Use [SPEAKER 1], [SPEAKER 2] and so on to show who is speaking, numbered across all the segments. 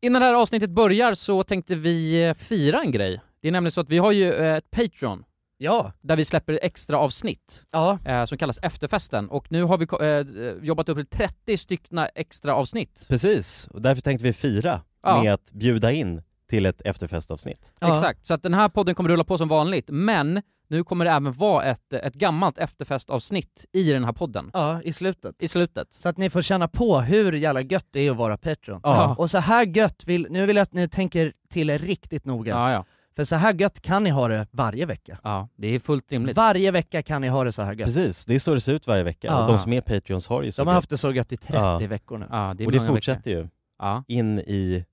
[SPEAKER 1] Innan det här avsnittet börjar så tänkte vi eh, fira en grej. Det är nämligen så att vi har ju eh, ett Patreon
[SPEAKER 2] Ja.
[SPEAKER 1] där vi släpper extra avsnitt
[SPEAKER 2] Ja.
[SPEAKER 1] eh, som kallas Efterfesten och nu har vi ko- eh, jobbat upp till 30 styckna extra avsnitt.
[SPEAKER 3] Precis, och därför tänkte vi fira
[SPEAKER 1] Ja.
[SPEAKER 3] med att bjuda in till ett efterfestavsnitt.
[SPEAKER 2] Ja.
[SPEAKER 1] Exakt, så att den här podden kommer rulla på som vanligt men nu kommer det även vara ett, ett gammalt efterfestavsnitt i den här podden.
[SPEAKER 2] Ja, i slutet.
[SPEAKER 1] I slutet.
[SPEAKER 2] Så att ni får känna på hur jävla gött det är att vara Patreon.
[SPEAKER 1] Ja.
[SPEAKER 2] Och så här gött vill, nu vill jag att ni tänker till er riktigt noga.
[SPEAKER 1] Ja, ja.
[SPEAKER 2] För så här gött kan ni ha det varje vecka.
[SPEAKER 1] ja det är fullt rimligt.
[SPEAKER 2] Varje vecka kan ni ha det så här gött.
[SPEAKER 3] Precis, det är så det ser ut varje vecka.
[SPEAKER 2] Ja.
[SPEAKER 3] De som är Patreons har ju så
[SPEAKER 2] De har
[SPEAKER 3] gött.
[SPEAKER 2] haft det så gött i 30
[SPEAKER 3] Ja.
[SPEAKER 2] veckor nu.
[SPEAKER 1] Ja, det är
[SPEAKER 3] Och det
[SPEAKER 1] många veckor.
[SPEAKER 3] fortsätter ju
[SPEAKER 1] Ja.
[SPEAKER 3] in i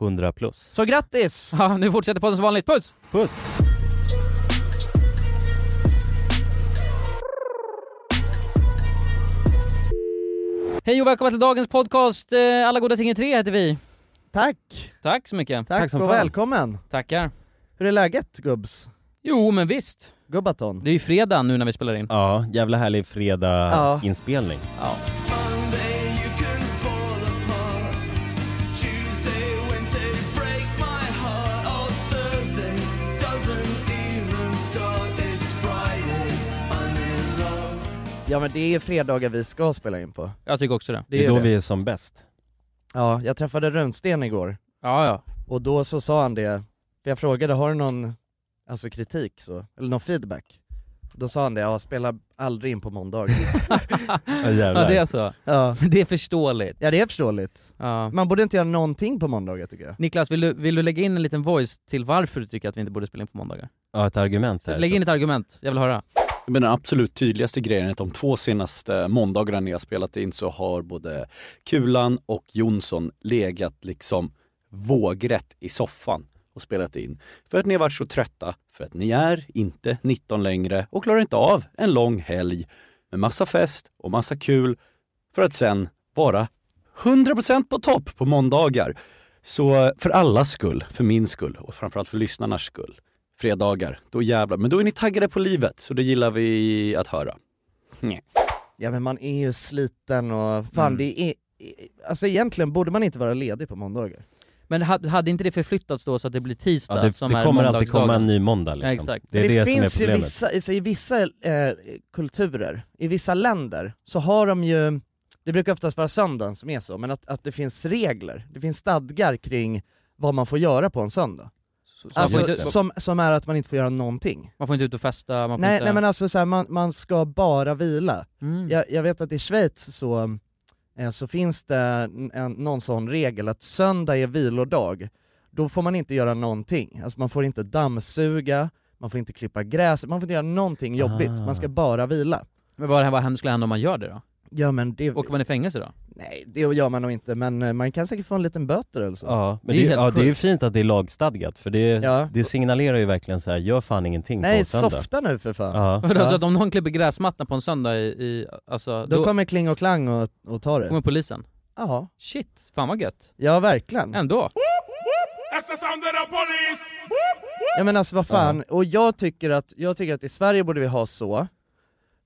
[SPEAKER 3] 100 plus.
[SPEAKER 2] Så grattis!
[SPEAKER 1] ja, nu fortsätter podden som vanligt. Puss!
[SPEAKER 3] Puss!
[SPEAKER 1] Hej och välkomna till dagens podcast. eh, Alla goda ting i tre heter vi.
[SPEAKER 2] Tack!
[SPEAKER 1] Tack så mycket.
[SPEAKER 2] Tack,
[SPEAKER 3] Tack som
[SPEAKER 2] och
[SPEAKER 3] fan.
[SPEAKER 2] välkommen!
[SPEAKER 1] Tackar.
[SPEAKER 2] Hur är läget gubbs?
[SPEAKER 1] Jo, men visst.
[SPEAKER 2] Gubbaton?
[SPEAKER 1] Det är ju fredag nu när vi spelar in.
[SPEAKER 3] Ja, jävla härlig
[SPEAKER 2] Ja.
[SPEAKER 3] fredag-inspelning.
[SPEAKER 1] Ja.
[SPEAKER 4] Oh,
[SPEAKER 2] Ja men det är fredagar vi ska spela in på.
[SPEAKER 1] Jag tycker också det.
[SPEAKER 3] Det är då
[SPEAKER 2] det.
[SPEAKER 3] vi är som bäst.
[SPEAKER 2] Ja, jag träffade Runsten igår.
[SPEAKER 1] Ja, ja.
[SPEAKER 2] Och då så sa han det, för jag frågade har du någon alltså, kritik så, eller någon feedback? Då sa han det, ja spela aldrig in på måndagar.
[SPEAKER 3] Ja, jävlar.
[SPEAKER 1] det är så.
[SPEAKER 2] ja.
[SPEAKER 1] Det är förståeligt.
[SPEAKER 2] ja det är förståeligt.
[SPEAKER 1] Ja.
[SPEAKER 2] Man borde inte göra någonting på måndagar tycker jag.
[SPEAKER 1] Niklas, vill du, vill du lägga in en liten voice till varför du tycker att vi inte borde spela in på måndagar?
[SPEAKER 3] ja, ett argument
[SPEAKER 1] Så
[SPEAKER 3] där.
[SPEAKER 1] lägg in ett argument, jag vill höra.
[SPEAKER 4] Men den absolut tydligaste grejen är att de två senaste måndagarna när jag spelat in så har både Kulan och Jonsson legat liksom vågrätt i soffan och spelat in. För att ni har varit så trötta, för att ni är inte 19 längre och klarar inte av en lång helg med massa fest och massa kul för att sen vara 100% på topp på måndagar. Så eh, för allas skull, för min skull och framförallt för lyssnarnas skull fredagar. Då jävlar. Men då är ni taggade på livet, så det gillar vi att höra.
[SPEAKER 2] Ja men man är ju sliten och fan
[SPEAKER 1] Mm.
[SPEAKER 2] det är, alltså egentligen borde man inte vara ledig på måndagar.
[SPEAKER 1] Men ha- hade inte det förflyttats då så att det blir tisdag
[SPEAKER 3] Ja, det,
[SPEAKER 1] som
[SPEAKER 3] det
[SPEAKER 1] är
[SPEAKER 3] kommer alltid
[SPEAKER 1] måndagsdagen?
[SPEAKER 3] komma en ny måndag liksom.
[SPEAKER 1] Ja, exakt.
[SPEAKER 3] Det är det, som är
[SPEAKER 2] finns ju
[SPEAKER 3] problemet.
[SPEAKER 2] vissa, alltså, i vissa eh, kulturer, i vissa länder, så har de ju, det brukar oftast vara söndagen som är så, men att, att det finns regler, det finns stadgar kring vad man får göra på en söndag.
[SPEAKER 1] Så, så
[SPEAKER 2] Alltså,
[SPEAKER 1] man, får
[SPEAKER 3] just
[SPEAKER 1] inte,
[SPEAKER 3] det.
[SPEAKER 2] som, som är att man inte får göra någonting.
[SPEAKER 1] man får inte ut och festa, man får
[SPEAKER 2] Nej,
[SPEAKER 1] inte...
[SPEAKER 2] nej men alltså så här, man, man ska bara vila.
[SPEAKER 1] mm.
[SPEAKER 2] Jag, jag vet att i Schweiz så, eh, så finns det en, en, någon sån regel att söndag är vilodag, då får man inte göra någonting. Alltså man får inte dammsuga, man får inte klippa gräs, man får inte göra någonting jobbigt,
[SPEAKER 3] Ah.
[SPEAKER 2] man ska bara vila.
[SPEAKER 1] Men vad, vad händer- skulle hända om man gör det då?
[SPEAKER 2] Ja men det,
[SPEAKER 1] Åker man i fängelse då?
[SPEAKER 2] nej, det gör man nog inte, men eh, man kan säkert få en liten böter eller så.
[SPEAKER 3] Ja, men
[SPEAKER 1] Det är
[SPEAKER 3] det är,
[SPEAKER 1] helt
[SPEAKER 3] ja, det är ju
[SPEAKER 1] sjukt.
[SPEAKER 3] fint att det är lagstadgat för det,
[SPEAKER 2] Ja.
[SPEAKER 3] det signalerar ju verkligen så här: gör fan ingenting på
[SPEAKER 2] nej,
[SPEAKER 3] en söndag.
[SPEAKER 2] softa nu för fan.
[SPEAKER 3] Ja.
[SPEAKER 1] Vadå,
[SPEAKER 2] Ja.
[SPEAKER 1] Så Alltså, att om någon klipper gräsmattan på en söndag i, i alltså,
[SPEAKER 2] Då
[SPEAKER 1] då, Mm.
[SPEAKER 2] kommer Kling och Klang och, och tar det.
[SPEAKER 1] kommer polisen?
[SPEAKER 2] Ja,
[SPEAKER 1] Shit, fan vad gött.
[SPEAKER 2] ja verkligen.
[SPEAKER 1] Ändå.
[SPEAKER 2] Ja men alltså vad fan, och jag tycker, att, jag tycker att i Sverige borde vi ha så,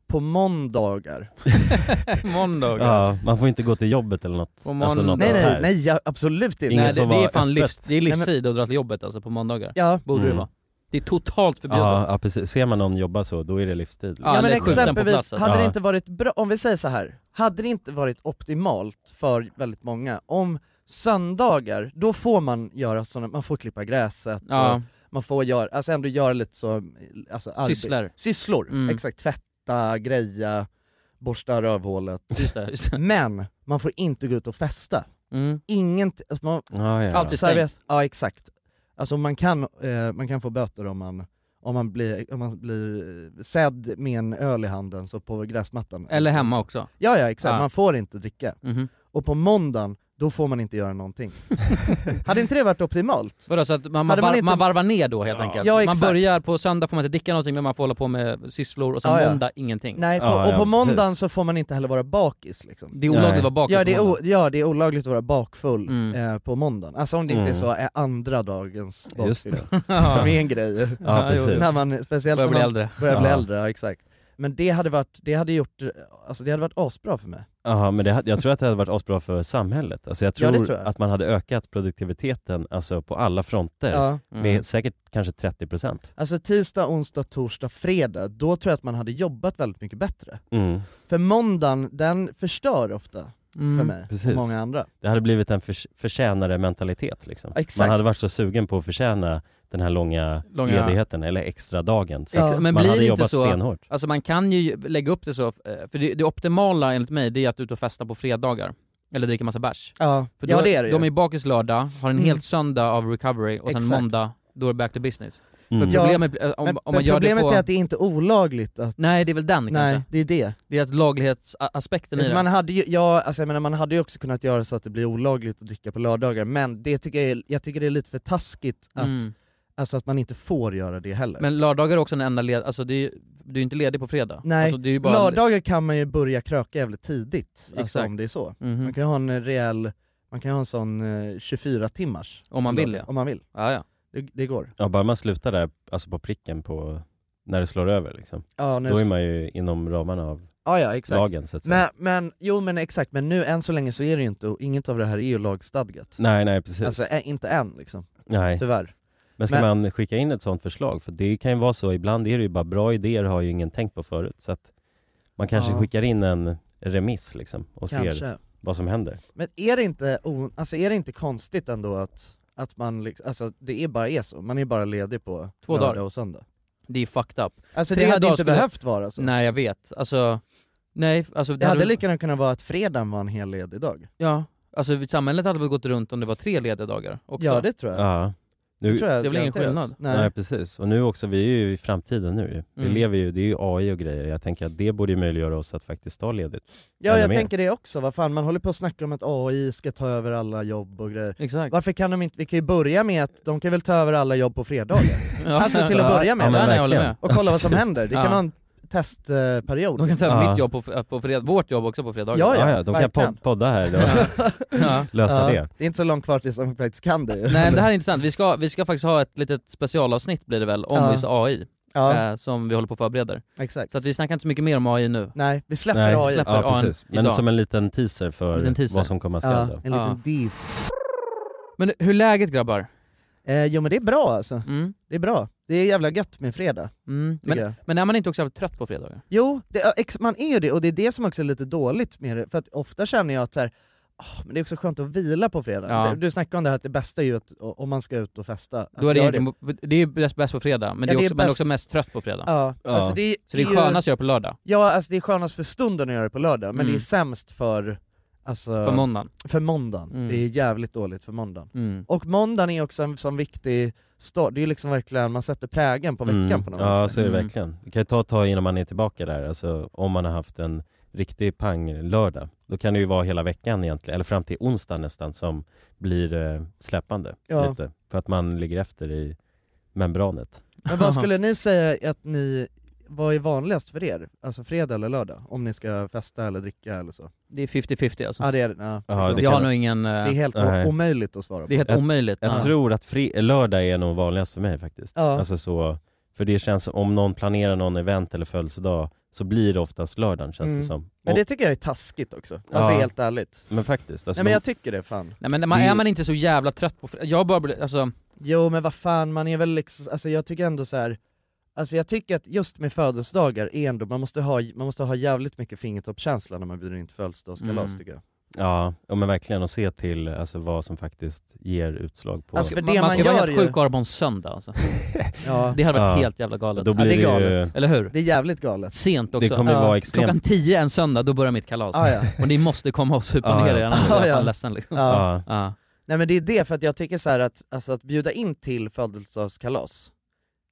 [SPEAKER 2] på måndagar.
[SPEAKER 1] Måndagar.
[SPEAKER 3] Ja, man får inte gå till jobbet eller något.
[SPEAKER 1] På måndag.
[SPEAKER 3] något
[SPEAKER 2] Nej
[SPEAKER 3] sånt
[SPEAKER 2] nej,
[SPEAKER 3] här.
[SPEAKER 2] nej ja, absolut inte.
[SPEAKER 3] Ingen
[SPEAKER 1] Nej det,
[SPEAKER 3] får
[SPEAKER 1] det är
[SPEAKER 3] vara
[SPEAKER 1] fan
[SPEAKER 3] öppet.
[SPEAKER 1] livs, det är
[SPEAKER 2] men-
[SPEAKER 1] livstid att dra till jobbet alltså på måndagar.
[SPEAKER 2] Ja,
[SPEAKER 1] Borde det
[SPEAKER 3] Mm.
[SPEAKER 1] vara. Det är totalt förbjudet.
[SPEAKER 3] Ja, ja, precis. Ser man någon jobba så, då är det livstid.
[SPEAKER 1] Ja,
[SPEAKER 2] ja men
[SPEAKER 1] eller skjuten på
[SPEAKER 2] exempelvis,
[SPEAKER 1] plats, alltså.
[SPEAKER 2] hade det
[SPEAKER 3] Ja.
[SPEAKER 2] inte varit bra, om vi säger så här hade det inte varit optimalt för väldigt många om söndagar, då får man göra sådana, man får klippa gräset, och
[SPEAKER 1] Ja,
[SPEAKER 2] man får göra, alltså ändå göra lite så, alltså arbete-
[SPEAKER 1] sysslor.
[SPEAKER 2] Sysslor,
[SPEAKER 1] Mm.
[SPEAKER 2] exakt, tvätta, greja, borsta rövhålet.
[SPEAKER 1] Just det, just det.
[SPEAKER 2] Men man får inte gå ut och festa.
[SPEAKER 1] Mm.
[SPEAKER 2] Inget, alltså man,
[SPEAKER 3] Ja, ja.
[SPEAKER 1] Alltid. Det är
[SPEAKER 2] Servet- ja exakt. Alltså man kan, eh, man kan få böter om man, om man blir, om man blir eh, sedd med en öl i handen så på gräsmattan.
[SPEAKER 1] Eller hemma också.
[SPEAKER 2] Ja ja exakt,
[SPEAKER 1] Ja.
[SPEAKER 2] man får inte dricka.
[SPEAKER 1] Mhm.
[SPEAKER 2] Och på måndagen, då får man inte göra någonting. hade inte det varit optimalt?
[SPEAKER 1] Vadå så att man, man,
[SPEAKER 2] Hade man
[SPEAKER 1] var,
[SPEAKER 2] inte-
[SPEAKER 1] man varvar ner då helt
[SPEAKER 3] Ja.
[SPEAKER 1] enkelt?
[SPEAKER 2] Ja,
[SPEAKER 1] man
[SPEAKER 2] exakt.
[SPEAKER 1] börjar på söndag får man inte dricka någonting men man får hålla på med sysslor och sen
[SPEAKER 2] Ja, ja.
[SPEAKER 1] måndag ingenting.
[SPEAKER 2] Nej, på,
[SPEAKER 3] Ja,
[SPEAKER 2] och
[SPEAKER 3] ja,
[SPEAKER 2] på måndagen
[SPEAKER 3] precis.
[SPEAKER 2] så får man inte heller vara bakis liksom.
[SPEAKER 1] Det är olagligt
[SPEAKER 3] Nej.
[SPEAKER 1] att vara bakis
[SPEAKER 2] Ja det, är
[SPEAKER 1] på
[SPEAKER 2] o-
[SPEAKER 1] måndag.
[SPEAKER 2] ja det är olagligt att vara bakfull
[SPEAKER 1] Mm.
[SPEAKER 2] eh, på måndagen, alltså om det inte är
[SPEAKER 3] Mm.
[SPEAKER 2] så är andra dagens bakfylla.
[SPEAKER 3] Just det.
[SPEAKER 2] Som
[SPEAKER 1] Ja,
[SPEAKER 2] är en grej,
[SPEAKER 3] Ja,
[SPEAKER 1] jo.
[SPEAKER 3] precis.
[SPEAKER 2] när man, speciellt
[SPEAKER 1] Börjar
[SPEAKER 2] när
[SPEAKER 1] bli
[SPEAKER 2] man
[SPEAKER 1] äldre.
[SPEAKER 2] börjar bli
[SPEAKER 3] Ja.
[SPEAKER 2] äldre, ja exakt. Men det hade varit, det hade gjort, alltså det hade varit asbra för mig.
[SPEAKER 3] Ja, men det, hade- jag tror att det hade varit asbra för samhället. Alltså jag
[SPEAKER 2] Ja,
[SPEAKER 3] tror,
[SPEAKER 2] det tror jag.
[SPEAKER 3] att man hade ökat produktiviteten alltså på alla fronter
[SPEAKER 2] Ja.
[SPEAKER 1] Mm.
[SPEAKER 3] med säkert kanske 30%.
[SPEAKER 2] Alltså tisdag, onsdag, torsdag, fredag, då tror jag att man hade jobbat väldigt mycket bättre.
[SPEAKER 3] Mm,
[SPEAKER 2] För måndagen, den förstör ofta
[SPEAKER 1] Mm.
[SPEAKER 2] för mig
[SPEAKER 3] precis.
[SPEAKER 2] och många andra.
[SPEAKER 3] Det hade blivit en förs- förtjänare-mentalitet liksom.
[SPEAKER 2] Exakt.
[SPEAKER 3] Man hade varit så sugen på att förtjäna den här långa,
[SPEAKER 1] Långa-
[SPEAKER 3] ledigheten eller extra dagen. Så
[SPEAKER 2] Ja.
[SPEAKER 1] Ex- Men
[SPEAKER 3] man
[SPEAKER 1] blir
[SPEAKER 3] hade
[SPEAKER 1] det inte
[SPEAKER 3] jobbat
[SPEAKER 1] så,
[SPEAKER 3] stenhårt.
[SPEAKER 1] alltså man kan ju lägga upp det så, eh, för det, det optimala enligt mig det är att ut och festa på fredagar. Eller dricka massa bärs.
[SPEAKER 2] Ja,
[SPEAKER 1] För
[SPEAKER 2] ja
[SPEAKER 1] då,
[SPEAKER 2] det är det ju.
[SPEAKER 1] De är bakis lördag, har en
[SPEAKER 2] Mm.
[SPEAKER 1] helt söndag av recovery och sen
[SPEAKER 2] Exakt.
[SPEAKER 1] måndag, då är det back to business.
[SPEAKER 3] Mm.
[SPEAKER 1] För
[SPEAKER 2] Ja,
[SPEAKER 1] problemet, eh, om,
[SPEAKER 2] men,
[SPEAKER 1] om man
[SPEAKER 2] men
[SPEAKER 1] gör det
[SPEAKER 2] problemet
[SPEAKER 1] på...
[SPEAKER 2] är att det är inte olagligt att
[SPEAKER 1] Nej det är väl den
[SPEAKER 2] Nej,
[SPEAKER 1] kanske.
[SPEAKER 2] det är det.
[SPEAKER 1] Det är att laglighetsaspekten i
[SPEAKER 2] Alltså
[SPEAKER 1] det.
[SPEAKER 2] man, hade ju, ja, alltså jag menar, man hade ju också kunnat göra så att det blir olagligt att dricka på lördagar, men det tycker jag, är, jag tycker det är lite för taskigt att,
[SPEAKER 1] Mm.
[SPEAKER 2] alltså att man inte får göra det heller.
[SPEAKER 1] Men lördagar är också den enda led... alltså det är ju, du är ju inte ledig på fredag.
[SPEAKER 2] Nej,
[SPEAKER 1] alltså, det är ju bara...
[SPEAKER 2] Lördagar kan man ju börja kröka jävligt tidigt, alltså
[SPEAKER 1] Exakt.
[SPEAKER 2] om det är så.
[SPEAKER 1] Mhm.
[SPEAKER 2] Man kan ju ha en rejäl, man kan ju ha en sån eh, 24 timmars
[SPEAKER 1] Om man vill
[SPEAKER 2] lördag,
[SPEAKER 1] ja.
[SPEAKER 2] Om man vill,
[SPEAKER 1] ja, ja.
[SPEAKER 2] det, det går.
[SPEAKER 3] Ja, bara man slutar där, alltså på pricken på när det slår över liksom.
[SPEAKER 2] Ja, nu,
[SPEAKER 3] Då är man ju inom ramarna av
[SPEAKER 2] ja, ja exakt.
[SPEAKER 3] lagen så att säga.
[SPEAKER 2] Men, men, jo men exakt, men nu än så länge så är det ju inte, och inget av det här är ju lagstadgat.
[SPEAKER 3] Nej, nej precis.
[SPEAKER 2] Alltså ä, inte än liksom,
[SPEAKER 3] nej.
[SPEAKER 2] tyvärr.
[SPEAKER 3] Men ska
[SPEAKER 2] Men-
[SPEAKER 3] man skicka in ett sånt förslag? För det kan ju vara så, ibland är det ju bara bra idéer har ju ingen tänkt på förut. Så att man kanske
[SPEAKER 2] Ja.
[SPEAKER 3] skickar in en remiss liksom och ser
[SPEAKER 2] Kanske.
[SPEAKER 3] vad som händer.
[SPEAKER 2] Men är det inte, o- alltså är det inte konstigt ändå att, att man liksom, alltså det är bara är så, man är bara ledig på
[SPEAKER 1] Två
[SPEAKER 2] lördag
[SPEAKER 1] dagar.
[SPEAKER 2] och söndag.
[SPEAKER 1] Det är fucked up.
[SPEAKER 2] Alltså
[SPEAKER 1] Tre
[SPEAKER 2] det hade
[SPEAKER 1] dagar
[SPEAKER 2] inte
[SPEAKER 1] skulle-
[SPEAKER 2] behövt vara så.
[SPEAKER 1] Nej jag vet, alltså... Nej, alltså...
[SPEAKER 2] Det hade lika gärna kunnat vara att fredagen var en hel ledig dag.
[SPEAKER 1] Ja, alltså samhället hade väl gått runt om det var tre lediga dagar också?
[SPEAKER 2] Ja det tror jag.
[SPEAKER 3] Ja. Nu,
[SPEAKER 2] tror jag
[SPEAKER 1] det är väl ingen
[SPEAKER 2] garanterat.
[SPEAKER 1] skillnad?
[SPEAKER 2] Nej.
[SPEAKER 3] nej. precis. Och nu också, vi är ju i framtiden nu ju. Vi
[SPEAKER 1] Mm.
[SPEAKER 3] lever ju, det är ju AI och grejer. Jag tänker att det borde ju möjliggöra oss att faktiskt ta ledigt.
[SPEAKER 2] Ja
[SPEAKER 3] Ännu
[SPEAKER 2] jag
[SPEAKER 3] mer.
[SPEAKER 2] tänker det också, vad fan man håller på och snackar om att AI ska ta över alla jobb och grejer.
[SPEAKER 1] Exakt.
[SPEAKER 2] Varför kan de inte, vi kan ju börja med att de kan väl ta över alla jobb på fredagar?
[SPEAKER 1] Ja.
[SPEAKER 2] Alltså till att börja med.
[SPEAKER 3] Ja, men
[SPEAKER 1] Ja, nej, jag håller
[SPEAKER 3] verkligen.
[SPEAKER 1] med.
[SPEAKER 2] Och kolla vad som
[SPEAKER 3] Precis.
[SPEAKER 2] händer, det
[SPEAKER 1] Ja.
[SPEAKER 2] kan vara en testperiod.
[SPEAKER 1] De kan ta över
[SPEAKER 3] Ja.
[SPEAKER 1] mitt jobb på, f- på fred- vårt jobb också på fredagar.
[SPEAKER 2] Ja,
[SPEAKER 3] Ja,
[SPEAKER 2] ja,
[SPEAKER 3] ja, de kan
[SPEAKER 2] verkligen.
[SPEAKER 3] pod- podda här
[SPEAKER 1] Ja.
[SPEAKER 3] och
[SPEAKER 1] Ja.
[SPEAKER 3] lösa
[SPEAKER 2] Ja,
[SPEAKER 3] det.
[SPEAKER 2] det är inte så långt kvar tills de faktiskt kan det ju.
[SPEAKER 1] Nej men det här är intressant, vi ska, vi ska faktiskt ha ett litet specialavsnitt blir det väl, om
[SPEAKER 2] Ja.
[SPEAKER 1] just AI,
[SPEAKER 2] Ja,
[SPEAKER 1] eh, som vi håller på och förbereder.
[SPEAKER 2] exakt.
[SPEAKER 1] Så att vi snackar inte så mycket mer om AI nu.
[SPEAKER 2] Nej, vi släpper
[SPEAKER 3] Nej,
[SPEAKER 2] AI.
[SPEAKER 1] släpp- släpper
[SPEAKER 3] Ja,
[SPEAKER 1] AN
[SPEAKER 3] precis. Men
[SPEAKER 1] idag.
[SPEAKER 3] som en liten teaser för
[SPEAKER 1] Liten teaser.
[SPEAKER 3] vad som komma skall.
[SPEAKER 2] Ja,
[SPEAKER 3] då.
[SPEAKER 2] en liten
[SPEAKER 1] Ja.
[SPEAKER 2] diff.
[SPEAKER 1] Men hur är läget grabbar?
[SPEAKER 2] Eh, jo men det är bra alltså,
[SPEAKER 1] Mm.
[SPEAKER 2] det är bra. Det är jävla gött med fredag,
[SPEAKER 1] Mm.
[SPEAKER 2] tycker
[SPEAKER 1] Men,
[SPEAKER 2] jag.
[SPEAKER 1] men är man inte också jävligt trött på fredagar?
[SPEAKER 2] Jo, det, ja, ex, man är ju det, och det är det som också är lite dåligt med det, för att ofta känner jag att så här, "Ah, men det är också skönt att vila på fredag.
[SPEAKER 1] Ja.
[SPEAKER 2] Du- Du snackade om det här att det bästa är ju att, o- om man ska ut och festa. att
[SPEAKER 1] Då är det,
[SPEAKER 2] göra
[SPEAKER 1] egentligen, det är ju bäst, bäst på fredag, men
[SPEAKER 2] Ja,
[SPEAKER 1] det är
[SPEAKER 2] det är
[SPEAKER 1] också, man är
[SPEAKER 2] bäst-
[SPEAKER 1] också mest trött på fredag.
[SPEAKER 2] Ja,
[SPEAKER 3] Ja.
[SPEAKER 2] Alltså det,
[SPEAKER 1] Så det är
[SPEAKER 2] ju-
[SPEAKER 1] skönast att göra på lördag,
[SPEAKER 2] Ja, alltså det är skönast för stunden att göra det på lördag, men
[SPEAKER 1] Mm.
[SPEAKER 2] det är sämst för, alltså,
[SPEAKER 1] för måndagen.
[SPEAKER 2] för måndagen.
[SPEAKER 1] Mm.
[SPEAKER 2] Det är jävligt dåligt för måndagen.
[SPEAKER 1] Mm.
[SPEAKER 2] Och måndagen är också en sån viktig start, det är ju liksom verkligen, man sätter prägen på veckan på något
[SPEAKER 3] Ja,
[SPEAKER 2] sätt.
[SPEAKER 3] så är det
[SPEAKER 1] Mm.
[SPEAKER 3] verkligen. Det kan ju ta ett tag innan man är tillbaka där, alltså om man har haft en riktig pang-lördag. Då kan det ju vara hela veckan egentligen, eller fram till onsdag nästan, som blir eh, släpande
[SPEAKER 2] Ja.
[SPEAKER 3] lite. För att man ligger efter i membranet.
[SPEAKER 2] Men vad skulle ni säga att ni, vad är vanligast för er? Alltså fredag eller lördag? Om ni ska festa eller dricka eller så?
[SPEAKER 1] Det är 50-50 alltså.
[SPEAKER 2] Ja det är det, ja.
[SPEAKER 3] Ja, det
[SPEAKER 1] jag har
[SPEAKER 3] kan-
[SPEAKER 1] nog ingen... eh,
[SPEAKER 2] Det är helt
[SPEAKER 3] Nej.
[SPEAKER 2] omöjligt att svara på.
[SPEAKER 1] Det är helt
[SPEAKER 3] Jag-
[SPEAKER 1] omöjligt.
[SPEAKER 3] Jag
[SPEAKER 1] Ja.
[SPEAKER 3] tror att fri- lördag är nog vanligast för mig faktiskt.
[SPEAKER 2] Ja.
[SPEAKER 3] Alltså så, för det känns som om någon planerar någon event eller födelsedag så blir det oftast lördagen känns
[SPEAKER 2] Mm.
[SPEAKER 3] det som.
[SPEAKER 2] Men
[SPEAKER 3] Och,
[SPEAKER 2] det tycker jag är taskigt också, alltså
[SPEAKER 3] Ja.
[SPEAKER 2] helt ärligt.
[SPEAKER 3] men faktiskt. Alltså,
[SPEAKER 2] Nej men jag tycker det fan.
[SPEAKER 1] Nej, men man,
[SPEAKER 3] Det-
[SPEAKER 1] är man inte så jävla trött på... Jag bara blir, alltså,
[SPEAKER 2] Jo men vad fan, man är väl liksom, alltså jag tycker ändå så här. Alltså jag tycker att just med födelsedagar är ändå, man måste ha, man måste ha jävligt mycket fingertoppskänsla när man bjuder in till födelsedagskalas
[SPEAKER 1] Mm.
[SPEAKER 2] tycker jag.
[SPEAKER 3] ja, ja, men verkligen. Och se till alltså, vad som faktiskt ger utslag på...
[SPEAKER 2] Alltså, För det
[SPEAKER 1] man, man
[SPEAKER 2] man
[SPEAKER 1] ska vara
[SPEAKER 2] gör
[SPEAKER 1] helt
[SPEAKER 2] ju-
[SPEAKER 1] sjuk och ha det på en söndag alltså.
[SPEAKER 2] Ja,
[SPEAKER 1] Det hade varit
[SPEAKER 3] Ja.
[SPEAKER 1] helt jävla galet.
[SPEAKER 3] Då
[SPEAKER 2] Ja,
[SPEAKER 3] blir
[SPEAKER 2] det är
[SPEAKER 3] det, ju,
[SPEAKER 2] galet.
[SPEAKER 1] Eller hur?
[SPEAKER 2] det är jävligt
[SPEAKER 3] Alltså.
[SPEAKER 2] galet.
[SPEAKER 1] Sent också.
[SPEAKER 3] det kommer ju
[SPEAKER 2] Ja.
[SPEAKER 3] vara extremt
[SPEAKER 1] Klockan 10 en söndag, då börjar mitt kalas.
[SPEAKER 2] Ah, ja.
[SPEAKER 1] Och ni måste komma och supa
[SPEAKER 3] Ja,
[SPEAKER 1] ner
[SPEAKER 3] ja.
[SPEAKER 1] er, annars blir jag
[SPEAKER 2] Ja, ja.
[SPEAKER 1] fan ledsen liksom.
[SPEAKER 2] Ja.
[SPEAKER 3] Ja.
[SPEAKER 1] Ja.
[SPEAKER 2] Nej men det är det, för att jag tycker så här att, alltså att bjuda in till födelsedagskalas,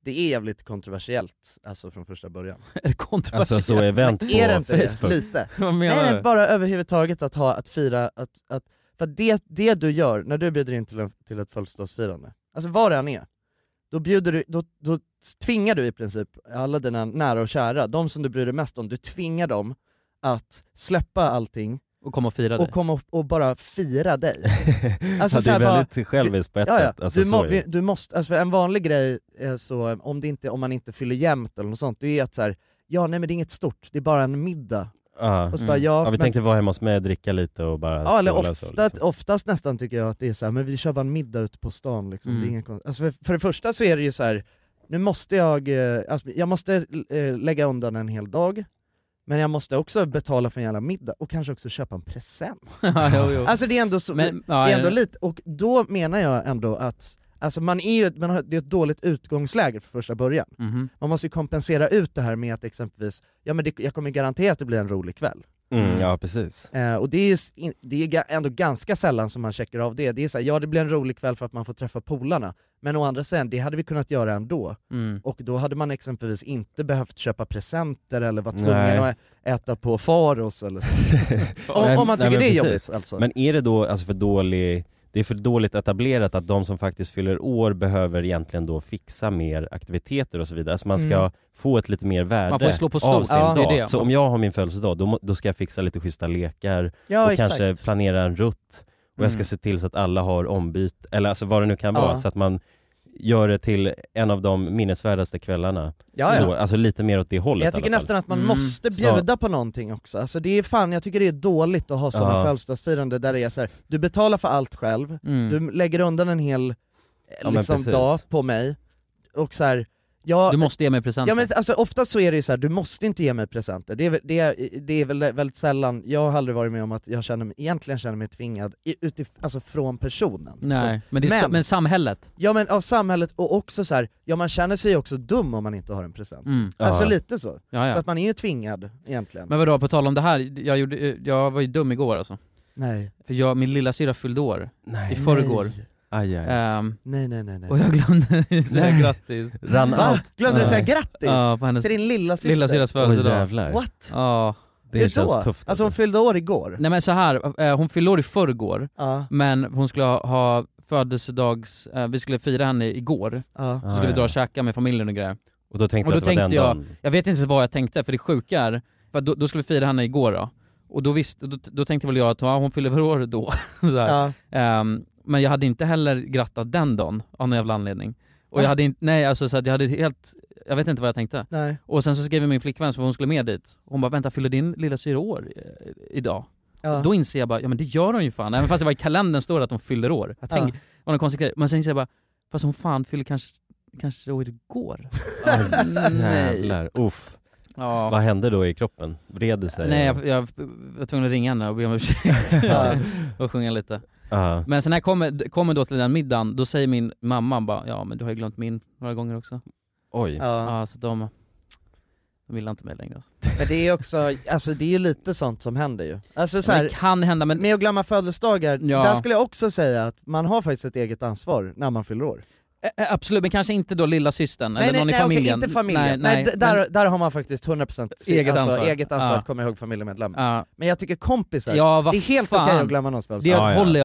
[SPEAKER 2] det är jävligt kontroversiellt alltså från första början.
[SPEAKER 1] Är det kontroversiellt?
[SPEAKER 3] Alltså så event på
[SPEAKER 2] Är det inte det?
[SPEAKER 3] Facebook.
[SPEAKER 2] Lite.
[SPEAKER 1] Vad
[SPEAKER 2] Nej,
[SPEAKER 1] menar
[SPEAKER 2] nej,
[SPEAKER 1] du?
[SPEAKER 2] bara överhuvudtaget att ha, att fira, att, att, för att det, det du gör när du bjuder in till, en, till ett födelsedagsfirande, alltså vad det än är, då, bjuder du, då, då tvingar du i princip alla dina nära och kära, de som du bryr dig mest om, du tvingar dem att släppa allting
[SPEAKER 1] Och komma och fira dig.
[SPEAKER 2] och komma och, och bara fira dig. Alltså, så
[SPEAKER 3] ja, det
[SPEAKER 2] här
[SPEAKER 3] är
[SPEAKER 2] bara-
[SPEAKER 3] väldigt själviskt på ett
[SPEAKER 2] Ja,
[SPEAKER 3] sätt.
[SPEAKER 2] ja.
[SPEAKER 3] Alltså,
[SPEAKER 2] Du,
[SPEAKER 3] så
[SPEAKER 2] må,
[SPEAKER 3] är det.
[SPEAKER 2] vi- du måste, alltså för en vanlig grej, är så, om, det inte, om man inte fyller jämnt eller något sånt, det är att så här, ja nej men det är inget stort, det är bara en middag.
[SPEAKER 4] Ja.
[SPEAKER 2] Och så
[SPEAKER 1] Mm.
[SPEAKER 2] bara, ja,
[SPEAKER 4] ja, vi
[SPEAKER 2] men,
[SPEAKER 4] tänkte vara hemma hos mig, dricka lite och bara
[SPEAKER 2] ja eller
[SPEAKER 4] skåla
[SPEAKER 2] oftast,
[SPEAKER 4] så, liksom.
[SPEAKER 2] oftast nästan tycker jag att det är så här, men vi kör bara en middag ute på stan liksom.
[SPEAKER 1] Mm.
[SPEAKER 2] det är inget kon- alltså, för, för det första så är det ju så här, nu måste jag, eh, alltså, jag måste eh, lägga undan en hel dag, men jag måste också betala för en jävla middag och kanske också köpa en present.
[SPEAKER 1] ja, jo, jo.
[SPEAKER 2] Alltså det är ändå så,
[SPEAKER 1] Men, ja,
[SPEAKER 2] det är ändå lite, och då menar jag ändå att, alltså man är ju, man har, det är ett dåligt utgångsläge för första början.
[SPEAKER 1] mhm.
[SPEAKER 2] Man måste ju kompensera ut det här med att exempelvis, ja men det, jag kommer garanterat att det blir en rolig kväll.
[SPEAKER 4] Mm, ja precis.
[SPEAKER 2] Eh, och det är ju s- in- det är ga- ändå ganska sällan som man checkar av det. Det är såhär, ja det blir en rolig kväll för att man får träffa polarna, men å andra sidan, det hade vi kunnat göra ändå.
[SPEAKER 1] Mm.
[SPEAKER 2] Och då hade man exempelvis inte behövt köpa presenter eller varit
[SPEAKER 4] Nej.
[SPEAKER 2] tvungen att ä- äta på Faros eller så. Om, om man tycker
[SPEAKER 4] Nej, men
[SPEAKER 2] det är
[SPEAKER 4] precis.
[SPEAKER 2] jobbigt alltså.
[SPEAKER 4] Men är det då alltså för dålig, det är för dåligt etablerat att de som faktiskt fyller år behöver egentligen då fixa mer aktiviteter och så vidare. Alltså man ska
[SPEAKER 2] Mm.
[SPEAKER 4] få ett lite mer värde
[SPEAKER 1] Man får ju slå på
[SPEAKER 4] av
[SPEAKER 1] stort,
[SPEAKER 4] sin
[SPEAKER 2] ja, det är
[SPEAKER 4] dag.
[SPEAKER 1] det.
[SPEAKER 4] Så om jag har min födelsedag, då, må- då ska jag fixa lite schyssta lekar
[SPEAKER 2] ja,
[SPEAKER 4] och kanske planera en rutt och jag ska
[SPEAKER 1] Mm.
[SPEAKER 4] se till så att alla har ombyte, eller alltså vad det nu kan
[SPEAKER 2] Ja.
[SPEAKER 4] vara, så att man gör det till en av de minnesvärdaste kvällarna.
[SPEAKER 2] ja, ja.
[SPEAKER 4] Så, alltså lite mer åt det hållet
[SPEAKER 2] Jag
[SPEAKER 4] i
[SPEAKER 2] tycker
[SPEAKER 4] alla fall.
[SPEAKER 2] nästan att man
[SPEAKER 1] Mm.
[SPEAKER 2] måste
[SPEAKER 4] Snar-
[SPEAKER 2] bjuda på någonting också, alltså det är fan, jag tycker det är dåligt att ha sådana
[SPEAKER 4] Ja.
[SPEAKER 2] födelsedagsfirande där det är så här, du betalar för allt själv,
[SPEAKER 1] Mm.
[SPEAKER 2] du lägger undan en hel eh,
[SPEAKER 4] men
[SPEAKER 2] liksom,
[SPEAKER 4] precis.
[SPEAKER 2] dag på mig, och så här, ja,
[SPEAKER 1] Du måste ge mig presenter.
[SPEAKER 2] ja men alltså, oftast så är det ju så här, du måste inte ge mig presenter, det är, väl- det, är, det är väl väldigt sällan, jag har aldrig varit med om att jag känner mig, egentligen känner mig tvingad i- utif- alltså från personen. Så,
[SPEAKER 1] Nej, men, det är
[SPEAKER 2] Men-
[SPEAKER 1] men. men samhället.
[SPEAKER 2] ja men av samhället, och också så här, ja man känner sig ju också dum om man inte har en present.
[SPEAKER 1] Mm.
[SPEAKER 4] Ja.
[SPEAKER 2] Alltså lite så.
[SPEAKER 1] Ja,
[SPEAKER 2] Så
[SPEAKER 1] ja.
[SPEAKER 2] att man är ju tvingad egentligen.
[SPEAKER 1] Men vadå, på tal om det här, jag, gjorde, jag var ju dum igår alltså.
[SPEAKER 2] Nej.
[SPEAKER 1] För jag, min lilla syra fyllde år i
[SPEAKER 4] Nej,
[SPEAKER 1] förrgår.
[SPEAKER 4] aj, aj.
[SPEAKER 1] Ehm,
[SPEAKER 2] Nej nej nej nej.
[SPEAKER 1] och jag glömde säga
[SPEAKER 4] Nej.
[SPEAKER 1] grattis.
[SPEAKER 4] Ran
[SPEAKER 2] Va?
[SPEAKER 4] out.
[SPEAKER 2] Glömde du säga
[SPEAKER 4] Nej.
[SPEAKER 2] grattis?
[SPEAKER 1] Ja, på hennes
[SPEAKER 2] Till din lilla syster?
[SPEAKER 1] lilla syras
[SPEAKER 4] Oj
[SPEAKER 1] födelsedag.
[SPEAKER 4] jävlar.
[SPEAKER 2] What?
[SPEAKER 1] Ja.
[SPEAKER 4] Det
[SPEAKER 2] Hur
[SPEAKER 4] känns
[SPEAKER 2] då?
[SPEAKER 4] tufft.
[SPEAKER 2] Alltså hon fyllde år igår?
[SPEAKER 1] Nej men så här, eh, hon fyllde år i förrgår,
[SPEAKER 2] Ja,
[SPEAKER 1] men hon skulle ha- ha födelsedags, eh, vi skulle fira henne igår,
[SPEAKER 2] ja.
[SPEAKER 1] så skulle vi dra och käka med familjen och grejer.
[SPEAKER 4] Och då tänkte
[SPEAKER 1] Och
[SPEAKER 4] jag
[SPEAKER 1] då
[SPEAKER 4] att det var den
[SPEAKER 1] tänkte jag-
[SPEAKER 4] dagen.
[SPEAKER 1] Jag vet inte vad jag tänkte, för det sjuka är, för att då, då skulle vi fira henne igår då, och då, visst, då, då tänkte väl jag att ja, hon fyller väl år då. så här.
[SPEAKER 2] ja.
[SPEAKER 1] Ehm, men jag hade inte heller grattat den dagen av någon jävla anledning. Och
[SPEAKER 2] Va?
[SPEAKER 1] jag hade inte, nej alltså så att jag hade helt, jag vet inte vad jag tänkte.
[SPEAKER 2] Nej.
[SPEAKER 1] Och sen så skrev min flickvän för hon skulle med dit, hon bara 'vänta fyller din lilla syster år eh, idag?'
[SPEAKER 2] Ja.
[SPEAKER 1] Då inser jag bara, ja men det gör hon ju fan, även fast det var i kalendern står det att hon fyller år. Jag tänkte,
[SPEAKER 2] ja.
[SPEAKER 1] det var någon konstig grej. Men sen inser jag bara, fast hon fan fyller kanske, kanske år igår.
[SPEAKER 4] Jävlar, uff. Vad
[SPEAKER 1] Ja.
[SPEAKER 4] hände då i kroppen? Vred det sig?
[SPEAKER 1] Nej jag, jag var tvungen att ringa henne och be om ursäkt
[SPEAKER 2] Ja.
[SPEAKER 1] och sjunga lite.
[SPEAKER 4] Ja.
[SPEAKER 1] Men sen när jag kommer, kommer då till den middagen, då säger min mamma bara ja men du har ju glömt min några gånger också.
[SPEAKER 4] Oj.
[SPEAKER 2] Ja.
[SPEAKER 1] Ja, så de, de gillar inte mig längre. Alltså.
[SPEAKER 2] Men det är också, alltså det är ju lite sånt som händer ju. Alltså så
[SPEAKER 1] Men det
[SPEAKER 2] här,
[SPEAKER 1] kan hända men,
[SPEAKER 2] med att glömma födelsedagar,
[SPEAKER 1] Ja.
[SPEAKER 2] där skulle jag också säga att man har faktiskt ett eget ansvar när man fyller år.
[SPEAKER 1] Ä- ä, eh, absolut, men kanske inte då lilla systern eller någon i
[SPEAKER 2] okej,
[SPEAKER 1] familjen.
[SPEAKER 2] inte familjen. Nej, d- där, där har man faktiskt 100% si-
[SPEAKER 1] Eget
[SPEAKER 2] alltså,
[SPEAKER 1] ansvar.
[SPEAKER 2] eget ansvar
[SPEAKER 1] Ja.
[SPEAKER 2] att komma ihåg familjemedlemmar.
[SPEAKER 1] men, ja.
[SPEAKER 2] Men jag tycker kompisar,
[SPEAKER 1] ja, vad
[SPEAKER 2] det är helt okej
[SPEAKER 1] fan.
[SPEAKER 2] att glömma någons
[SPEAKER 1] Det
[SPEAKER 2] födelsedag.
[SPEAKER 4] Ja, ja.
[SPEAKER 1] håller jag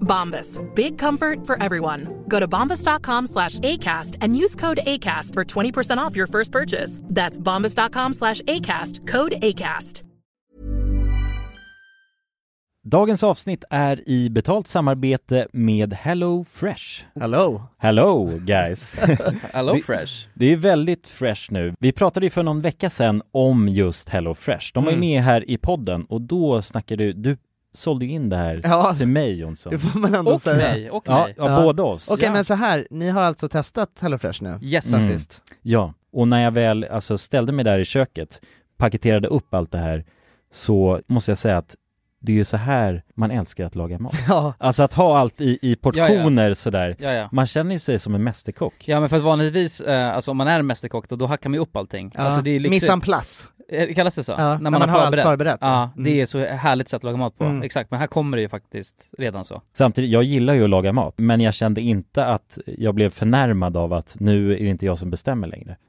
[SPEAKER 5] Bombas. Big comfort for everyone. Go to bombas.com slash ACAST and use code ACAST for 20% off your first purchase. That's bombas.com slash ACAST. Code ACAST.
[SPEAKER 3] Dagens avsnitt är i betalt samarbete med Hello Fresh.
[SPEAKER 2] Hello!
[SPEAKER 3] Hello guys!
[SPEAKER 6] Hello
[SPEAKER 3] Det-
[SPEAKER 6] Fresh.
[SPEAKER 3] Det är väldigt fresh nu. Vi pratade ju för någon vecka sedan om just Hello Fresh. De var ju
[SPEAKER 6] Mm.
[SPEAKER 3] med här i podden och då snackade du, du sålde ju in det här
[SPEAKER 2] Ja,
[SPEAKER 3] till mig Jonsson.
[SPEAKER 2] det får man ändå
[SPEAKER 6] Och
[SPEAKER 2] säga.
[SPEAKER 6] mig, och
[SPEAKER 3] Ja,
[SPEAKER 6] mig.
[SPEAKER 3] ja,
[SPEAKER 2] Ja.
[SPEAKER 3] båda oss.
[SPEAKER 2] Okej
[SPEAKER 6] Ja.
[SPEAKER 2] men så här, ni har alltså testat HelloFresh nu?
[SPEAKER 6] Yes.
[SPEAKER 2] Sen
[SPEAKER 3] Mm.
[SPEAKER 2] sist?
[SPEAKER 3] Ja, och när jag väl alltså, ställde mig där i köket, paketerade upp allt det här, så måste jag säga att det är ju så här man älskar att laga mat.
[SPEAKER 2] Ja,
[SPEAKER 3] Alltså att ha allt i, i portioner sådär.
[SPEAKER 6] Ja, ja.
[SPEAKER 3] Man känner ju sig som en mästerkock.
[SPEAKER 6] Ja men för att vanligtvis, eh, alltså om man är mästerkock då, då hackar man ju upp allting.
[SPEAKER 2] ja.
[SPEAKER 6] Alltså det är liksom...
[SPEAKER 2] Mise en place.
[SPEAKER 6] Eh, Kallas det så?
[SPEAKER 2] Ja, när man har allt förberett,
[SPEAKER 6] Ja,
[SPEAKER 2] ja.
[SPEAKER 6] det
[SPEAKER 2] Mm.
[SPEAKER 6] är så härligt sätt att laga mat på.
[SPEAKER 2] Mm.
[SPEAKER 6] Exakt, men här kommer det ju faktiskt redan så.
[SPEAKER 3] Samtidigt, jag gillar ju att laga mat, men jag kände inte att jag blev förnärmad av att nu är det inte jag som bestämmer längre.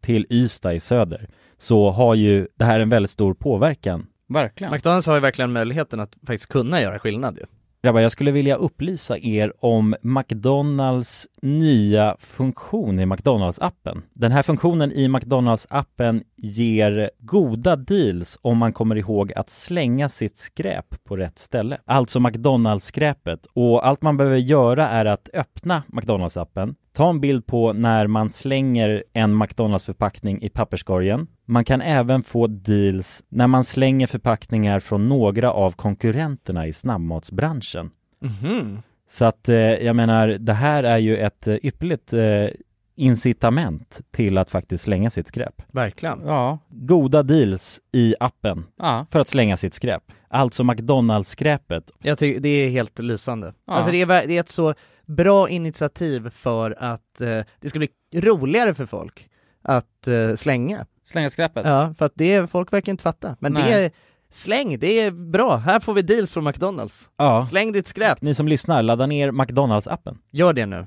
[SPEAKER 3] till Ystad i söder, så har ju det här en väldigt stor påverkan
[SPEAKER 6] Verkligen.
[SPEAKER 2] McDonalds har ju verkligen möjligheten att faktiskt kunna göra skillnad ju.
[SPEAKER 3] Grabbar, jag skulle vilja upplysa er om McDonalds nya funktion i McDonalds-appen. Den här funktionen i McDonalds-appen ger goda deals om man kommer ihåg att slänga sitt skräp på rätt ställe. Alltså McDonalds-skräpet. Och allt man behöver göra är att öppna McDonalds-appen, ta en bild på när man slänger en McDonalds-förpackning i papperskorgen. Man kan även få deals när man slänger förpackningar från några av konkurrenterna i snabbmatsbranschen.
[SPEAKER 2] Mhm.
[SPEAKER 3] Så att eh, jag menar, det här är ju ett eh, ypperligt eh, incitament till att faktiskt slänga sitt skräp.
[SPEAKER 2] Verkligen.
[SPEAKER 6] Ja,
[SPEAKER 3] Goda deals i appen
[SPEAKER 6] ja.
[SPEAKER 3] för att slänga sitt skräp. Alltså McDonalds-skräpet.
[SPEAKER 2] Jag tycker det är helt lysande.
[SPEAKER 6] Ja.
[SPEAKER 2] Alltså det är, ver- det är ett så bra initiativ för att eh, det ska bli roligare för folk att eh, slänga.
[SPEAKER 6] Slänga skräpet.
[SPEAKER 2] Ja, för att det, är- folk verkar inte fatta. Men det
[SPEAKER 6] Nej.
[SPEAKER 2] är, släng, det är bra. Här får vi deals från McDonalds.
[SPEAKER 3] Ja.
[SPEAKER 2] Släng ditt skräp.
[SPEAKER 3] Ni som lyssnar, ladda ner McDonalds-appen.
[SPEAKER 2] Gör det nu.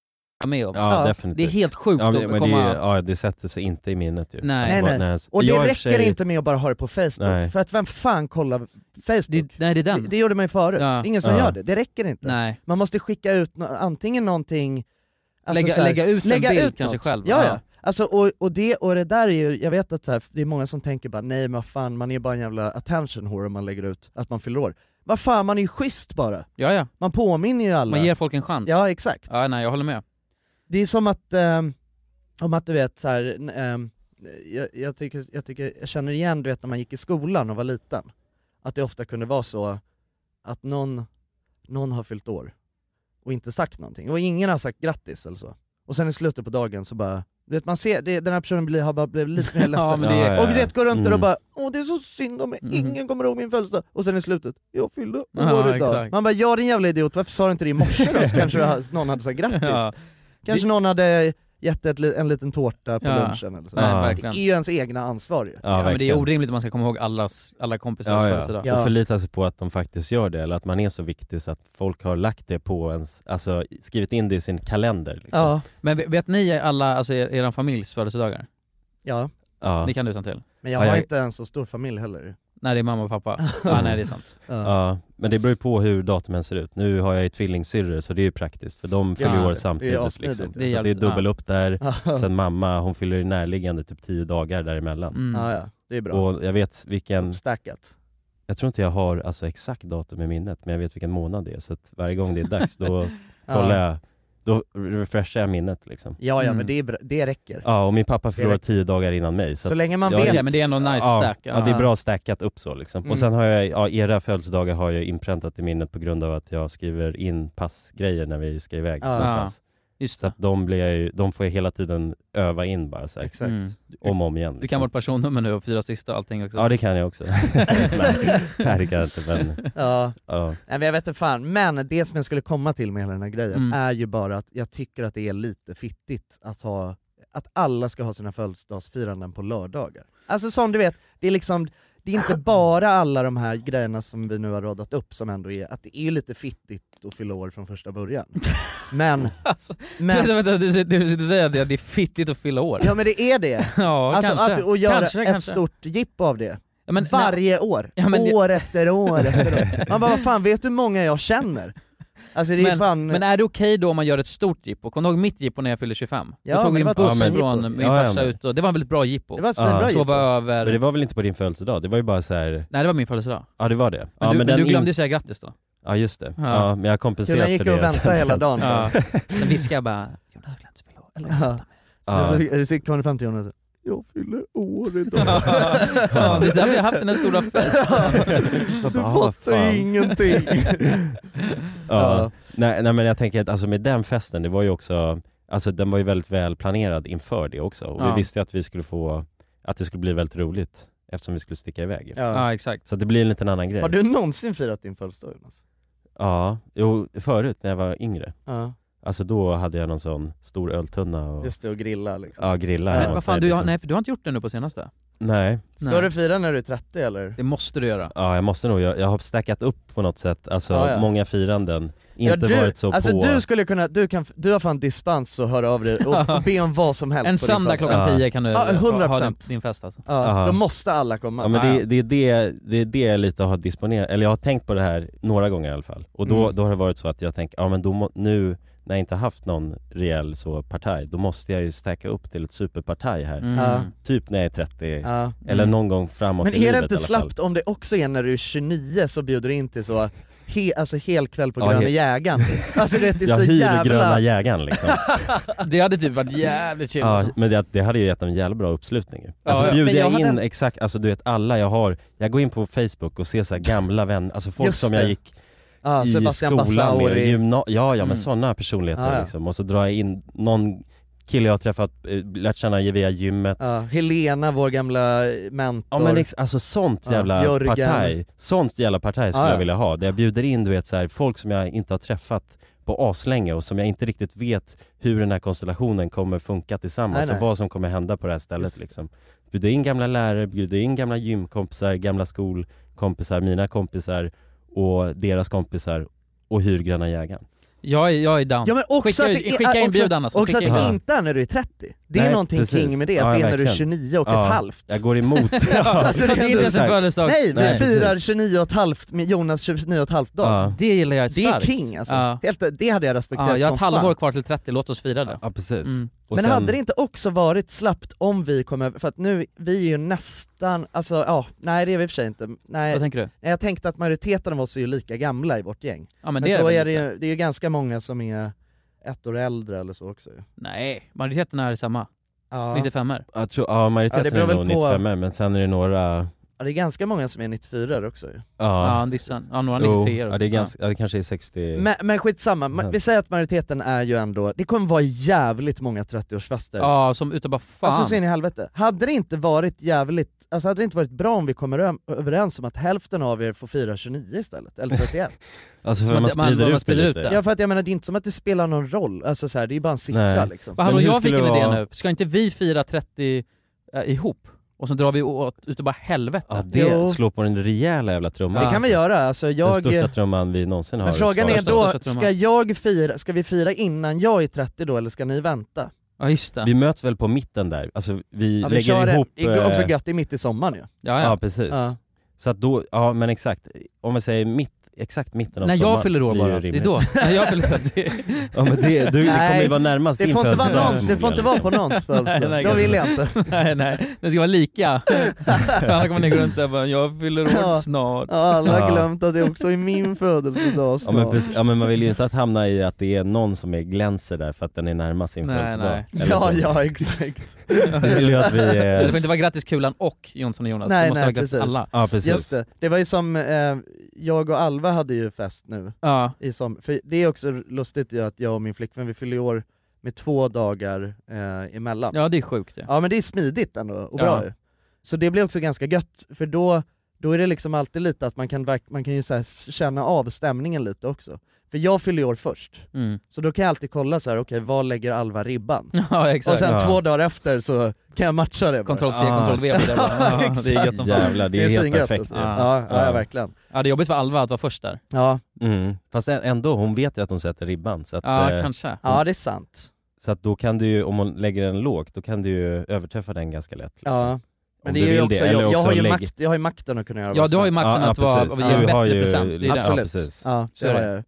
[SPEAKER 1] med om.
[SPEAKER 3] Ja, definitivt.
[SPEAKER 1] Det är helt sjukt
[SPEAKER 3] ja, men,
[SPEAKER 1] att
[SPEAKER 3] men
[SPEAKER 1] komma...
[SPEAKER 3] Det, är- ja, det sätter sig inte i minnet ju.
[SPEAKER 1] Nej.
[SPEAKER 3] Alltså,
[SPEAKER 1] Nej,
[SPEAKER 3] bara
[SPEAKER 1] nej.
[SPEAKER 3] när ens-
[SPEAKER 2] Och det
[SPEAKER 3] jag i och för
[SPEAKER 2] räcker
[SPEAKER 3] sig-
[SPEAKER 2] inte med att bara ha det på Facebook,
[SPEAKER 3] Nej.
[SPEAKER 2] för att vem fan kollar Facebook? Det,
[SPEAKER 1] nej, det, är den.
[SPEAKER 2] det, gjorde man ju förut, det är ingen som
[SPEAKER 3] Ja.
[SPEAKER 2] gör det, det räcker inte.
[SPEAKER 1] Nej.
[SPEAKER 2] Man måste skicka ut nå- antingen någonting... alltså
[SPEAKER 1] Lägga-
[SPEAKER 2] så här-
[SPEAKER 1] lägga ut en bild kanske
[SPEAKER 2] något.
[SPEAKER 1] själv.
[SPEAKER 2] Ja,
[SPEAKER 1] Ja.
[SPEAKER 2] ja. Alltså, och, och, det, och det där är ju, jag vet att så här, det är många som tänker bara nej men vad fan, man är ju bara en jävla attention whore om man lägger ut att man fyller år. Vad fan, man är ju schysst bara!
[SPEAKER 1] Ja, ja.
[SPEAKER 2] Man påminner ju alla.
[SPEAKER 1] Man ger folk en chans.
[SPEAKER 2] Ja, exakt.
[SPEAKER 1] Ja, nej, jag håller med.
[SPEAKER 2] Det är som att, ehm, om att du vet så här, n- ehm, jag, jag, tycker, jag, tycker, jag känner igen du vet när man gick i skolan och var liten, att det ofta kunde vara så att någon, någon har fyllt år och inte sagt någonting, och ingen har sagt grattis eller så. Och sen i slutet på dagen så bara, du vet man ser, det, den här personen blir, har bara blivit lite mer ledsen.
[SPEAKER 1] men det är-
[SPEAKER 2] Och du vet, går runt där och
[SPEAKER 1] Mm.
[SPEAKER 2] bara Åh det är så synd om mig, ingen kommer ihåg min födelsedag. Och sen i slutet, jag fyllde år
[SPEAKER 1] Ja,
[SPEAKER 2] idag.
[SPEAKER 1] exakt.
[SPEAKER 2] Man bara, ja din jävla idiot, varför sa du inte det i morse då? Så kanske du har- någon hade sagt grattis.
[SPEAKER 1] Ja.
[SPEAKER 2] Kanske någon hade gett ett, li- en liten tårta på
[SPEAKER 1] Ja.
[SPEAKER 2] lunchen eller så.
[SPEAKER 1] Nej,
[SPEAKER 2] Ja. det är
[SPEAKER 1] verkligen.
[SPEAKER 2] ju ens egna ansvar ju.
[SPEAKER 1] Ja, men det är
[SPEAKER 3] Ah, verkligen.
[SPEAKER 1] orimligt att man ska komma ihåg allas, alla kompisars
[SPEAKER 3] Ja, ja.
[SPEAKER 1] födelsedag.
[SPEAKER 3] Och förlita sig på att de faktiskt gör det, eller att man är så viktig så att folk har lagt det på ens, alltså skrivit in det i sin kalender. Liksom.
[SPEAKER 2] Ja.
[SPEAKER 1] Men ve- vet ni alla, alltså er, er familjs födelsedagar?
[SPEAKER 2] Ja.
[SPEAKER 3] Ja.
[SPEAKER 1] Det kan du utan till?
[SPEAKER 2] Men jag har inte en så stor familj heller.
[SPEAKER 1] Nej det är mamma och pappa. ja, nej det är sant.
[SPEAKER 3] Ja. men det beror ju på hur datumen ser ut. Nu har jag ju tvillingsyrror så det är ju praktiskt för de fyller
[SPEAKER 1] Just
[SPEAKER 3] ju år
[SPEAKER 1] det.
[SPEAKER 3] samtidigt.
[SPEAKER 1] Det är
[SPEAKER 3] liksom.
[SPEAKER 1] assmidigt. Det är
[SPEAKER 3] Så det är
[SPEAKER 1] jävligt-
[SPEAKER 3] dubbel
[SPEAKER 1] ja.
[SPEAKER 3] upp där,
[SPEAKER 1] Ja.
[SPEAKER 3] sen mamma hon fyller ju närliggande typ tio dagar däremellan.
[SPEAKER 1] Mm.
[SPEAKER 2] Ja, ja. Det är bra.
[SPEAKER 3] Och jag vet vilken...
[SPEAKER 2] Stackat.
[SPEAKER 3] Jag tror inte jag har alltså, exakt datum i minnet men jag vet vilken månad det är så att varje gång det är dags då
[SPEAKER 2] Ja.
[SPEAKER 3] kollar jag, då refreshar jag minnet liksom.
[SPEAKER 2] Ja, ja men det, är bra, det räcker.
[SPEAKER 3] Ja, och min pappa
[SPEAKER 2] Det
[SPEAKER 3] förlorar
[SPEAKER 2] räcker.
[SPEAKER 3] tio dagar innan mig.
[SPEAKER 2] Så
[SPEAKER 3] att
[SPEAKER 2] länge man
[SPEAKER 3] jag-
[SPEAKER 2] vet. Ja, men
[SPEAKER 1] det är ändå nice
[SPEAKER 3] ja,
[SPEAKER 1] stack,
[SPEAKER 3] Ja.
[SPEAKER 1] ja.
[SPEAKER 3] det är bra stackat upp så liksom.
[SPEAKER 2] Mm.
[SPEAKER 3] Och sen har jag, ja, era födelsedagar har jag inpräntat i minnet på grund av att jag skriver in passgrejer när vi ska iväg
[SPEAKER 2] Ja.
[SPEAKER 3] någonstans.
[SPEAKER 1] Just
[SPEAKER 3] så att de, blir jag ju, de får jag hela tiden öva in bara så här.
[SPEAKER 2] Exakt. Mm.
[SPEAKER 3] Om och om igen. liksom.
[SPEAKER 1] Du kan vårt personnummer nu och fyra sista och allting också.
[SPEAKER 3] Ja det kan jag också. nej, nej, det kan jag inte men...
[SPEAKER 2] Ja.
[SPEAKER 3] Ja.
[SPEAKER 2] Nej, men jag vet inte fan, men det som jag skulle komma till med hela den här grejen
[SPEAKER 1] Mm.
[SPEAKER 2] är ju bara att jag tycker att det är lite fittigt att ha att alla ska ha sina födelsedagsfiranden på lördagar. Alltså som du vet, det är liksom det är inte bara alla de här grejerna som vi nu har radat upp som ändå är, att det är ju lite fittigt att fylla år från första början. Men,
[SPEAKER 1] Alltså,
[SPEAKER 2] men
[SPEAKER 1] Vänta, vänta, du, du, du, du säger att det- det är fittigt att fylla år?
[SPEAKER 2] Ja men det är det!
[SPEAKER 1] Ja,
[SPEAKER 2] alltså
[SPEAKER 1] kanske.
[SPEAKER 2] att och göra
[SPEAKER 1] Kanske,
[SPEAKER 2] ett
[SPEAKER 1] kanske.
[SPEAKER 2] stort jippo av det.
[SPEAKER 1] Ja, men-
[SPEAKER 2] Varje år,
[SPEAKER 1] Ja, men det-
[SPEAKER 2] år efter år efter år. Man bara, vad fan vet du hur många jag känner? Alltså det är
[SPEAKER 1] men,
[SPEAKER 2] fan...
[SPEAKER 1] men är det okej då om man gör ett stort jippo? Kommer du ihåg mitt jippo när jag fyllde 25?
[SPEAKER 2] Ja,
[SPEAKER 1] då tog
[SPEAKER 2] men
[SPEAKER 1] vi
[SPEAKER 2] det
[SPEAKER 1] en
[SPEAKER 2] var ett
[SPEAKER 1] buss
[SPEAKER 3] bra
[SPEAKER 1] från
[SPEAKER 3] jippo.
[SPEAKER 1] min
[SPEAKER 3] Ja, ja,
[SPEAKER 1] farsa
[SPEAKER 3] men-
[SPEAKER 1] ut och det var en väldigt bra jippo.
[SPEAKER 2] Det var ett
[SPEAKER 3] Ja.
[SPEAKER 2] svinbra jippo.
[SPEAKER 1] Sova över...
[SPEAKER 3] Men det var väl inte på din födelsedag? Det var ju bara så här...
[SPEAKER 1] Nej det var min födelsedag.
[SPEAKER 3] Ja det var det.
[SPEAKER 1] Men,
[SPEAKER 3] ja,
[SPEAKER 1] du, men du
[SPEAKER 3] den
[SPEAKER 1] glömde
[SPEAKER 3] in-
[SPEAKER 1] ju säga grattis då.
[SPEAKER 3] Ja just det.
[SPEAKER 1] Ja.
[SPEAKER 3] Ja, men jag har kompenserat
[SPEAKER 2] Killen
[SPEAKER 3] för det.
[SPEAKER 2] gick och väntade
[SPEAKER 3] sen.
[SPEAKER 2] hela dagen.
[SPEAKER 1] Ja. Sen viskade jag bara Jonas har glömt att fylla år. Eller,
[SPEAKER 2] Ja.
[SPEAKER 3] Ja.
[SPEAKER 2] Så, är det sitt kommer fram till Jonas och säger, jag fyller år idag.
[SPEAKER 1] ja, det är därför jag har haft den här stora festen.
[SPEAKER 3] Jag
[SPEAKER 2] Du
[SPEAKER 3] bara, ah,
[SPEAKER 2] fattar
[SPEAKER 3] fan.
[SPEAKER 2] ju ingenting.
[SPEAKER 3] Ja.
[SPEAKER 2] Ja.
[SPEAKER 3] Nej, nej men jag tänker att alltså med den festen, det var ju också, alltså den var ju väldigt väl planerad inför det också. Och
[SPEAKER 1] Ja.
[SPEAKER 3] vi visste att vi skulle få, att det skulle bli väldigt roligt eftersom vi skulle sticka iväg.
[SPEAKER 2] Ja.
[SPEAKER 1] Ja exakt.
[SPEAKER 3] Så att det blir en liten annan grej.
[SPEAKER 2] Har du någonsin firat din födelsedag Jonas?
[SPEAKER 3] Ja, jo förut när jag var yngre.
[SPEAKER 2] Ja,
[SPEAKER 3] Alltså då hade jag någon sån stor öltunna och
[SPEAKER 2] just det, och grilla liksom.
[SPEAKER 3] ja, grilla hemma
[SPEAKER 1] Men vad
[SPEAKER 3] hos
[SPEAKER 1] fan,
[SPEAKER 3] mig,
[SPEAKER 1] du, har,
[SPEAKER 3] liksom.
[SPEAKER 1] nej, för du har inte gjort det nu på senaste?
[SPEAKER 3] nej.
[SPEAKER 2] Ska
[SPEAKER 1] Nej.
[SPEAKER 2] du fira när du är 30 eller?
[SPEAKER 1] Det måste du göra.
[SPEAKER 3] Ja jag måste nog, jag, jag har stackat upp på något sätt, alltså
[SPEAKER 2] Ja, ja.
[SPEAKER 3] många firanden.
[SPEAKER 2] Ja,
[SPEAKER 3] Inte
[SPEAKER 2] du,
[SPEAKER 3] varit så
[SPEAKER 2] alltså
[SPEAKER 3] på...
[SPEAKER 2] du skulle kunna, du, kan, du har fan dispens att höra av dig och, och be om vad som helst
[SPEAKER 1] En
[SPEAKER 2] på din
[SPEAKER 1] söndag
[SPEAKER 2] födelsedag.
[SPEAKER 1] klockan
[SPEAKER 3] Ja.
[SPEAKER 1] 10 kan du
[SPEAKER 2] Ja, 100%.
[SPEAKER 1] ha din, din fest alltså.
[SPEAKER 2] Ja,
[SPEAKER 3] Ja.
[SPEAKER 2] då måste alla komma.
[SPEAKER 3] Ja men det, det, är det, det är det jag lite har disponerat, eller jag har tänkt på det här några gånger i alla fall Och då,
[SPEAKER 2] Mm.
[SPEAKER 3] då har det varit så att jag tänkt, ja men då må, nu när jag inte haft någon rejäl så partaj, då måste jag ju stacka upp till ett superpartaj här
[SPEAKER 1] Mm.
[SPEAKER 2] Ja.
[SPEAKER 3] Typ när jag är 30,
[SPEAKER 2] Ja.
[SPEAKER 3] eller
[SPEAKER 1] Mm.
[SPEAKER 3] någon gång framåt
[SPEAKER 2] Men
[SPEAKER 3] i
[SPEAKER 2] är det
[SPEAKER 3] livet i
[SPEAKER 2] inte
[SPEAKER 3] alla fall.
[SPEAKER 2] slappt om det också är när du är 29 så bjuder du in till så, he, alltså hel kväll på
[SPEAKER 3] Ja,
[SPEAKER 2] Gröna
[SPEAKER 3] he-
[SPEAKER 2] Jägaren? Alltså det, det är
[SPEAKER 3] Jag
[SPEAKER 2] så
[SPEAKER 3] hyr
[SPEAKER 2] jävla...
[SPEAKER 3] gröna jägaren liksom
[SPEAKER 1] Det hade typ varit jävligt chill.
[SPEAKER 3] ja,
[SPEAKER 1] alltså.
[SPEAKER 3] Men det, det hade ju gett en jävla bra uppslutning ju.
[SPEAKER 1] Ja,
[SPEAKER 3] Alltså
[SPEAKER 1] ja.
[SPEAKER 3] bjuder
[SPEAKER 2] Men jag
[SPEAKER 3] jag, in
[SPEAKER 2] hade-
[SPEAKER 3] exakt, alltså du vet alla jag har, jag går in på Facebook och ser så här gamla vänner, alltså folk
[SPEAKER 2] Just
[SPEAKER 3] som
[SPEAKER 2] det.
[SPEAKER 3] jag gick
[SPEAKER 2] ja,
[SPEAKER 3] i
[SPEAKER 2] Sebastian
[SPEAKER 3] skolan med,
[SPEAKER 2] Bassauri.
[SPEAKER 3] gymna- ja, ja
[SPEAKER 1] Mm.
[SPEAKER 3] men sådana personligheter
[SPEAKER 2] Ja, ja.
[SPEAKER 3] liksom. Och så drar jag in någon kille jag har träffat, eh, lärt känna via gymmet. Ja,
[SPEAKER 2] Ja, Helena, vår gamla mentor.
[SPEAKER 3] men ex- alltså sånt
[SPEAKER 2] Ja,
[SPEAKER 3] jävla
[SPEAKER 2] Jörgen.
[SPEAKER 3] partaj, sånt jävla partaj skulle
[SPEAKER 2] Ja, ja.
[SPEAKER 3] jag vilja ha. Där jag bjuder in du vet så här, folk som jag inte har träffat på aslänge och som jag inte riktigt vet hur den här konstellationen kommer funka tillsammans
[SPEAKER 2] Nej, nej.
[SPEAKER 3] och vad som kommer hända på det här stället
[SPEAKER 2] Just det.
[SPEAKER 3] liksom. Bjuder in gamla lärare, bjuder in gamla gymkompisar, gamla skolkompisar, mina kompisar och deras kompisar och hyr Gröna Jägaren.
[SPEAKER 1] Jag är, jag är down.
[SPEAKER 2] Ja men
[SPEAKER 1] skicka,
[SPEAKER 2] också att det är,
[SPEAKER 1] skicka
[SPEAKER 2] också-
[SPEAKER 1] inbjudan alltså.
[SPEAKER 2] Också att
[SPEAKER 1] skicka
[SPEAKER 2] det
[SPEAKER 1] inbjudan.
[SPEAKER 2] inte är när du är 30. Det är
[SPEAKER 3] Nej,
[SPEAKER 2] någonting
[SPEAKER 3] precis.
[SPEAKER 2] king med det, att
[SPEAKER 3] Ja,
[SPEAKER 2] det är när du är
[SPEAKER 3] verkligen.
[SPEAKER 2] 29 och
[SPEAKER 3] Ja,
[SPEAKER 2] ett halvt.
[SPEAKER 3] Jag går emot Ja,
[SPEAKER 2] Alltså,
[SPEAKER 1] det är inte ens en
[SPEAKER 3] exakt.
[SPEAKER 1] födelsedag.
[SPEAKER 2] Nej, vi
[SPEAKER 3] Nej,
[SPEAKER 2] firar
[SPEAKER 3] precis.
[SPEAKER 2] 29 och ett halvt med Jonas 29 och ett halvt dag.
[SPEAKER 3] Ja.
[SPEAKER 1] Det gillar jag
[SPEAKER 2] Det är
[SPEAKER 1] starkt.
[SPEAKER 2] king alltså.
[SPEAKER 1] Ja.
[SPEAKER 2] Helt, det hade jag respekterat
[SPEAKER 1] Ja, jag har
[SPEAKER 2] som
[SPEAKER 1] ett halvår
[SPEAKER 2] fan.
[SPEAKER 1] kvar till 30, låt oss fira det.
[SPEAKER 3] Ja precis.
[SPEAKER 1] Mm.
[SPEAKER 3] Och
[SPEAKER 2] Men
[SPEAKER 3] sen-
[SPEAKER 2] hade det inte också varit slappt om vi kom över, för att nu, vi är ju nästan, alltså ja, nej det är vi i och för sig inte. Nej,
[SPEAKER 1] Vad tänker du?
[SPEAKER 2] nej, jag tänkte att majoriteten av oss är ju lika gamla i vårt gäng.
[SPEAKER 1] Ja men,
[SPEAKER 2] Men,
[SPEAKER 1] det
[SPEAKER 2] så
[SPEAKER 1] väl
[SPEAKER 2] är det
[SPEAKER 1] inte.
[SPEAKER 2] ju, det är ju ganska många som är ett år äldre eller så också ju.
[SPEAKER 1] Nej, majoriteten är samma.
[SPEAKER 2] Ja.
[SPEAKER 1] 95 er
[SPEAKER 3] Jag tror, ja
[SPEAKER 2] Ja, det
[SPEAKER 3] majoriteten
[SPEAKER 2] beror
[SPEAKER 3] är
[SPEAKER 2] väl
[SPEAKER 3] nog
[SPEAKER 2] på-
[SPEAKER 3] 95 er, men sen är det några,
[SPEAKER 2] Ja, det är ganska många som är 94 också ju.
[SPEAKER 1] Ja,
[SPEAKER 3] ja,
[SPEAKER 1] det är sant. Ja, några
[SPEAKER 3] jo,
[SPEAKER 1] 93
[SPEAKER 3] ja det är ganska, ja, det kanske är 60
[SPEAKER 2] Men, men skitsamma, Ma- vi säger att majoriteten är ju ändå, det kommer vara jävligt många 30-årsfester.
[SPEAKER 1] Ja, ja som utav bara fan.
[SPEAKER 2] Alltså så in i helvete. Hade det inte varit jävligt, alltså hade det inte varit bra om vi kommer ö- överens om att hälften av er får fira 29 istället, eller 31?
[SPEAKER 3] Alltså för
[SPEAKER 1] Man-
[SPEAKER 3] man,
[SPEAKER 1] man-
[SPEAKER 3] sprider
[SPEAKER 1] man
[SPEAKER 3] ut
[SPEAKER 1] sprider
[SPEAKER 3] det
[SPEAKER 1] ut
[SPEAKER 3] lite.
[SPEAKER 1] det.
[SPEAKER 2] ja för att jag menar det är inte som att det spelar någon roll, alltså så här, det är ju bara en siffra
[SPEAKER 3] Nej.
[SPEAKER 2] liksom.
[SPEAKER 1] Vad hallå,
[SPEAKER 3] Men hur
[SPEAKER 1] jag fick
[SPEAKER 3] skulle
[SPEAKER 1] en
[SPEAKER 3] det
[SPEAKER 1] idé
[SPEAKER 3] vara-
[SPEAKER 1] nu. Ska inte vi fira 30 eh, ihop? Och så drar vi åt utav bara helvete.
[SPEAKER 3] Ja det
[SPEAKER 2] Jo.
[SPEAKER 3] slår på den rejäla jävla trumman.
[SPEAKER 2] Det kan vi göra, alltså
[SPEAKER 3] Den
[SPEAKER 2] jag...
[SPEAKER 3] största trumman vi någonsin har
[SPEAKER 2] Men frågan är
[SPEAKER 3] svarat på.
[SPEAKER 2] då,
[SPEAKER 1] största trumman.
[SPEAKER 2] ska jag fira, ska vi fira innan jag är 30 då eller ska ni vänta?
[SPEAKER 1] Ja just det.
[SPEAKER 3] Vi möts väl på mitten där, alltså vi
[SPEAKER 2] Ja, vi kör
[SPEAKER 3] lägger
[SPEAKER 2] det.
[SPEAKER 3] ihop...
[SPEAKER 2] Det är också
[SPEAKER 3] eh,
[SPEAKER 2] gött, det är mitt i sommaren ju.
[SPEAKER 1] Ja,
[SPEAKER 3] Ja
[SPEAKER 1] ja.
[SPEAKER 3] precis.
[SPEAKER 2] Ja.
[SPEAKER 3] Så att då, ja men exakt, om man säger mitt, exakt mitten av
[SPEAKER 1] När jag
[SPEAKER 3] sommaren
[SPEAKER 1] fyller år
[SPEAKER 3] blir ju
[SPEAKER 1] bara, det är
[SPEAKER 3] rimligt.
[SPEAKER 1] då. När jag fyller 30.
[SPEAKER 3] Ja men det, du, det kommer
[SPEAKER 2] Nej.
[SPEAKER 3] ju vara närmast
[SPEAKER 2] Det
[SPEAKER 3] din
[SPEAKER 2] får inte vara
[SPEAKER 3] födelsedag
[SPEAKER 2] någons, det får inte vara
[SPEAKER 3] förmodligen.
[SPEAKER 2] på någons födelsedag, då vill jag inte.
[SPEAKER 1] nej nej, den ska vara lika. Annars kommer ni gå runt där och bara, jag fyller år
[SPEAKER 2] Ja.
[SPEAKER 1] snart.
[SPEAKER 2] Ja, alla har
[SPEAKER 3] Ja.
[SPEAKER 2] glömt att det också är min födelsedag
[SPEAKER 3] Ja
[SPEAKER 2] snart.
[SPEAKER 3] men, precis, ja men man vill ju inte att hamna i att det är någon som är glänser där för att den är närmast sin
[SPEAKER 1] Nej,
[SPEAKER 3] födelsedag.
[SPEAKER 1] nej.
[SPEAKER 3] Eller
[SPEAKER 2] Ja,
[SPEAKER 3] så.
[SPEAKER 2] ja exakt.
[SPEAKER 3] Vi vill ju att vi
[SPEAKER 1] Det får
[SPEAKER 3] är...
[SPEAKER 1] inte vara grattis Kulan och Jonsson och Jonas,
[SPEAKER 2] Nej,
[SPEAKER 1] det måste
[SPEAKER 2] nej,
[SPEAKER 1] vara grattis
[SPEAKER 2] precis.
[SPEAKER 1] alla.
[SPEAKER 3] Ja precis.
[SPEAKER 2] Just det, det var ju som, eh, jag och Alva hade ju fest nu
[SPEAKER 1] Ja,
[SPEAKER 2] i som, för det är också lustigt ju att jag och min flickvän vi fyller ju år med två dagar eh, emellan.
[SPEAKER 1] ja det är sjukt det.
[SPEAKER 2] Ja men det är smidigt ändå och
[SPEAKER 1] Ja.
[SPEAKER 2] bra ju. Så det blir också ganska gött, för då, då är det liksom alltid lite att man kan, verk- man kan ju så här känna av stämningen lite också. För jag fyller ju år först,
[SPEAKER 1] Mm.
[SPEAKER 2] så då kan jag alltid kolla så här: okej var lägger Alva ribban?
[SPEAKER 1] Ja exakt.
[SPEAKER 2] Och sen
[SPEAKER 3] Ja.
[SPEAKER 2] två dagar efter så kan jag matcha det bara.
[SPEAKER 1] Ctrl C,
[SPEAKER 3] Ah,
[SPEAKER 1] Ctrl V blir det bara. Ja, Det är gött som fan.
[SPEAKER 3] Jävlar, det är, helt
[SPEAKER 2] svingött,
[SPEAKER 3] perfekt
[SPEAKER 2] alltså.
[SPEAKER 3] ju.
[SPEAKER 2] ja, ja,
[SPEAKER 3] Ja.
[SPEAKER 2] verkligen.
[SPEAKER 1] Ja det är jobbigt för Alva att vara först där.
[SPEAKER 2] Ja.
[SPEAKER 3] mm. Fast ä- ändå, hon vet ju att hon sätter ribban så att,
[SPEAKER 1] Ja
[SPEAKER 3] eh,
[SPEAKER 1] kanske.
[SPEAKER 2] ja, det är sant.
[SPEAKER 3] så att då kan du ju, om hon lägger den lågt, då kan du ju överträffa den ganska lätt liksom.
[SPEAKER 2] Ja. Men
[SPEAKER 3] Om
[SPEAKER 2] det
[SPEAKER 3] du
[SPEAKER 2] är ju
[SPEAKER 3] vill
[SPEAKER 2] också,
[SPEAKER 3] eller
[SPEAKER 2] jag, jag, har ju
[SPEAKER 3] lägg-
[SPEAKER 2] makt, jag har ju makten att kunna göra
[SPEAKER 1] Ja
[SPEAKER 2] vad
[SPEAKER 1] du
[SPEAKER 2] som
[SPEAKER 1] har ju
[SPEAKER 2] helst.
[SPEAKER 1] makten
[SPEAKER 3] Ja,
[SPEAKER 1] att vara,
[SPEAKER 3] precis.
[SPEAKER 1] att ge en
[SPEAKER 2] Ja,
[SPEAKER 3] har
[SPEAKER 1] bättre
[SPEAKER 3] ju
[SPEAKER 1] present. Det är det.
[SPEAKER 3] lite-
[SPEAKER 2] Absolut.
[SPEAKER 3] Ja, precis.
[SPEAKER 2] Ja,
[SPEAKER 1] Så
[SPEAKER 2] så
[SPEAKER 1] är
[SPEAKER 2] har
[SPEAKER 1] det.
[SPEAKER 2] jag ju.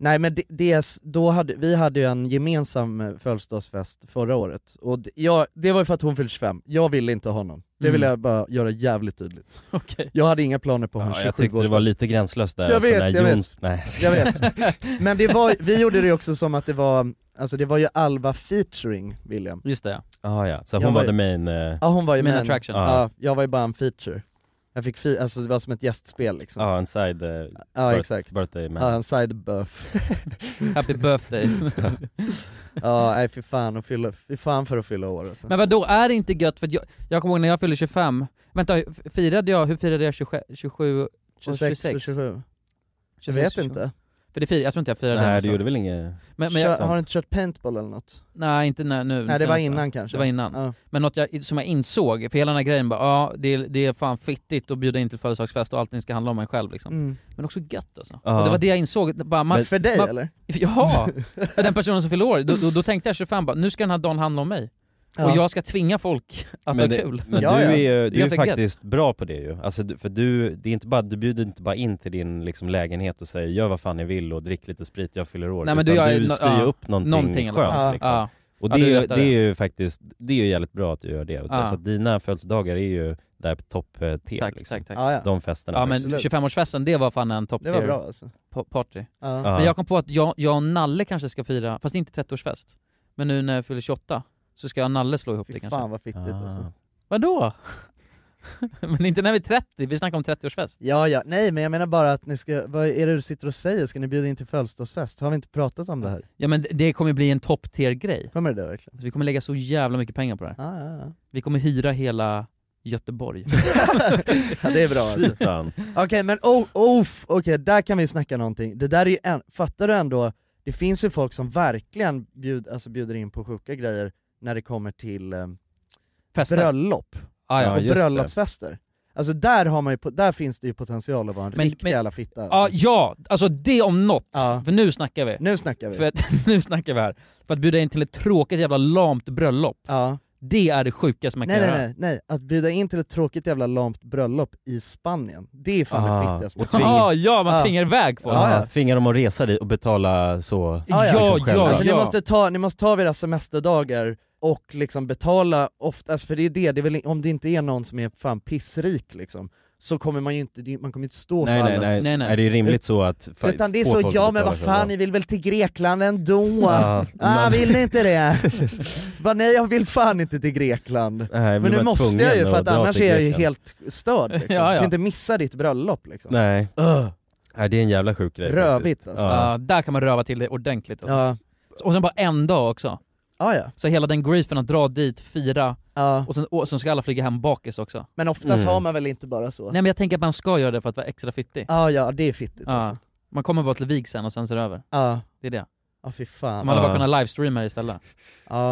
[SPEAKER 2] Nej men det, det, är s- då hade, vi hade ju en gemensam eh, födelsedagsfest förra året, och det, jag, det var ju för att hon fyllde 25, jag ville inte ha någon. Det vill
[SPEAKER 1] Mm.
[SPEAKER 2] jag bara göra jävligt tydligt.
[SPEAKER 1] Okej.
[SPEAKER 2] Jag hade inga planer på att ha
[SPEAKER 3] Ja,
[SPEAKER 2] en
[SPEAKER 3] jag
[SPEAKER 2] 27
[SPEAKER 3] tyckte det var lite gränslöst där
[SPEAKER 2] Jag vet,
[SPEAKER 3] när
[SPEAKER 2] jag vet.
[SPEAKER 3] Jons... Nej,
[SPEAKER 2] Jag vet. Men det var, vi gjorde det ju också som att det var, alltså det var ju Alva featuring William.
[SPEAKER 1] Just det ja.
[SPEAKER 3] Ah, ja. Så
[SPEAKER 2] Jag
[SPEAKER 3] hon
[SPEAKER 2] var
[SPEAKER 3] var,
[SPEAKER 2] ju-
[SPEAKER 3] the main... eh,
[SPEAKER 2] Ja hon var ju
[SPEAKER 1] Main
[SPEAKER 2] med.
[SPEAKER 1] attraction.
[SPEAKER 2] Ja, jag var ju bara en feature. Jag fick fi- alltså det var som ett gästspel liksom.
[SPEAKER 3] Ja, en side eh,
[SPEAKER 2] ja
[SPEAKER 3] birth-
[SPEAKER 2] exakt.
[SPEAKER 3] birthday man.
[SPEAKER 2] Ja, en side buff.
[SPEAKER 1] Happy birthday.
[SPEAKER 2] ja, nej fy fan, att fylla, fy fan för att fylla år alltså.
[SPEAKER 1] Men vad då är det inte gött? För att jag, jag kommer ihåg när jag fyllde 25, vänta f- firade jag, hur firade jag 27? 27
[SPEAKER 2] 26 och 27. Jag vet
[SPEAKER 1] 26.
[SPEAKER 2] inte.
[SPEAKER 1] För det fir, jag tror inte jag firade
[SPEAKER 3] Nej
[SPEAKER 1] den
[SPEAKER 3] det
[SPEAKER 1] så.
[SPEAKER 3] gjorde väl inget...
[SPEAKER 1] men, men
[SPEAKER 2] Kör,
[SPEAKER 1] jag,
[SPEAKER 2] har du inte kört paintball eller något?
[SPEAKER 1] Nej inte när, nu
[SPEAKER 2] Nej det var
[SPEAKER 1] senast.
[SPEAKER 2] innan kanske.
[SPEAKER 1] Det var innan.
[SPEAKER 2] Ja.
[SPEAKER 1] Men något jag, som jag insåg, för hela den här grejen bara, ja det, är- det är fan fittigt att bjuda in till födelsedagsfest och allting ska handla om mig själv liksom.
[SPEAKER 2] Mm.
[SPEAKER 1] Men också gött alltså.
[SPEAKER 3] Ja.
[SPEAKER 1] Och det var det jag insåg, bara, man,
[SPEAKER 2] Men, för dig
[SPEAKER 1] man-
[SPEAKER 2] eller?
[SPEAKER 1] ja! För den personen som fyller år, då, då, då tänkte jag 25 bara, nu ska den här dagen handla om mig. Och jag ska tvinga folk att
[SPEAKER 3] men
[SPEAKER 1] ha
[SPEAKER 3] det,
[SPEAKER 1] kul.
[SPEAKER 3] men
[SPEAKER 2] Ja,
[SPEAKER 3] du
[SPEAKER 2] ja.
[SPEAKER 3] är ju du är
[SPEAKER 1] ganska gött.
[SPEAKER 3] faktiskt bra på det ju. Alltså, du- för du, det är inte bara, du bjuder inte bara in till din liksom, lägenhet och säger gör vad fan ni vill och drick lite sprit, jag fyller år.
[SPEAKER 1] Nej, men
[SPEAKER 3] Utan
[SPEAKER 1] du gör-
[SPEAKER 3] du styr ju
[SPEAKER 1] ja,
[SPEAKER 3] upp någonting,
[SPEAKER 1] Någonting i alla
[SPEAKER 3] skönt
[SPEAKER 1] fall.
[SPEAKER 3] liksom.
[SPEAKER 1] Ja.
[SPEAKER 3] Och
[SPEAKER 1] Ja,
[SPEAKER 3] det,
[SPEAKER 1] du
[SPEAKER 3] är, ju-
[SPEAKER 1] rättar
[SPEAKER 3] det
[SPEAKER 1] det.
[SPEAKER 3] är ju faktiskt, det är ju jävligt bra att du gör det.
[SPEAKER 1] Ja.
[SPEAKER 3] Så att dina födelsedagar är ju där på topp eh, te,
[SPEAKER 1] Tack,
[SPEAKER 3] liksom.
[SPEAKER 1] tack, tack.
[SPEAKER 2] Ja, ja.
[SPEAKER 3] De festerna.
[SPEAKER 1] Ja men
[SPEAKER 2] absolut.
[SPEAKER 1] 25-årsfesten, det var fan en top
[SPEAKER 2] Det var
[SPEAKER 1] tier
[SPEAKER 2] bra alltså.
[SPEAKER 1] pa- party.
[SPEAKER 2] Ja.
[SPEAKER 3] Ja.
[SPEAKER 1] Men jag kom på att jag, jag och Nalle kanske ska fira, fast inte 30-årsfest. Men nu när jag fyller 28 så ska jag och Nalle slå ihop
[SPEAKER 2] Fy
[SPEAKER 1] det
[SPEAKER 2] fan
[SPEAKER 1] kanske.
[SPEAKER 2] vad fittigt alltså.
[SPEAKER 3] Ah.
[SPEAKER 1] Vadå? men inte när vi är 30, vi snackar om 30-årsfest.
[SPEAKER 2] Ja, ja, nej men jag menar bara att ni ska, vad är det du sitter och säger? Ska ni bjuda in till födelsedagsfest? Har vi inte pratat om det här?
[SPEAKER 1] Ja men det- det kommer bli en top tier grej.
[SPEAKER 2] Kommer det där verkligen?
[SPEAKER 1] Alltså, vi kommer lägga så jävla mycket pengar på det här.
[SPEAKER 2] Ja, ja, ja.
[SPEAKER 1] Vi kommer hyra hela Göteborg.
[SPEAKER 2] ja det är bra alltså.
[SPEAKER 3] Fy fan.
[SPEAKER 2] Okej men oh, oh, okej där kan vi ju snacka någonting. Det där är ju en, fattar du ändå, det finns ju folk som verkligen bjud, alltså bjuder in på sjuka grejer när det kommer till eh,
[SPEAKER 1] Fester.
[SPEAKER 2] bröllop
[SPEAKER 1] Ah, ja.
[SPEAKER 2] och
[SPEAKER 3] just det.
[SPEAKER 2] bröllopsfester. Alltså där, har man ju, po- där finns det ju potential att vara en
[SPEAKER 1] Men-
[SPEAKER 2] riktig
[SPEAKER 1] men-
[SPEAKER 2] jävla fitta.
[SPEAKER 1] Ja, ja, alltså det om något. För nu snackar vi.
[SPEAKER 2] Nu snackar vi.
[SPEAKER 1] För att, nu snackar vi här. För att bjuda in till ett tråkigt jävla lamt bröllop. Det är det sjukaste man
[SPEAKER 2] nej,
[SPEAKER 1] kan
[SPEAKER 2] nej,
[SPEAKER 1] göra.
[SPEAKER 2] nej, nej, att bjuda in till ett tråkigt jävla lamt bröllop i Spanien, det är fan det
[SPEAKER 3] Ah,
[SPEAKER 2] fittigaste.
[SPEAKER 3] och tvinga-
[SPEAKER 1] Ja, ja, man tvingar iväg folk.
[SPEAKER 3] Ja,
[SPEAKER 1] Ja,
[SPEAKER 3] ja. Tvinga dem att resa dit och betala så
[SPEAKER 1] Ja, ja.
[SPEAKER 3] liksom själva.
[SPEAKER 2] alltså, Ni, måste ta, ni måste ta era semesterdagar och liksom betala oftast, för det är det, det är väl, om det inte är någon som är fan pissrik liksom, så kommer man ju inte, det- man kommer ju inte stå
[SPEAKER 3] Nej,
[SPEAKER 2] för
[SPEAKER 3] nej,
[SPEAKER 2] allas-
[SPEAKER 3] nej. Nej, det är rimligt så att fa-
[SPEAKER 2] Utan det är
[SPEAKER 3] få
[SPEAKER 2] så,
[SPEAKER 3] folk
[SPEAKER 2] ja
[SPEAKER 3] att
[SPEAKER 2] men
[SPEAKER 3] betala
[SPEAKER 2] vad
[SPEAKER 3] för
[SPEAKER 2] fan,
[SPEAKER 3] det.
[SPEAKER 2] ni vill väl till Grekland ändå?
[SPEAKER 3] Ja.
[SPEAKER 2] ah,
[SPEAKER 3] Man-
[SPEAKER 2] vill ni inte det? Så bara, nej jag vill fan inte till Grekland.
[SPEAKER 3] Nej,
[SPEAKER 2] men
[SPEAKER 3] blir
[SPEAKER 2] nu
[SPEAKER 3] man
[SPEAKER 2] måste
[SPEAKER 3] tvungen
[SPEAKER 2] jag ju för
[SPEAKER 3] att
[SPEAKER 2] att
[SPEAKER 3] dra
[SPEAKER 2] annars
[SPEAKER 3] till
[SPEAKER 2] är jag ju
[SPEAKER 3] Grekland.
[SPEAKER 2] helt störd liksom.
[SPEAKER 1] Ja, ja.
[SPEAKER 2] Jag kan inte missa ditt bröllop liksom.
[SPEAKER 3] Nej.
[SPEAKER 2] Ugh.
[SPEAKER 3] Nej, det är en jävla sjuk grej faktiskt.
[SPEAKER 2] Rövigt alltså.
[SPEAKER 3] Ja.
[SPEAKER 1] där kan man röva till det ordentligt. alltså.
[SPEAKER 2] Ja.
[SPEAKER 1] Och sen bara en dag också.
[SPEAKER 2] Ja, ja.
[SPEAKER 1] Så hela den griefen att dra dit, fira,
[SPEAKER 2] Ja.
[SPEAKER 1] och, sen, och sen ska alla flyga hem bakis också.
[SPEAKER 2] Men oftast
[SPEAKER 3] Mm.
[SPEAKER 2] har man väl inte bara så?
[SPEAKER 1] Nej men jag tänker att man ska göra det för att vara extra fittig.
[SPEAKER 2] Ja, ja det är fittigt
[SPEAKER 1] Ja.
[SPEAKER 2] alltså.
[SPEAKER 1] Man kommer bara till vigseln och sen så är det över.
[SPEAKER 2] Ja.
[SPEAKER 1] Det är det.
[SPEAKER 2] Ja fy fan.
[SPEAKER 1] Man hade bara
[SPEAKER 3] Ja.
[SPEAKER 1] kunnat livestreama det istället.
[SPEAKER 2] Ja.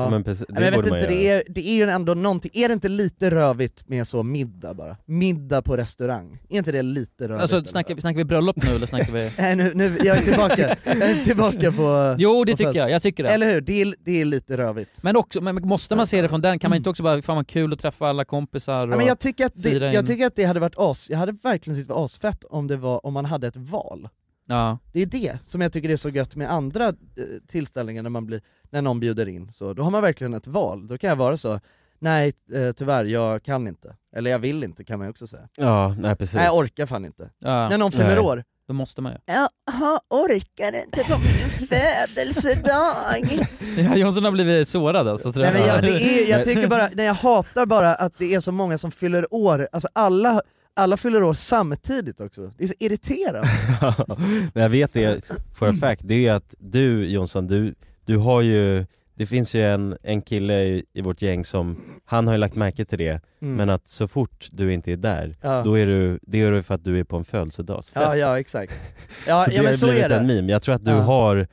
[SPEAKER 3] Ja, men precis, det
[SPEAKER 2] Nej, men jag
[SPEAKER 3] borde
[SPEAKER 2] vet
[SPEAKER 3] man
[SPEAKER 2] inte,
[SPEAKER 3] göra.
[SPEAKER 2] det är, det är ju ändå någonting, är det inte lite rövigt med så middag bara? Middag på restaurang, är inte det lite rövigt?
[SPEAKER 1] Alltså
[SPEAKER 2] eller?
[SPEAKER 1] snackar, vi- snackar vi bröllop nu eller snackar vi...
[SPEAKER 2] Nej nu, nu, jag är tillbaka, jag är tillbaka på...
[SPEAKER 1] Jo det
[SPEAKER 2] på
[SPEAKER 1] tycker
[SPEAKER 2] föds-
[SPEAKER 1] jag, jag tycker det.
[SPEAKER 2] Eller hur? Det är, det är lite rövigt.
[SPEAKER 1] Men också, men måste man se det från den? Kan man inte också bara, fan vad kul att träffa alla kompisar och...
[SPEAKER 2] Ja, men jag, tycker att det,
[SPEAKER 1] fira in-
[SPEAKER 2] jag tycker att det hade varit as, jag hade verkligen tyckt det var asfett om, det var, om man hade ett val.
[SPEAKER 1] ja.
[SPEAKER 2] Det är det som jag tycker är så gött med andra eh, tillställningar när, man blir, när någon bjuder in. Så, då har man verkligen ett val, då kan jag vara så, nej eh, tyvärr jag kan inte. Eller jag vill inte kan man ju också säga.
[SPEAKER 3] Ja, nej precis.
[SPEAKER 2] Nej jag orkar fan inte.
[SPEAKER 1] Ja.
[SPEAKER 2] När någon fyller
[SPEAKER 3] Nej.
[SPEAKER 2] år,
[SPEAKER 1] Då måste man ju.
[SPEAKER 7] Jaha, orkar inte på min födelsedag.
[SPEAKER 1] Ja, Jonsson har blivit sårad alltså tror
[SPEAKER 2] Nej,
[SPEAKER 1] jag.
[SPEAKER 2] men jag, det är, jag tycker bara, nej, jag hatar bara att det är så många som fyller år, alltså alla, alla fyller år samtidigt också. Det är så irriterande.
[SPEAKER 3] Men jag vet det for a fact, det är att du Jonsson, du, du har ju Det finns ju en, en kille i, i vårt gäng som, han har ju lagt märke till det
[SPEAKER 2] Mm.
[SPEAKER 3] Men att så fort du inte är där,
[SPEAKER 2] Ja.
[SPEAKER 3] då är du, det är du för att du är på en födelsedagsfest
[SPEAKER 2] Ja, ja exakt. Ja,
[SPEAKER 3] Så det
[SPEAKER 2] ja
[SPEAKER 3] har
[SPEAKER 2] men
[SPEAKER 3] ju
[SPEAKER 2] så
[SPEAKER 3] blivit
[SPEAKER 2] är det.
[SPEAKER 3] en meme, jag tror att du
[SPEAKER 2] Ja.
[SPEAKER 3] har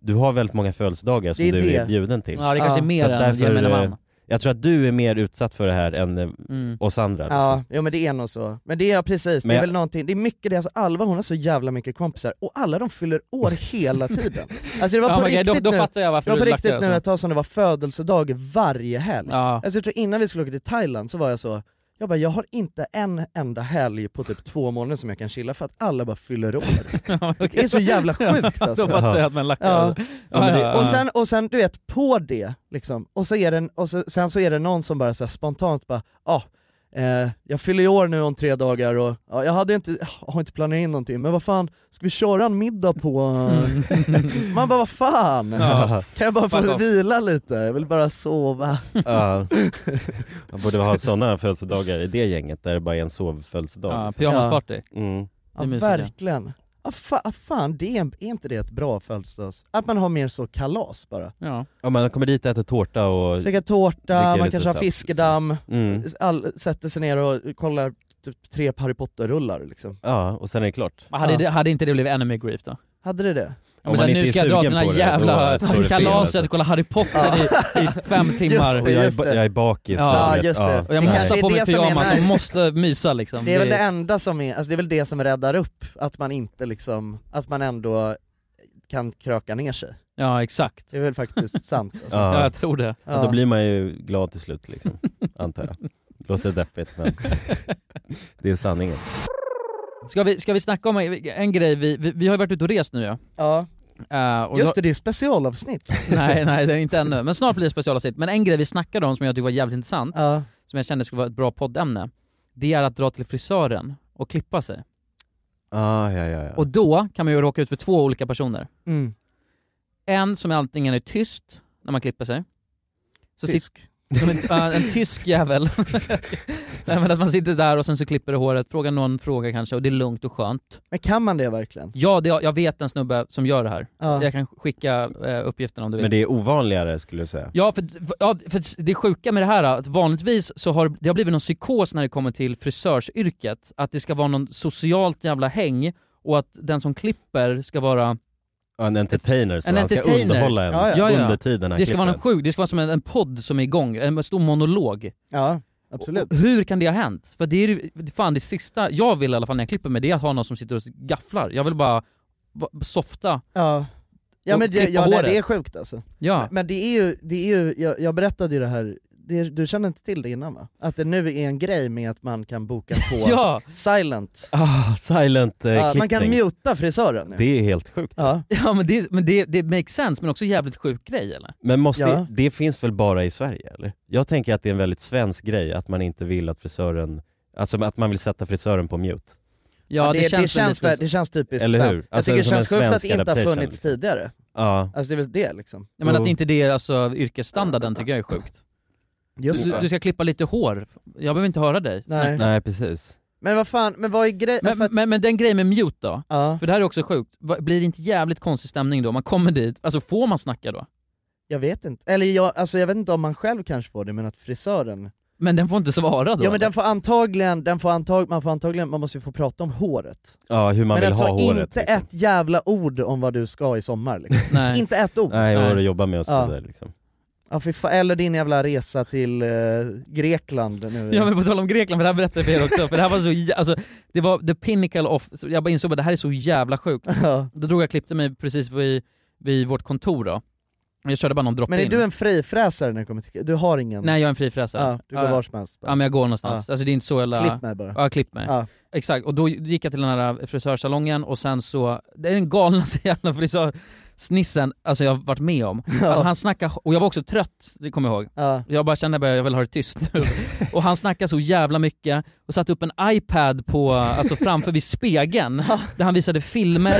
[SPEAKER 3] Du har väldigt många födelsedagar som
[SPEAKER 2] Det är
[SPEAKER 3] du är
[SPEAKER 2] det.
[SPEAKER 3] bjuden till
[SPEAKER 1] Ja det kanske
[SPEAKER 2] Ja.
[SPEAKER 1] är mer
[SPEAKER 3] Så
[SPEAKER 1] än
[SPEAKER 3] därför,
[SPEAKER 1] gemene
[SPEAKER 3] eh,
[SPEAKER 1] man.
[SPEAKER 3] Jag tror att du är mer utsatt för det här än eh,
[SPEAKER 1] Mm.
[SPEAKER 3] oss andra liksom.
[SPEAKER 2] Ja, ja men det är nog så. Men det är precis,
[SPEAKER 3] Men
[SPEAKER 2] det är
[SPEAKER 3] jag-
[SPEAKER 2] väl någonting, det är mycket det, alltså Alva hon har så jävla mycket kompisar och alla de fyller år hela tiden. Alltså det var
[SPEAKER 1] Ja,
[SPEAKER 2] på
[SPEAKER 1] men okej,
[SPEAKER 2] riktigt
[SPEAKER 1] då, då
[SPEAKER 2] nu,
[SPEAKER 1] fattar jag
[SPEAKER 2] det
[SPEAKER 1] varför
[SPEAKER 2] var på
[SPEAKER 1] du lagt det
[SPEAKER 2] riktigt nu
[SPEAKER 1] alltså.
[SPEAKER 2] ett tag som det var födelsedag varje helg.
[SPEAKER 1] Ja.
[SPEAKER 2] Alltså jag tror innan vi skulle åka till Thailand så var jag så, jag bara jag har inte en enda helg på typ två månader som jag kan chilla för att alla bara fyller år.
[SPEAKER 1] Ja, okej.
[SPEAKER 2] Det är så jävla sjukt alltså.
[SPEAKER 1] Då fattar jag att man lackar.
[SPEAKER 2] Ja.
[SPEAKER 1] alltså.
[SPEAKER 3] Ja, men det-
[SPEAKER 2] Och sen, och sen du vet, på det liksom, och, så är det, en- och så, sen så är det någon som bara så här, spontant bara ah, eh, jag fyller i år nu om tre dagar och ja, jag hade inte, har inte planerat in någonting, men vad fan, ska vi köra en middag på... eh?" Man bara vad fan!
[SPEAKER 1] Mm. Ja.
[SPEAKER 2] Kan jag bara
[SPEAKER 1] Fuck
[SPEAKER 2] få
[SPEAKER 1] off.
[SPEAKER 2] vila lite? Jag vill bara sova.
[SPEAKER 3] Ja, man borde ha sådana födelsedagar i det gänget där det bara är en sovfödelsedag
[SPEAKER 1] Ja,
[SPEAKER 3] liksom.
[SPEAKER 1] pyjamasparty.
[SPEAKER 3] mm.
[SPEAKER 2] Ja,
[SPEAKER 1] mysigt, ja.
[SPEAKER 2] verkligen. Ja, fa- ja, fan, det är, är inte det ett bra födelsedags... Att man har mer så kalas bara.
[SPEAKER 1] Ja.
[SPEAKER 3] ja, man kommer dit och äter tårta och
[SPEAKER 2] Käka tårta,
[SPEAKER 3] Dricka
[SPEAKER 2] man
[SPEAKER 3] lite
[SPEAKER 2] kanske har
[SPEAKER 3] saft, liksom.
[SPEAKER 2] fiskedamm,
[SPEAKER 3] mm.
[SPEAKER 2] all, sätter sig ner och kollar typ tre Harry Potter-rullar liksom.
[SPEAKER 3] Ja, och sen är det klart
[SPEAKER 1] Men Hade,
[SPEAKER 2] Ja.
[SPEAKER 1] det, hade inte det blivit ännu mer grief då?
[SPEAKER 2] Hade det det?
[SPEAKER 1] Ja, men sen, nu ska jag dra till den här jävla kalaset och kolla Harry Potter i, i fem timmar.
[SPEAKER 3] och jag, är,
[SPEAKER 2] Just
[SPEAKER 3] ba-
[SPEAKER 2] det.
[SPEAKER 3] jag är bakis
[SPEAKER 1] Ja,
[SPEAKER 3] så du vet.
[SPEAKER 2] just det.
[SPEAKER 1] Och jag
[SPEAKER 2] Det
[SPEAKER 1] måste
[SPEAKER 2] kanske
[SPEAKER 1] ha
[SPEAKER 2] är
[SPEAKER 1] på mig
[SPEAKER 2] det som är
[SPEAKER 1] pyjamas och
[SPEAKER 2] nice.
[SPEAKER 1] måste mysa liksom.
[SPEAKER 2] Det är väl det enda som är, alltså det är väl det som räddar upp, att man inte liksom, att man ändå kan kröka ner sig.
[SPEAKER 1] Ja exakt.
[SPEAKER 2] Det är väl faktiskt sant alltså.
[SPEAKER 3] Ja.
[SPEAKER 1] Ja jag tror det.
[SPEAKER 3] Ja, då blir man ju glad till slut liksom, antar jag Låter deppigt men det är sanningen
[SPEAKER 1] Ska vi, ska vi snacka om en, en grej, vi, vi, vi har ju varit ute och rest nu ja.
[SPEAKER 2] ja.
[SPEAKER 1] Eh, och
[SPEAKER 2] Just det, det är specialavsnitt.
[SPEAKER 1] då, Nej nej det är inte ännu, men snart blir det specialavsnitt. Men en grej vi snackade om som jag tyckte var jävligt intressant,
[SPEAKER 2] Ja.
[SPEAKER 1] som jag kände skulle vara ett bra poddämne, det är att dra till frisören och klippa sig.
[SPEAKER 3] ah, ja, ja, ja.
[SPEAKER 1] Och då kan man ju råka ut för två olika personer.
[SPEAKER 2] Mm.
[SPEAKER 1] En som antingen är tyst när man klipper sig. Så
[SPEAKER 2] Tysk.
[SPEAKER 1] sit- som en, ja, en tysk jävel. Nej, men att man sitter där och sen så klipper det håret, frågar någon fråga kanske och det är lugnt och skönt.
[SPEAKER 2] Men kan man det verkligen?
[SPEAKER 1] Ja, det, jag vet en snubbe som gör det här.
[SPEAKER 2] Ja.
[SPEAKER 1] Jag kan skicka eh, uppgifterna om du vill.
[SPEAKER 3] Men det är ovanligare skulle jag säga
[SPEAKER 1] Ja, för, för- ja, för det sjuka med det här att vanligtvis så har det har blivit någon psykos när det kommer till frisörsyrket. Att det ska vara någon socialt jävla häng och att den som klipper ska vara
[SPEAKER 3] Ja, En entertainer som
[SPEAKER 1] En
[SPEAKER 3] han ska
[SPEAKER 1] entertainer.
[SPEAKER 3] underhålla en
[SPEAKER 2] Ja,
[SPEAKER 1] ja.
[SPEAKER 3] under tiden han
[SPEAKER 1] Det ska vara en
[SPEAKER 3] klipper.
[SPEAKER 1] sjuk, det ska vara som en, en podd som är igång, en stor monolog.
[SPEAKER 2] Ja. Absolut.
[SPEAKER 1] Och hur kan det ha hänt? För det är ju- fan det sista jag vill i alla fall när jag klipper mig, det är att ha någon som sitter och gafflar. Jag vill bara va- softa.
[SPEAKER 2] Ja. Ja
[SPEAKER 1] och
[SPEAKER 2] men det,
[SPEAKER 1] klippa
[SPEAKER 2] ja, nej,
[SPEAKER 1] håret.
[SPEAKER 2] det är sjukt alltså.
[SPEAKER 1] Ja.
[SPEAKER 2] Men, men det är ju, det är ju jag, jag berättade ju det här, det, du kände inte till det innan va? Att det nu är en grej med att man kan boka på
[SPEAKER 1] Ja.
[SPEAKER 2] silent.
[SPEAKER 3] Ah, silent eh,
[SPEAKER 2] Ja, man
[SPEAKER 3] klippning.
[SPEAKER 2] kan muta frisören nu.
[SPEAKER 3] Det är helt sjukt.
[SPEAKER 2] Ja.
[SPEAKER 1] Ja men det, men det, det makes sense, men också jävligt sjuk grej eller?
[SPEAKER 3] Men måste,
[SPEAKER 1] Ja.
[SPEAKER 3] det finns väl bara i Sverige eller? Jag tänker att det är en väldigt svensk grej att man inte vill att frisören, alltså att man vill sätta frisören på mute.
[SPEAKER 2] Ja, det, det, känns
[SPEAKER 1] väl
[SPEAKER 2] känns
[SPEAKER 1] lite
[SPEAKER 2] väl- det känns typiskt
[SPEAKER 3] Eller hur?
[SPEAKER 2] svenskt. Jag
[SPEAKER 3] Alltså,
[SPEAKER 2] tycker det
[SPEAKER 3] som en
[SPEAKER 2] känns sjukt att
[SPEAKER 3] svensk
[SPEAKER 2] det inte har
[SPEAKER 3] adaptation,
[SPEAKER 2] funnits
[SPEAKER 3] liksom.
[SPEAKER 2] tidigare.
[SPEAKER 3] Ja.
[SPEAKER 2] Alltså det är väl det liksom.
[SPEAKER 1] Ja, men att
[SPEAKER 3] Jo.
[SPEAKER 1] inte det är alltså yrkesstandarden tycker jag är sjukt.
[SPEAKER 2] Just
[SPEAKER 1] du,
[SPEAKER 2] det.
[SPEAKER 1] du ska klippa lite hår, jag behöver inte höra dig.
[SPEAKER 2] Nej.
[SPEAKER 3] Nej precis.
[SPEAKER 2] Men vad fan, men vad är grejen?
[SPEAKER 1] Men, men, men den grejen med mute då,
[SPEAKER 2] Ja.
[SPEAKER 1] för det här är också sjukt, Va- blir det inte jävligt konstig stämning då? Man kommer dit, alltså får man snacka då?
[SPEAKER 2] Jag vet inte, eller jag, alltså jag vet inte om man själv kanske får det men att frisören
[SPEAKER 1] Men den får inte svara då?
[SPEAKER 2] Ja men den får antagligen, den får antag, man får antagligen, man måste ju få prata om håret
[SPEAKER 3] Ja, hur
[SPEAKER 2] Men
[SPEAKER 3] man vill
[SPEAKER 2] den
[SPEAKER 3] ha
[SPEAKER 2] tar
[SPEAKER 3] håret. liksom.
[SPEAKER 2] inte ett jävla ord om vad du ska i sommar liksom.
[SPEAKER 1] liksom. Nej.
[SPEAKER 2] Inte ett ord!
[SPEAKER 3] Nej, vad du jobbar med och så
[SPEAKER 2] Ja.
[SPEAKER 3] vidare liksom.
[SPEAKER 2] Ja, fy fan. Eller din jävla resa till eh, Grekland nu
[SPEAKER 1] Ja men på tal om Grekland, för det här berättade jag för er också, för det här var så jä- alltså, det var the pinnacle of, så jag bara insåg att det här är så jävla sjukt.
[SPEAKER 2] Ja.
[SPEAKER 1] Då drog jag och klippte mig precis vid, vid vårt kontor då, jag körde bara någon droppe
[SPEAKER 2] Men är
[SPEAKER 1] in.
[SPEAKER 2] du en frifräsare när du kommer till Du har ingen?
[SPEAKER 1] Nej jag är en frifräsare.
[SPEAKER 2] Ja, du går var som helst bara.
[SPEAKER 1] Ja men jag går någonstans,
[SPEAKER 2] Ja.
[SPEAKER 1] alltså det är inte så jävla...
[SPEAKER 2] Klipp mig bara.
[SPEAKER 1] Ja klipp mig.
[SPEAKER 2] Ja.
[SPEAKER 1] Exakt, och då gick jag till den här frisörsalongen och sen så, det är den galnaste jävla frisörsnissen alltså jag har varit med om. Alltså han snackar, och jag var också trött, det kommer jag ihåg.
[SPEAKER 2] Ja.
[SPEAKER 1] Jag bara kände att jag vill ha det tyst nu. och han snackade så jävla mycket och satte upp en iPad på, alltså framför vid spegeln där han visade filmer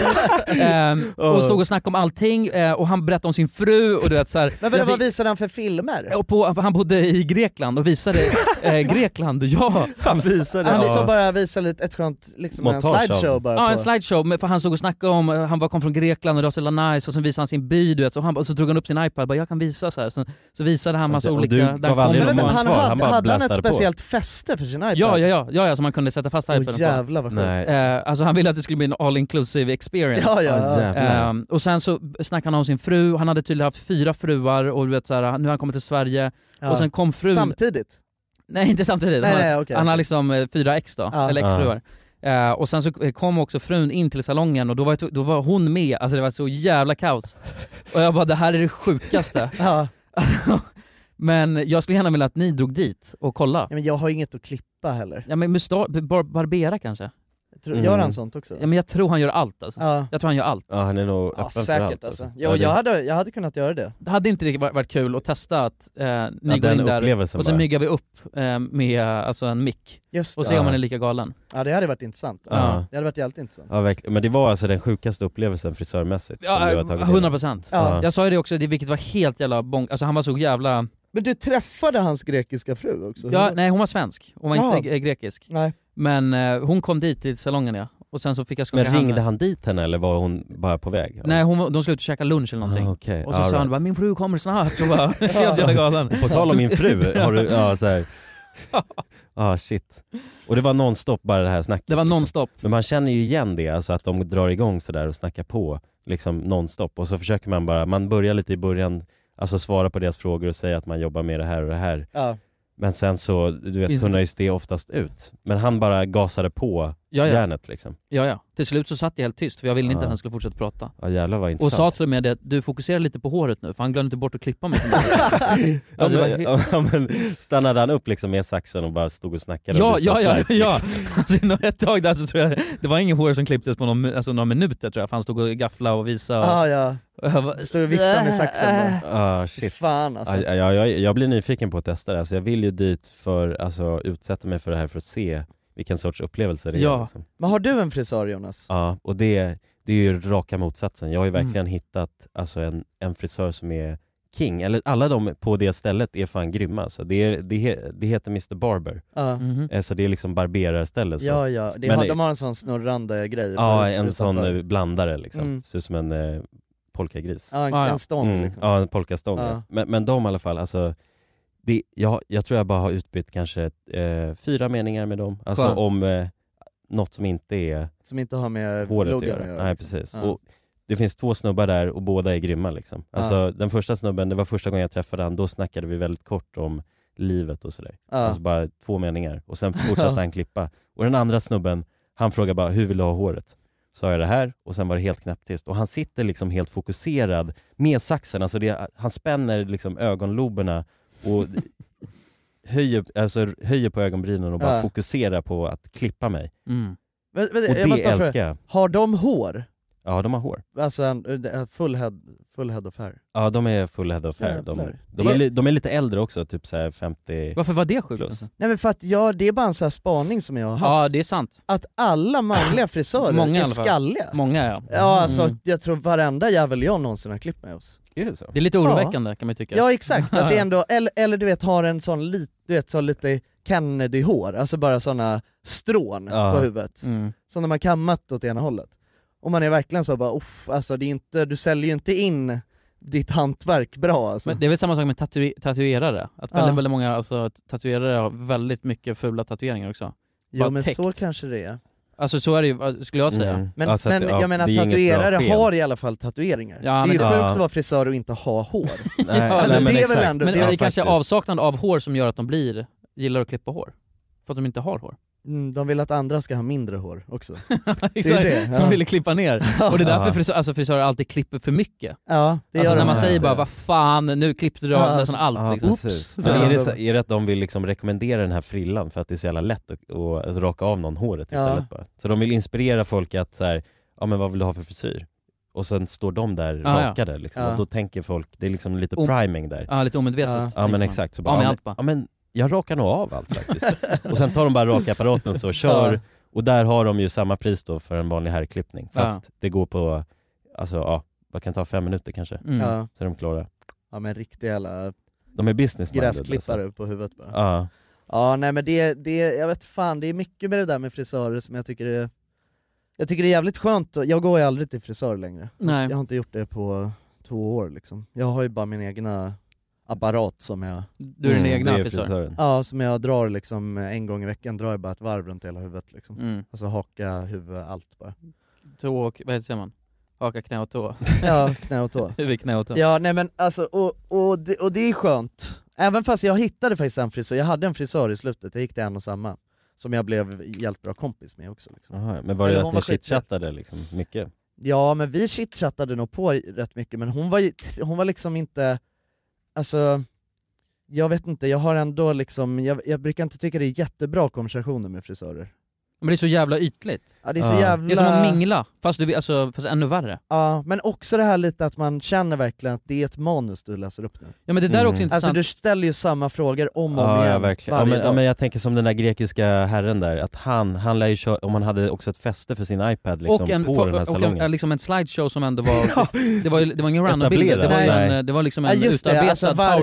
[SPEAKER 1] ehm, och stod och snackade om allting eh, och han berättade om sin fru och du vet såhär.
[SPEAKER 2] Men vadå, vad visade han för filmer?
[SPEAKER 1] och på, han bodde i Grekland och visade eh, Grekland, ja!
[SPEAKER 3] Han visade
[SPEAKER 2] Han
[SPEAKER 1] Ja.
[SPEAKER 2] liksom bara visade lite, ett skönt, liksom en
[SPEAKER 1] Montage av-
[SPEAKER 2] slideshow bara
[SPEAKER 1] Ja
[SPEAKER 2] på.
[SPEAKER 1] en slideshow, men för han stod och snackade om, eh, han var, kom från Grekland och det var så jävla nice och sen visade han sin by du vet, så, han, bara- så drog han upp sin iPad och bara jag kan visa så här. Sen, så visade han massa
[SPEAKER 3] Och du
[SPEAKER 1] olika...
[SPEAKER 3] gav
[SPEAKER 1] där kom
[SPEAKER 3] aldrig
[SPEAKER 1] den.
[SPEAKER 3] någon
[SPEAKER 2] han
[SPEAKER 3] svar,
[SPEAKER 2] hade,
[SPEAKER 3] han bara
[SPEAKER 2] hade han ett
[SPEAKER 3] blästade på.
[SPEAKER 2] speciellt fäste för sin iPad?
[SPEAKER 1] Ja, ja, ja, ja, ja, som man kunde sätta fast
[SPEAKER 2] Åh,
[SPEAKER 1] iPaden på.
[SPEAKER 2] jävlar, vad sjukt. Nej.
[SPEAKER 1] Eh, alltså han ville att det skulle bli en all inclusive experience.
[SPEAKER 2] Ja, ja, ja. Ah, jävlar.
[SPEAKER 1] Ehm, och sen så snackade han om sin fru, han hade tydligen haft fyra fruar och du vet så här, nu har han kommit till Sverige,
[SPEAKER 2] Ja.
[SPEAKER 1] och sen kom frun...
[SPEAKER 2] Samtidigt?
[SPEAKER 1] Nej inte samtidigt,
[SPEAKER 2] Nej,
[SPEAKER 1] han,
[SPEAKER 2] nej, okej,
[SPEAKER 1] han har
[SPEAKER 2] okej.
[SPEAKER 1] liksom eh, fyra ex då,
[SPEAKER 2] Ja.
[SPEAKER 1] eller exfruar. Eh, och sen så eh, kom också frun in till salongen och då var, jag, då var hon med, alltså det var så jävla kaos. Och jag bara det här är det sjukaste. Men jag skulle gärna vilja att ni drog dit och kolla.
[SPEAKER 2] Ja, men jag har inget att klippa heller.
[SPEAKER 1] Ja men musta- bar- barbera kanske?
[SPEAKER 2] Jag tror- Gör han sånt också?
[SPEAKER 1] Ja men jag tror han gör allt alltså.
[SPEAKER 2] Ja.
[SPEAKER 1] Jag tror han gör allt.
[SPEAKER 3] Mm. Ja han är nog öppen
[SPEAKER 2] Ja,
[SPEAKER 3] för
[SPEAKER 2] säkert
[SPEAKER 3] allt,
[SPEAKER 2] alltså.
[SPEAKER 3] alltså.
[SPEAKER 2] Jo,
[SPEAKER 3] Ja, det-
[SPEAKER 2] jag, hade, jag hade kunnat göra det.
[SPEAKER 1] Det hade inte det varit varit kul att testa att eh, ni går
[SPEAKER 3] den
[SPEAKER 1] in där och
[SPEAKER 3] upplevelsen
[SPEAKER 1] sen
[SPEAKER 3] bara.
[SPEAKER 1] myggar vi upp eh, med alltså, en mick
[SPEAKER 2] Just
[SPEAKER 1] och
[SPEAKER 3] det.
[SPEAKER 1] ser om
[SPEAKER 3] Ja.
[SPEAKER 1] man är lika galen.
[SPEAKER 2] Ja det hade varit intressant.
[SPEAKER 3] Ja.
[SPEAKER 2] Det hade varit jävligt intressant.
[SPEAKER 3] Ja verkligen, men det var alltså den sjukaste upplevelsen frisörmässigt som du
[SPEAKER 1] Ja,
[SPEAKER 3] har tagit in.
[SPEAKER 1] 100 procent.
[SPEAKER 3] Ja.
[SPEAKER 1] Jag sa ju det också, det- vilket var helt jävla bång... Alltså han var så jävla...
[SPEAKER 2] Men du träffade hans grekiska fru också?
[SPEAKER 1] Ja, nej hon var svensk, hon var
[SPEAKER 2] Ja.
[SPEAKER 1] inte gre- grekisk.
[SPEAKER 2] Nej.
[SPEAKER 1] Men eh, hon kom dit till salongen ja, och sen så fick jag skaka
[SPEAKER 3] Men ringde
[SPEAKER 1] handen.
[SPEAKER 3] han dit henne eller var hon bara på väg?
[SPEAKER 1] Nej hon, var- de skulle ut och käka lunch eller någonting.
[SPEAKER 3] Ah, okej.
[SPEAKER 1] Och så
[SPEAKER 3] All
[SPEAKER 1] sa han
[SPEAKER 3] right.
[SPEAKER 1] bara 'min fru kommer snart' och bara helt jävla galen.
[SPEAKER 3] På tal om min fru, har du, ja såhär. Ah shit. Och det var nonstop bara det här snacket. liksom.
[SPEAKER 1] Det var nonstop.
[SPEAKER 3] Men man känner ju igen det, alltså att de drar igång sådär och snackar på liksom nonstop och så försöker man bara, man börjar lite i början, alltså svara på deras frågor och säga att man jobbar med det här och det här.
[SPEAKER 2] Ja.
[SPEAKER 3] Men sen så, du vet,
[SPEAKER 1] Finns det-
[SPEAKER 3] tunnas det oftast ut. Men han bara gasade på
[SPEAKER 1] Ja, ja.
[SPEAKER 3] järnet liksom.
[SPEAKER 1] Ja, ja. Till slut så satt jag helt tyst för jag ville inte
[SPEAKER 3] Ja.
[SPEAKER 1] att han skulle fortsätta prata.
[SPEAKER 3] Ja jävlar vad
[SPEAKER 1] Och
[SPEAKER 3] Ah. intressant.
[SPEAKER 1] sa till och med det, du fokuserar lite på håret nu för han glömde inte bort att klippa mig. alltså, det
[SPEAKER 3] ja, men,
[SPEAKER 1] var-
[SPEAKER 3] ja, men stannade han upp liksom med saxen och bara stod och snackade?
[SPEAKER 1] Ja,
[SPEAKER 3] och
[SPEAKER 1] ja,
[SPEAKER 3] visade
[SPEAKER 1] ja,
[SPEAKER 3] slides,
[SPEAKER 1] ja!
[SPEAKER 3] liksom?
[SPEAKER 1] Alltså, nå- ett tag där så tror jag, det var ingen hår som klipptes på någon, alltså, några minuter tror jag, för han stod och gafflade och visade. Och,
[SPEAKER 2] Ah, ja.
[SPEAKER 1] och jag bara,
[SPEAKER 2] Stod och viftade med saxen bara.
[SPEAKER 3] Ah, shit.
[SPEAKER 2] Fan alltså.
[SPEAKER 3] Ja, ja, jag, jag blir nyfiken på att testa det, alltså, jag vill ju dit för, alltså utsätta mig för det här för att se vilken sorts upplevelse det är.
[SPEAKER 2] Ja.
[SPEAKER 3] Liksom.
[SPEAKER 2] Men har du en frisör Jonas?
[SPEAKER 3] Ja, och det, det är ju raka motsatsen. Jag har ju
[SPEAKER 2] Mm.
[SPEAKER 3] verkligen hittat alltså, en, en frisör som är king. Eller alla de på det stället är fan grymma. Alltså. Det, är, det, he- det heter Mr Barber.
[SPEAKER 2] Ja.
[SPEAKER 1] Mhm.
[SPEAKER 3] Eh, Så det är liksom barberarställe. Så.
[SPEAKER 2] Mm. Ja ja, det
[SPEAKER 3] Men
[SPEAKER 2] har,
[SPEAKER 3] det-
[SPEAKER 2] de har en sån snurrande grej.
[SPEAKER 3] Ja,
[SPEAKER 2] bara
[SPEAKER 3] en sån
[SPEAKER 2] utanför.
[SPEAKER 3] eh, blandare liksom.
[SPEAKER 2] Mm.
[SPEAKER 3] Ser ut som en eh, polkagris. Mm.
[SPEAKER 2] Ja, en- Ah, ja. en stång, liksom.
[SPEAKER 3] Ja, en polkastång.
[SPEAKER 2] Ja.
[SPEAKER 3] Ja. Men, men de i alla fall, alltså, det, jag, jag tror jag bara har utbytt kanske eh, fyra meningar med dem. Alltså
[SPEAKER 2] Skönt.
[SPEAKER 3] om eh, något som inte är
[SPEAKER 2] Som inte har med
[SPEAKER 3] håret att
[SPEAKER 2] loggan
[SPEAKER 3] göra.
[SPEAKER 2] att göra,
[SPEAKER 3] Nej,
[SPEAKER 2] liksom.
[SPEAKER 3] precis.
[SPEAKER 2] Ja.
[SPEAKER 3] Och det finns två snubbar där och båda är grymma liksom. Alltså
[SPEAKER 2] Ja.
[SPEAKER 3] den första snubben, det var första gången jag träffade han, då snackade vi väldigt kort om livet och sådär.
[SPEAKER 2] Ja.
[SPEAKER 3] Alltså bara två meningar och sen fortsatte han klippa. Och den andra snubben, han frågade bara hur vill du ha håret? Sa jag det här och sen var det helt knäpptyst. Och han sitter liksom helt fokuserad med saxen, alltså det, han spänner liksom ögonloberna och höjer, alltså, höjer på ögonbrynen och bara
[SPEAKER 2] Ja.
[SPEAKER 3] fokuserar på att klippa mig.
[SPEAKER 2] Men, men,
[SPEAKER 3] och
[SPEAKER 2] jag
[SPEAKER 3] det
[SPEAKER 2] måste bara fråga,
[SPEAKER 3] älskar jag.
[SPEAKER 2] Har de hår?
[SPEAKER 3] Ja, de har hår.
[SPEAKER 2] Alltså en, en full, head, full head of hair?
[SPEAKER 3] Ja, de är full head of hair. De,
[SPEAKER 2] Jävlar.
[SPEAKER 3] de, är, li- de är lite äldre också, typ så här 50
[SPEAKER 1] Varför var det sjukt? Alltså.
[SPEAKER 3] plus.
[SPEAKER 2] Nej men för att jag, det är bara en sån här spaning som jag har haft.
[SPEAKER 1] Ja det är sant.
[SPEAKER 2] Att alla manliga frisörer
[SPEAKER 1] Många i
[SPEAKER 2] är
[SPEAKER 1] alla fall.
[SPEAKER 2] skalliga.
[SPEAKER 1] Många ja.
[SPEAKER 2] Ja alltså,
[SPEAKER 1] Mm.
[SPEAKER 2] jag tror varenda jävel jag någonsin har klippt mig hos.
[SPEAKER 3] Är det så?
[SPEAKER 1] Det är lite
[SPEAKER 2] Ja.
[SPEAKER 1] oroväckande kan man ju tycka.
[SPEAKER 2] Ja exakt, att det ändå, eller, eller du vet har en sån lit, du vet, så lite Kennedy-hår, alltså bara såna strån
[SPEAKER 3] Ja.
[SPEAKER 2] på huvudet.
[SPEAKER 1] Mm.
[SPEAKER 2] Som de har kammat åt ena hållet. Och man är verkligen så bara uff, alltså det är inte, du säljer ju inte in ditt hantverk bra alltså.
[SPEAKER 1] Men det är väl samma sak med tatu tatuerare, att väldigt,
[SPEAKER 2] Ja.
[SPEAKER 1] väldigt många alltså, tatuerare har väldigt mycket fula tatueringar också.
[SPEAKER 2] ja
[SPEAKER 1] bara
[SPEAKER 2] men
[SPEAKER 1] täckt.
[SPEAKER 2] så kanske det är.
[SPEAKER 1] Alltså så är det ju, vad- skulle jag säga.
[SPEAKER 3] Mm.
[SPEAKER 2] Men,
[SPEAKER 3] Alltså att-
[SPEAKER 2] men
[SPEAKER 3] ja,
[SPEAKER 2] jag menar
[SPEAKER 3] det är inget bra
[SPEAKER 2] tatuerare
[SPEAKER 3] sken.
[SPEAKER 2] har i alla fall tatueringar.
[SPEAKER 1] Ja,
[SPEAKER 2] det är ju
[SPEAKER 1] men-
[SPEAKER 2] sjukt
[SPEAKER 3] Ja.
[SPEAKER 2] att vara frisör och inte ha hår.
[SPEAKER 3] Nej,
[SPEAKER 2] alltså,
[SPEAKER 3] nej, men
[SPEAKER 2] det är väl
[SPEAKER 3] exakt.
[SPEAKER 2] ändå,
[SPEAKER 1] Men
[SPEAKER 2] det
[SPEAKER 1] är
[SPEAKER 2] är,
[SPEAKER 1] det kanske
[SPEAKER 3] faktiskt.
[SPEAKER 1] avsaknad av hår som gör att de blir, gillar att klippa hår? För att de inte har hår?
[SPEAKER 2] mm, de vill att andra ska ha mindre hår också.
[SPEAKER 1] Exakt.
[SPEAKER 2] det, ja.
[SPEAKER 1] De ville klippa ner. Och det är därför
[SPEAKER 3] Ja.
[SPEAKER 1] frisör, alltså frisörer alltid klipper för mycket.
[SPEAKER 2] Ja, det
[SPEAKER 1] Alltså
[SPEAKER 2] gör
[SPEAKER 1] när
[SPEAKER 2] de
[SPEAKER 1] man
[SPEAKER 2] här.
[SPEAKER 1] säger bara vad fan, nu klippte du av
[SPEAKER 2] Ja.
[SPEAKER 1] nästan allt
[SPEAKER 3] Ja,
[SPEAKER 1] liksom.
[SPEAKER 3] precis.
[SPEAKER 2] Oops.
[SPEAKER 3] Men
[SPEAKER 2] Ja.
[SPEAKER 3] är, det så, är det att de vill liksom rekommendera den här frillan för att det är så jävla lätt att, att raka av någon håret istället bara? Så de vill inspirera folk att så här, ja men vad vill du ha för frisyr? Och sen står de där
[SPEAKER 1] Ja, ja.
[SPEAKER 3] rakade liksom,
[SPEAKER 2] Ja.
[SPEAKER 3] och då tänker folk, det är liksom lite
[SPEAKER 1] Om-
[SPEAKER 3] priming där.
[SPEAKER 1] Ja, lite omedvetet.
[SPEAKER 2] Ja.
[SPEAKER 1] tänker
[SPEAKER 3] Ja men
[SPEAKER 1] man.
[SPEAKER 3] exakt, så
[SPEAKER 1] Ja,
[SPEAKER 3] bara,
[SPEAKER 1] men
[SPEAKER 3] ja,
[SPEAKER 1] allt
[SPEAKER 3] men,
[SPEAKER 1] bara.
[SPEAKER 3] ja, men jag rakar nog av allt faktiskt. och sen tar de bara rakapparaten så och kör,
[SPEAKER 2] Ja.
[SPEAKER 3] och där har de ju samma pris då för en vanlig herrklippning.
[SPEAKER 1] Ja.
[SPEAKER 3] Fast det går på, alltså ja, vad kan ta fem minuter kanske?
[SPEAKER 1] Mm.
[SPEAKER 2] Ja.
[SPEAKER 3] Så är de klara.
[SPEAKER 2] ja men riktiga jävla
[SPEAKER 3] De är business minded.
[SPEAKER 2] gräsklippare på huvudet bara. Ja.
[SPEAKER 3] alltså. Ja.
[SPEAKER 2] nej men det, det, jag vet fan, det är mycket med det där med frisörer som jag tycker är Jag tycker det är jävligt skönt, och jag går ju aldrig till frisör längre.
[SPEAKER 1] Nej.
[SPEAKER 2] Jag har inte gjort det på två år liksom. Jag har ju bara min egna apparat som jag,
[SPEAKER 1] Du är din
[SPEAKER 3] Mm,
[SPEAKER 1] egna
[SPEAKER 3] det är
[SPEAKER 1] frisör.
[SPEAKER 3] frisören.
[SPEAKER 2] ja som jag drar liksom en gång i veckan, drar jag bara ett varv runt hela huvudet liksom.
[SPEAKER 1] Mm.
[SPEAKER 2] Alltså haka, huvud, allt bara.
[SPEAKER 1] Tå och, vad heter man? Haka, knä och tå.
[SPEAKER 2] Ja, knä och tå.
[SPEAKER 1] Huvud, knä och tå.
[SPEAKER 2] Ja nej men alltså, och, och, det, och det är skönt. Även fast jag hittade faktiskt en frisör, jag hade en frisör i slutet, jag gick till en och samma. Som jag blev jävligt bra kompis med också. Liksom.
[SPEAKER 3] Jaha, men var det
[SPEAKER 2] Eller
[SPEAKER 3] att
[SPEAKER 2] hon
[SPEAKER 3] ni
[SPEAKER 2] var skitsnygg.
[SPEAKER 3] chitchattade liksom mycket?
[SPEAKER 2] Ja men vi chitchattade nog på rätt mycket, men hon var, ju- hon var liksom inte, alltså, jag vet inte, jag har ändå liksom, jag, jag brukar inte tycka det är jättebra konversationer med frisörer.
[SPEAKER 1] Men det är så jävla ytligt.
[SPEAKER 2] Ja det är så
[SPEAKER 3] Ja.
[SPEAKER 2] jävla...
[SPEAKER 1] Det är som att mingla, fast, du, alltså, fast ännu värre.
[SPEAKER 2] Ja, men också det här lite att man känner verkligen att det är ett manus du läser upp nu.
[SPEAKER 1] Ja men det där är också
[SPEAKER 3] Mm.
[SPEAKER 1] intressant.
[SPEAKER 2] Alltså du ställer ju samma frågor om och om
[SPEAKER 3] Ja,
[SPEAKER 2] igen
[SPEAKER 3] ja verkligen. Ja,
[SPEAKER 2] varje
[SPEAKER 3] men, ja,
[SPEAKER 2] dag.
[SPEAKER 3] men jag tänker som den där grekiska herren där, att han, han lär ju köra, om han hade också ett fäste för sin iPad liksom
[SPEAKER 1] och en,
[SPEAKER 3] på den här
[SPEAKER 1] och en,
[SPEAKER 3] salongen.
[SPEAKER 1] eh, liksom en slideshow som ändå var, det var, ju- det var ingen randombild, det, var ju
[SPEAKER 3] Etablerad.
[SPEAKER 1] en,
[SPEAKER 3] Nej.
[SPEAKER 1] eh, det var liksom
[SPEAKER 2] Ja,
[SPEAKER 1] en
[SPEAKER 2] just det,
[SPEAKER 1] utarbetad
[SPEAKER 2] alltså var-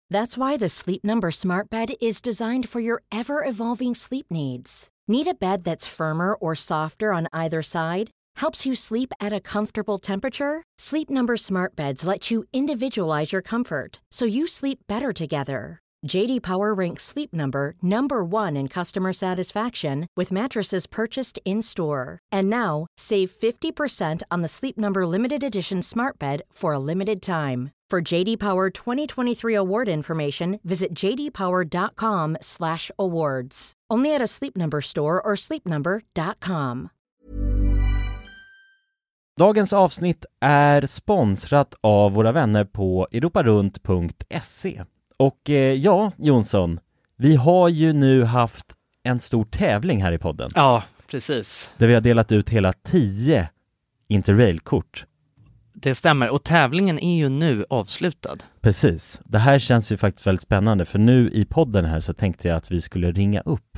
[SPEAKER 8] That's why the Sleep Number Smart Bed is designed for your ever evolving sleep needs. Need a bed that's firmer or softer on either side? Helps you sleep at a comfortable temperature? Sleep Number Smart Beds let you individualize your comfort so you sleep better together. JD Power ranks Sleep Number number 1 in customer satisfaction with mattresses purchased in-store. And now, save 50% on the Sleep Number limited edition Smart Bed for a limited time. For JD Power 2023 award information, visit jdpower.com/awards. Only at a Sleep Number store or sleepnumber.com.
[SPEAKER 3] Dagens avsnitt är sponsrat av våra vänner på europarunt.se. Och eh, ja, Jonsson, vi har ju nu haft en stor tävling här i podden.
[SPEAKER 9] Ja, precis.
[SPEAKER 3] Där vi har delat ut hela 10 Interrail-kort.
[SPEAKER 9] Det stämmer. Och tävlingen är ju nu avslutad.
[SPEAKER 3] Precis. Det här känns ju faktiskt väldigt spännande för nu i podden här så tänkte jag att vi skulle ringa upp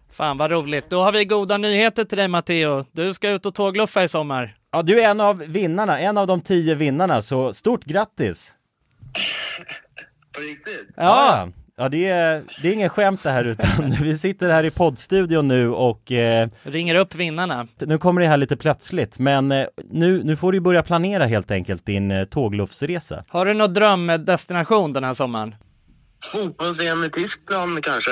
[SPEAKER 9] Fan vad roligt. Då har vi goda nyheter till dig Matteo. Du ska ut och tågluffa i sommar.
[SPEAKER 3] Ja, du är en av vinnarna, en av de tio vinnarna, så stort grattis! Ja, ja det, är, det är ingen skämt det här utan vi sitter här i poddstudion nu och eh,
[SPEAKER 9] Ringer upp vinnarna.
[SPEAKER 3] nu kommer det här lite plötsligt men eh, nu, nu får du börja planera helt enkelt din eh, tågluffsresa.
[SPEAKER 9] Har du någon drömdestination den här sommaren?
[SPEAKER 10] Fotbolls-EM i Tyskland kanske?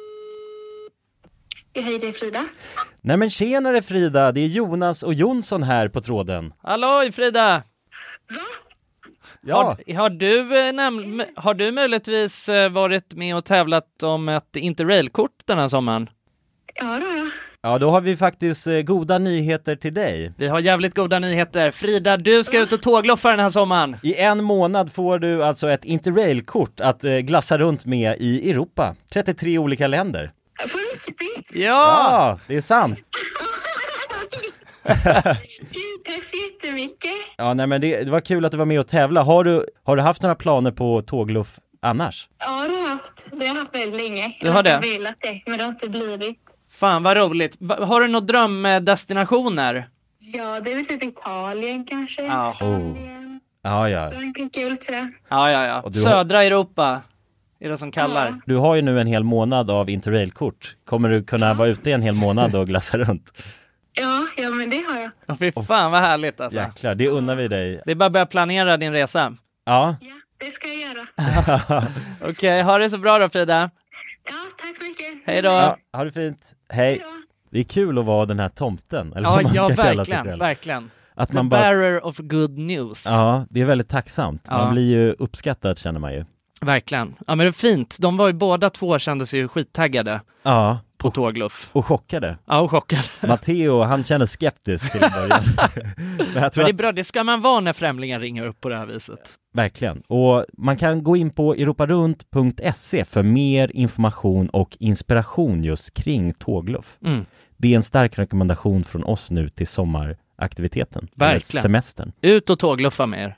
[SPEAKER 11] Hej, det är Frida.
[SPEAKER 3] Nej men tjenare Frida, det är Jonas och Jonsson här på tråden.
[SPEAKER 9] Halloj Frida!
[SPEAKER 3] Ja.
[SPEAKER 9] Har, har, du, eh, näml- har du möjligtvis eh, varit med och tävlat om ett interrailkort den här sommaren?
[SPEAKER 11] Ja, då, ja.
[SPEAKER 3] Ja, då har vi faktiskt eh, goda nyheter till dig.
[SPEAKER 9] Vi har jävligt goda nyheter. Frida, du ska ut och tågloffa den här sommaren.
[SPEAKER 3] I en månad får du alltså ett interrailkort att eh, glassa runt med i Europa. 33 olika länder.
[SPEAKER 9] Ja!
[SPEAKER 3] Ja, det är sant!
[SPEAKER 11] Gud, Tack så jättemycket.
[SPEAKER 3] Ja, nej men det, det var kul att du var med och tävla. Har du, har du haft några planer på tågluff annars?
[SPEAKER 11] Ja, det har jag haft. Det har jag haft väldigt länge.
[SPEAKER 9] Du har det?
[SPEAKER 11] Jag har velat det, men det har inte blivit.
[SPEAKER 9] Fan vad roligt. Va- har du några drömdestinationer?
[SPEAKER 11] Ja, det är väl typ Italien kanske.
[SPEAKER 9] Ja.
[SPEAKER 3] Oh. Ja, ja.
[SPEAKER 11] Frankrike, vill säga.
[SPEAKER 9] Ja, ja, ja.
[SPEAKER 3] du har- Mm.
[SPEAKER 9] Södra Europa är det som kallar.
[SPEAKER 3] Du har ju nu en hel månad av interrailkort. Kommer du kunna vara ute en hel månad och glassa runt?
[SPEAKER 11] Ja, ja, men det har jag.
[SPEAKER 9] Åh, Fy fan vad härligt alltså.
[SPEAKER 3] Jäklar, det unnar vi dig.
[SPEAKER 9] Det är bara att börja planera din resa.
[SPEAKER 3] Ja.
[SPEAKER 11] Det ska jag göra.
[SPEAKER 9] Okej, ha det så bra då Frida.
[SPEAKER 11] Ja, tack så mycket.
[SPEAKER 9] Hej då.
[SPEAKER 3] ja ha det fint. Hej. Det är kul att vara den här tomten, eller
[SPEAKER 9] Ja,
[SPEAKER 3] vad man
[SPEAKER 9] ja
[SPEAKER 3] ska kalla sig
[SPEAKER 9] verkligen,
[SPEAKER 3] själv.
[SPEAKER 9] verkligen.
[SPEAKER 3] Att
[SPEAKER 9] The
[SPEAKER 3] man bara-
[SPEAKER 9] bearer of good news.
[SPEAKER 3] Ja, det är väldigt tacksamt.
[SPEAKER 9] Ja.
[SPEAKER 3] Man blir ju uppskattad känner man ju.
[SPEAKER 9] Verkligen. Ja men det är fint. De var ju båda två kändes ju skittaggade
[SPEAKER 3] Ja.
[SPEAKER 9] på tågluff.
[SPEAKER 3] Och chockade.
[SPEAKER 9] Ja, och chockade.
[SPEAKER 3] Matteo, han känner skeptisk till en början. Men jag tror
[SPEAKER 9] Men det är
[SPEAKER 3] att-
[SPEAKER 9] bra, det ska man vara när främlingar ringer upp på det här viset.
[SPEAKER 3] Verkligen. Och man kan gå in på europarunt.se E för mer information och inspiration just kring tågluff.
[SPEAKER 9] Mm.
[SPEAKER 3] Det är en stark rekommendation från oss nu till sommaraktiviteten. eller
[SPEAKER 9] Verkligen.
[SPEAKER 3] Semestern.
[SPEAKER 9] Ut och tågluffa med er.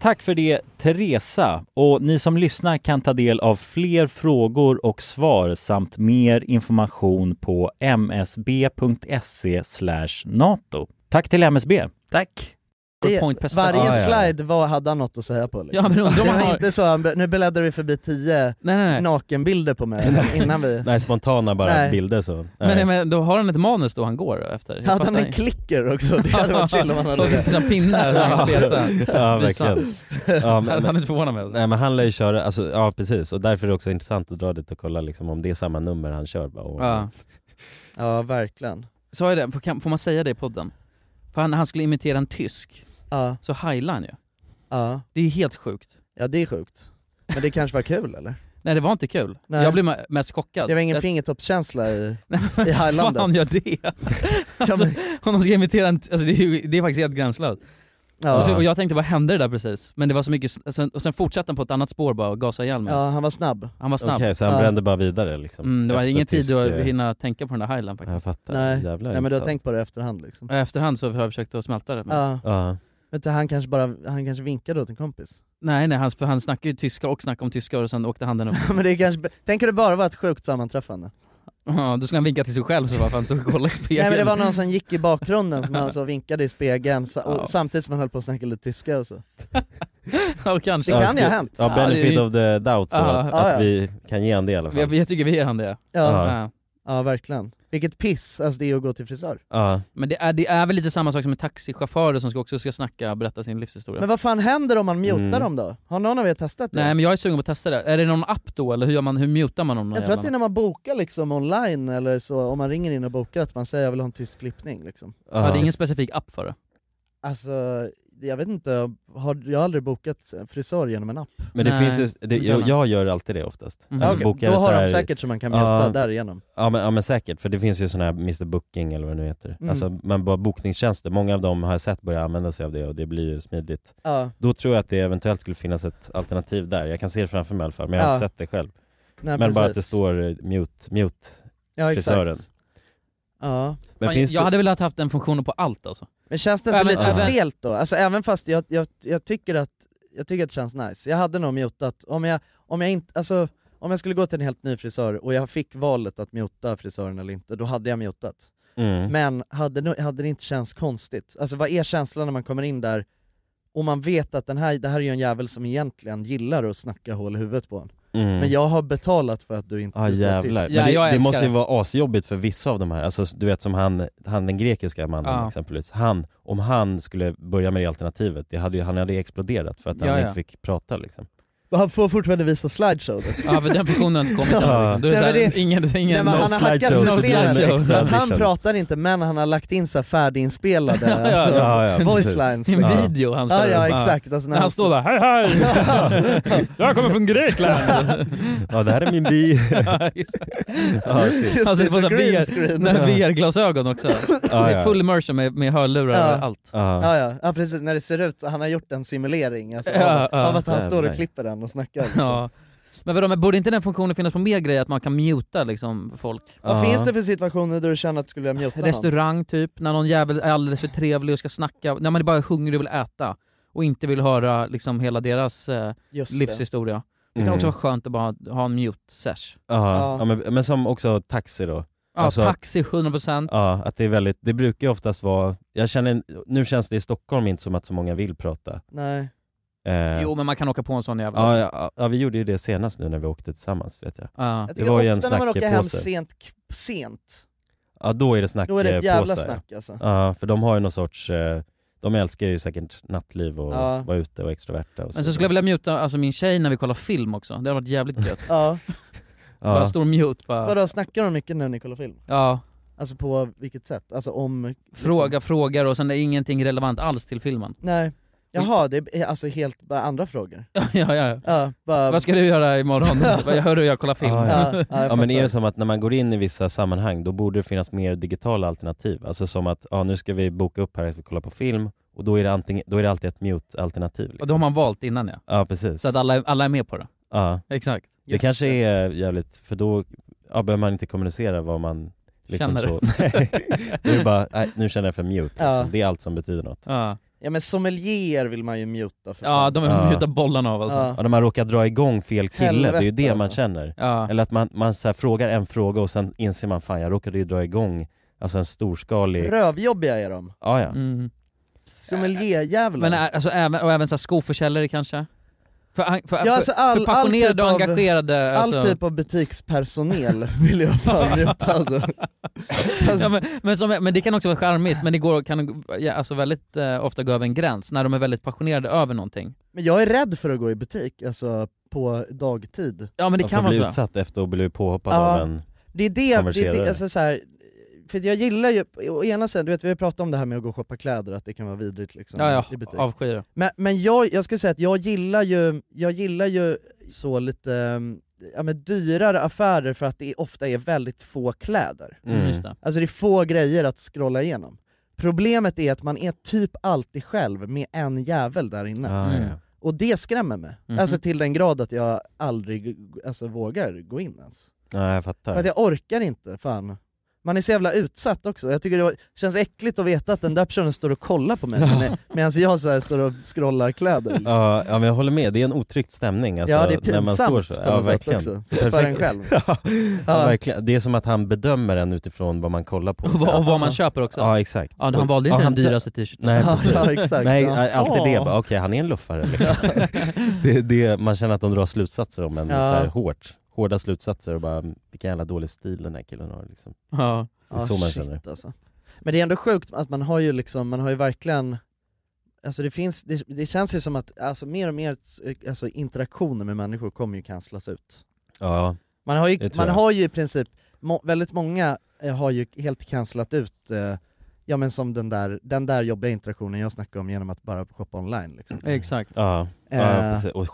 [SPEAKER 4] Tack för det Teresa och ni som lyssnar kan ta del av fler frågor och svar samt mer information på msb.se E nato. Tack till MSB.
[SPEAKER 2] Tack.
[SPEAKER 4] Good
[SPEAKER 2] Det,
[SPEAKER 4] point, press
[SPEAKER 2] varje
[SPEAKER 4] button. Ja, ja.
[SPEAKER 2] slide var, hade han något att säga på liksom.
[SPEAKER 1] Ah, Ja, men undrar om
[SPEAKER 2] Det
[SPEAKER 1] han
[SPEAKER 2] var
[SPEAKER 1] har-
[SPEAKER 2] inte så, han be- nu bläddrar vi förbi tio nakenbilder på mig innan vi...
[SPEAKER 3] Nej, spontana bara
[SPEAKER 2] Nej.
[SPEAKER 3] bilder så. Nej.
[SPEAKER 1] Men, men då har han ett manus då han går efter? Jag
[SPEAKER 2] Hade han
[SPEAKER 1] fattar
[SPEAKER 2] en
[SPEAKER 1] inte.
[SPEAKER 2] klicker också? Det hade varit chill om han hade
[SPEAKER 1] Och
[SPEAKER 2] det.
[SPEAKER 1] en pinne som han kan peta.
[SPEAKER 3] Ja,
[SPEAKER 1] Visa.
[SPEAKER 3] verkligen.
[SPEAKER 1] Han hade inte förvånat mig.
[SPEAKER 3] Nej men han lär ju köra, alltså, ja precis, och därför är det också intressant att dra dit och kolla liksom, om det är samma nummer han kör bara. Och,
[SPEAKER 1] Ja.
[SPEAKER 2] ja verkligen.
[SPEAKER 1] Sa jag det, får, kan, får man säga det i podden? För han, han skulle imitera en tysk,
[SPEAKER 2] ja.
[SPEAKER 1] så heilade han ju.
[SPEAKER 2] Ja.
[SPEAKER 1] Det är helt sjukt.
[SPEAKER 2] Ja det är sjukt. Men det kanske var kul eller?
[SPEAKER 1] Nej det var inte kul.
[SPEAKER 2] Nej.
[SPEAKER 1] Jag blev me- mest chockad.
[SPEAKER 2] Det var ingen
[SPEAKER 1] Jag-
[SPEAKER 2] fingertoppskänsla i, i Highlandet.
[SPEAKER 1] fan gör det? Alltså, om de ska imitera en, alltså det, är ju, det är faktiskt helt gränslöst.
[SPEAKER 2] Ja.
[SPEAKER 1] Och, så, och jag tänkte vad hände det där precis? Men det var så mycket, s- alltså, och sen fortsatte han på ett annat spår bara och gasade ihjäl mig.
[SPEAKER 2] Ja han var snabb.
[SPEAKER 1] Han var snabb.
[SPEAKER 3] Okej, så han
[SPEAKER 2] Ja.
[SPEAKER 3] brände bara vidare liksom?
[SPEAKER 1] Mm, det var
[SPEAKER 3] Efter
[SPEAKER 1] ingen tid
[SPEAKER 3] tysk, eh,
[SPEAKER 1] att hinna tänka på den där highland faktiskt.
[SPEAKER 3] Jag fattar,
[SPEAKER 2] Nej.
[SPEAKER 3] jävlar
[SPEAKER 2] Nej men du har
[SPEAKER 3] intressant.
[SPEAKER 2] tänkt på det i efterhand liksom.
[SPEAKER 1] Och I efterhand så har jag försökt att smälta det. Men...
[SPEAKER 2] Ja.
[SPEAKER 3] Ja.
[SPEAKER 2] Vet du, han kanske bara, han kanske vinkade åt en kompis.
[SPEAKER 1] Nej nej, han, för han snackade ju tyska och snackade om tyska och sen åkte handen upp.
[SPEAKER 2] men det kanske, tänk om det bara var ett sjukt sammanträffande.
[SPEAKER 1] Ja, då skulle han vinka till sig själv så bara fan stod och kollade i spegeln.
[SPEAKER 2] Nej men det var någon som gick i bakgrunden som alltså vinkade i spegeln sa- och, samtidigt som han höll på att snacka lite tyska och så.
[SPEAKER 1] ja, kanske.
[SPEAKER 2] Det kan ju ha hänt.
[SPEAKER 3] Ja, benefit
[SPEAKER 1] det-
[SPEAKER 3] of the doubt så,
[SPEAKER 1] Ja.
[SPEAKER 3] att,
[SPEAKER 2] Ja, ja.
[SPEAKER 3] att vi kan ge han det i alla fall.
[SPEAKER 1] Jag, jag tycker vi ger han det.
[SPEAKER 2] Ja. Ja verkligen. Vilket piss alltså det är att gå till frisör.
[SPEAKER 3] Ja.
[SPEAKER 1] Men det är, det är väl lite samma sak som med taxichaufförer som ska också ska snacka och berätta sin livshistoria.
[SPEAKER 2] Men vad fan händer om man mutar
[SPEAKER 1] Mm.
[SPEAKER 2] dem då? Har någon av er testat det?
[SPEAKER 1] Nej men jag är sugen på att testa det. Är det någon app då eller hur, gör man, hur mutar man någon?
[SPEAKER 2] jag tror att det är när man bokar liksom online eller så, om man ringer in och bokar att man säger jag vill ha en tyst klippning liksom.
[SPEAKER 1] ja. det är ingen specifik app för det.
[SPEAKER 2] Alltså, jag vet inte, har, jag har aldrig bokat frisör genom en app.
[SPEAKER 3] Men det finns ju, det, jag, jag gör alltid det oftast.
[SPEAKER 2] Mm.
[SPEAKER 3] Alltså
[SPEAKER 2] Okej,
[SPEAKER 3] bokar
[SPEAKER 2] då har
[SPEAKER 3] så här-
[SPEAKER 2] de säkert så man kan muta
[SPEAKER 3] Ja.
[SPEAKER 2] därigenom.
[SPEAKER 3] Ja men, ja men säkert, för det finns ju sådana här Mr Booking eller vad det nu heter.
[SPEAKER 2] Mm.
[SPEAKER 3] Alltså man bara bokningstjänster, många av dem har jag sett börja använda sig av det och det blir ju smidigt.
[SPEAKER 2] Ja.
[SPEAKER 3] Då tror jag att det eventuellt skulle finnas ett alternativ där. Jag kan se det framför mig i alla fall, men jag har
[SPEAKER 2] Ja.
[SPEAKER 3] inte sett det själv.
[SPEAKER 2] Nej,
[SPEAKER 3] men bara att det
[SPEAKER 2] precis.
[SPEAKER 3] står eh, mute, mute
[SPEAKER 2] Ja, exakt.
[SPEAKER 3] frisören.
[SPEAKER 2] Ja.
[SPEAKER 3] Men
[SPEAKER 1] Fan,
[SPEAKER 3] finns
[SPEAKER 1] jag
[SPEAKER 3] det-
[SPEAKER 1] hade velat haft den funktionen på allt alltså.
[SPEAKER 2] Men känns det inte
[SPEAKER 1] Även-
[SPEAKER 2] lite
[SPEAKER 1] även-
[SPEAKER 2] stelt då? Alltså även fast jag, jag, jag tycker att jag tycker att det känns nice. Jag hade nog mutat, om jag, om jag inte, alltså om jag skulle gå till en helt ny frisör och jag fick valet att muta frisören eller inte, då hade jag mutat.
[SPEAKER 3] Mm.
[SPEAKER 2] Men hade, nog- hade det inte känts konstigt? Alltså vad är känslan när man kommer in där och man vet att den här, det här är ju en jävel som egentligen gillar att snacka hål i huvudet på en.
[SPEAKER 3] Mm.
[SPEAKER 2] Men jag har betalat för att du inte
[SPEAKER 3] Ja
[SPEAKER 2] du ska vara tyst.
[SPEAKER 3] Ah, jävlar. Men det, det måste ju vara asjobbigt för vissa av de här, alltså, du vet som han, han den grekiska mannen
[SPEAKER 2] Ja.
[SPEAKER 3] exempelvis. Han, om han skulle börja med det alternativet, det hade ju, han hade exploderat för att han
[SPEAKER 2] Ja, ja.
[SPEAKER 3] inte fick prata liksom.
[SPEAKER 2] Men Han får fortfarande visa slideshow.
[SPEAKER 1] Ja men den funktionen har inte kommit än. Liksom. Då är det,
[SPEAKER 2] Nej,
[SPEAKER 1] så
[SPEAKER 2] men
[SPEAKER 1] här, ingen, ingen
[SPEAKER 2] nej, men han har hackat systemet. För att han
[SPEAKER 1] edition.
[SPEAKER 2] pratar inte men han har lagt in så här färdiginspelade
[SPEAKER 1] Ja, ja,
[SPEAKER 2] alltså,
[SPEAKER 1] ja, ja,
[SPEAKER 2] voice
[SPEAKER 1] precis.
[SPEAKER 2] lines.
[SPEAKER 1] Sin video han
[SPEAKER 2] ja,
[SPEAKER 1] spelar upp, ja.
[SPEAKER 2] ja, exakt. Alltså,
[SPEAKER 1] När han står där, hej hej! Jag kommer från Grekland!
[SPEAKER 3] Ja det här är min by.
[SPEAKER 1] Ja, just
[SPEAKER 3] Ja, shit.
[SPEAKER 1] Han sitter på
[SPEAKER 3] Just det, så green
[SPEAKER 1] VR,
[SPEAKER 3] screen.
[SPEAKER 1] när
[SPEAKER 3] Ja. Ah,
[SPEAKER 1] VR-glasögon också. det är
[SPEAKER 3] ja.
[SPEAKER 1] full immersion med, med hörlurar
[SPEAKER 2] Ja.
[SPEAKER 1] och allt.
[SPEAKER 2] Ja, ja. ja precis, när det ser ut, han har gjort en simulering alltså,
[SPEAKER 1] Ja,
[SPEAKER 2] av,
[SPEAKER 1] ja.
[SPEAKER 2] av att han står och
[SPEAKER 1] Jävlar.
[SPEAKER 2] klipper den och snackar. Liksom.
[SPEAKER 1] Ja. Men vadå, men borde inte den funktionen finnas på mer grejer, att man kan muta liksom folk?
[SPEAKER 2] Vad finns det för situationer där du känner att du skulle vilja mjuta någon?
[SPEAKER 1] Restaurang typ, när någon jävel är alldeles för trevlig och ska snacka, när man är bara är hungrig och vill äta och inte vill höra liksom hela deras eh,
[SPEAKER 2] Just det.
[SPEAKER 1] livshistoria. Det kan
[SPEAKER 3] Mm.
[SPEAKER 1] också vara skönt att bara ha- ha en mute-sesh.
[SPEAKER 3] Ja, ja. men, men som också taxi då.
[SPEAKER 1] Ja, taxi 100%.
[SPEAKER 3] Ja, att det är väldigt, det brukar ju oftast vara, jag känner, nu känns det i Stockholm inte som att så många vill prata.
[SPEAKER 2] Nej.
[SPEAKER 3] Eh,
[SPEAKER 1] Jo men man kan åka på en sån jävel.
[SPEAKER 3] Ja, ja, ja, vi gjorde ju det senast nu när vi åkte tillsammans vet jag.
[SPEAKER 1] Ja.
[SPEAKER 2] Jag
[SPEAKER 3] Det
[SPEAKER 2] tycker
[SPEAKER 3] var ju en
[SPEAKER 2] ofta när man åker hem
[SPEAKER 3] snackepåse.
[SPEAKER 2] sent, k- sent.
[SPEAKER 3] Ja då är det snack
[SPEAKER 2] Då är det ett jävla
[SPEAKER 3] eh, påsar,
[SPEAKER 2] snack,
[SPEAKER 3] ja.
[SPEAKER 2] alltså.
[SPEAKER 3] Ja, för de har ju någon sorts, eh, de älskar ju säkert nattliv och
[SPEAKER 1] Ja.
[SPEAKER 3] vara ute och extroverta och
[SPEAKER 1] Men så skulle jag vilja muta alltså, min tjej när vi kollar film också, det hade varit jävligt gött.
[SPEAKER 2] Ja.
[SPEAKER 1] Bara stor mute bara.
[SPEAKER 2] Vadå, snackar de mycket när ni kollar film?
[SPEAKER 1] Ja.
[SPEAKER 2] Alltså på vilket sätt? Alltså om...
[SPEAKER 1] Fråga, frågar och sen är ingenting relevant alls till filmen.
[SPEAKER 3] Mm.
[SPEAKER 2] Nej. Jaha, det är alltså helt bara andra frågor.
[SPEAKER 1] ja, ja.
[SPEAKER 2] Ja, bara-
[SPEAKER 1] Vad ska du göra imorgon? Bara, jag hör och jag kollar film.
[SPEAKER 3] Ja, ja.
[SPEAKER 1] Ja, jag
[SPEAKER 3] ja men är
[SPEAKER 1] fattar.
[SPEAKER 3] det som att när man går in i vissa sammanhang då borde det finnas mer digitala alternativ? Alltså som att, ja nu ska vi boka upp här, vi ska kolla på film och då är det, antingen, då är det alltid ett mute-alternativ. Liksom.
[SPEAKER 1] Och då har man valt innan ja.
[SPEAKER 3] Ja precis.
[SPEAKER 1] Så att alla, alla är med på det.
[SPEAKER 3] Ja.
[SPEAKER 1] Exakt.
[SPEAKER 3] Det kanske är jävligt, för då ja, behöver man inte kommunicera vad man liksom
[SPEAKER 1] Känner.
[SPEAKER 3] så... då är det bara, nej, nu känner jag för mute liksom.
[SPEAKER 2] Ja.
[SPEAKER 3] Det är allt som betyder något.
[SPEAKER 1] Ja.
[SPEAKER 2] Ja men sommelier vill man ju muta för
[SPEAKER 1] Ja,
[SPEAKER 2] fan.
[SPEAKER 1] de är muta bollarna av alltså.
[SPEAKER 2] Ja.
[SPEAKER 3] Ja, när man råkar dra igång fel kille, det är ju
[SPEAKER 2] Helvete,
[SPEAKER 3] det man
[SPEAKER 2] alltså.
[SPEAKER 3] känner.
[SPEAKER 1] Ja.
[SPEAKER 3] Eller att man, man så här frågar en fråga och sen inser man, fan jag råkade ju dra igång alltså en storskalig...
[SPEAKER 2] Rövjobbiga är de.
[SPEAKER 3] Ja, ja.
[SPEAKER 1] Mm.
[SPEAKER 2] Sommelierjävlar.
[SPEAKER 1] Men
[SPEAKER 3] äh,
[SPEAKER 1] ä- alltså, även, och även så här skoförsäljare kanske? För, an- för,
[SPEAKER 2] Ja, alltså
[SPEAKER 1] för,
[SPEAKER 2] all,
[SPEAKER 1] för passionerade
[SPEAKER 2] all
[SPEAKER 1] och
[SPEAKER 2] typ av-
[SPEAKER 1] engagerade. Alltså.
[SPEAKER 2] All typ av butikspersonal vill jag fan muta alltså.
[SPEAKER 1] ja, men, men, som, men det kan också vara charmigt, men det går, kan ja, alltså väldigt eh, ofta gå över en gräns när de är väldigt passionerade över någonting.
[SPEAKER 2] Men jag är rädd för att gå i butik, alltså på dagtid.
[SPEAKER 1] Ja men det
[SPEAKER 3] man
[SPEAKER 1] kan
[SPEAKER 3] får
[SPEAKER 1] vara
[SPEAKER 3] bli
[SPEAKER 1] så.
[SPEAKER 3] utsatt efter att bli påhoppad
[SPEAKER 2] Ja.
[SPEAKER 3] av en
[SPEAKER 2] Det är det, det, är
[SPEAKER 3] konverserare.
[SPEAKER 2] det alltså så här, för jag gillar ju, å ena sidan, du vet vi har ju pratat om det här med att gå och shoppa kläder, att det kan vara vidrigt liksom
[SPEAKER 1] Ja, ja,
[SPEAKER 2] i butik.
[SPEAKER 1] avskyr det.
[SPEAKER 2] Men, men jag, jag skulle säga att jag gillar ju, jag gillar ju så lite, ehm, ja men dyrare affärer för att det ofta är väldigt få kläder.
[SPEAKER 1] Mm, just det.
[SPEAKER 2] Alltså det är få grejer att scrolla igenom. Problemet är att man är typ alltid själv med en jävel där inne.
[SPEAKER 3] Ah, ja. Mm.
[SPEAKER 2] Och det skrämmer mig.
[SPEAKER 3] Mhm.
[SPEAKER 2] Alltså till den grad att jag aldrig alltså, vågar gå in ens.
[SPEAKER 3] Nej jag fattar.
[SPEAKER 2] För att jag orkar inte, fan. Man är så jävla utsatt också, jag tycker det var- känns äckligt att veta att den där personen står och kollar på mig men- medan jag så här står och scrollar kläder. liksom.
[SPEAKER 3] Ja, ja men jag håller med, det är en otrygg stämning alltså,
[SPEAKER 2] Ja, det är
[SPEAKER 3] när man
[SPEAKER 2] pinsamt
[SPEAKER 3] står så.
[SPEAKER 2] på
[SPEAKER 3] Ja,
[SPEAKER 2] något sätt
[SPEAKER 3] verkligen.
[SPEAKER 2] också.
[SPEAKER 3] Perfekt.
[SPEAKER 2] För en själv.
[SPEAKER 3] ja,
[SPEAKER 2] Ja.
[SPEAKER 3] verkligen. Det är som att han bedömer en utifrån vad man kollar på.
[SPEAKER 1] Och vad- och vad man köper också.
[SPEAKER 3] Ja exakt.
[SPEAKER 1] Ja, han valde inte
[SPEAKER 3] Ja,
[SPEAKER 1] den
[SPEAKER 3] han-
[SPEAKER 1] dyraste t-shirten.
[SPEAKER 3] Nej precis.
[SPEAKER 1] Ja, exakt.
[SPEAKER 3] Nej,
[SPEAKER 1] Ja.
[SPEAKER 3] alltid det.
[SPEAKER 1] Ja.
[SPEAKER 3] Bara, Okej, han är en luffare liksom. det, är det, man känner att de drar slutsatser om en
[SPEAKER 1] Ja.
[SPEAKER 3] så här, hårt. Hårda slutsatser och bara, vilken jävla dålig stil den här killen har liksom.
[SPEAKER 1] Ja.
[SPEAKER 3] Det är så
[SPEAKER 2] Ah,
[SPEAKER 3] man
[SPEAKER 2] shit,
[SPEAKER 3] känner.
[SPEAKER 2] Alltså. Men det är ändå sjukt att man har ju liksom, man har ju verkligen Alltså det finns, det, det känns ju som att alltså mer och mer eh, alltså interaktioner med människor kommer ju cancelas ut.
[SPEAKER 3] Ja.
[SPEAKER 2] Man har ju,
[SPEAKER 3] Det tror
[SPEAKER 2] man
[SPEAKER 3] jag.
[SPEAKER 2] har ju i princip, må, väldigt många eh, har ju helt cancelat ut, eh, ja men som den där, den där jobbiga interaktionen jag snackade om genom att bara shoppa online liksom.
[SPEAKER 1] Exakt.
[SPEAKER 3] Ja,
[SPEAKER 2] Eh.
[SPEAKER 3] ja precis. och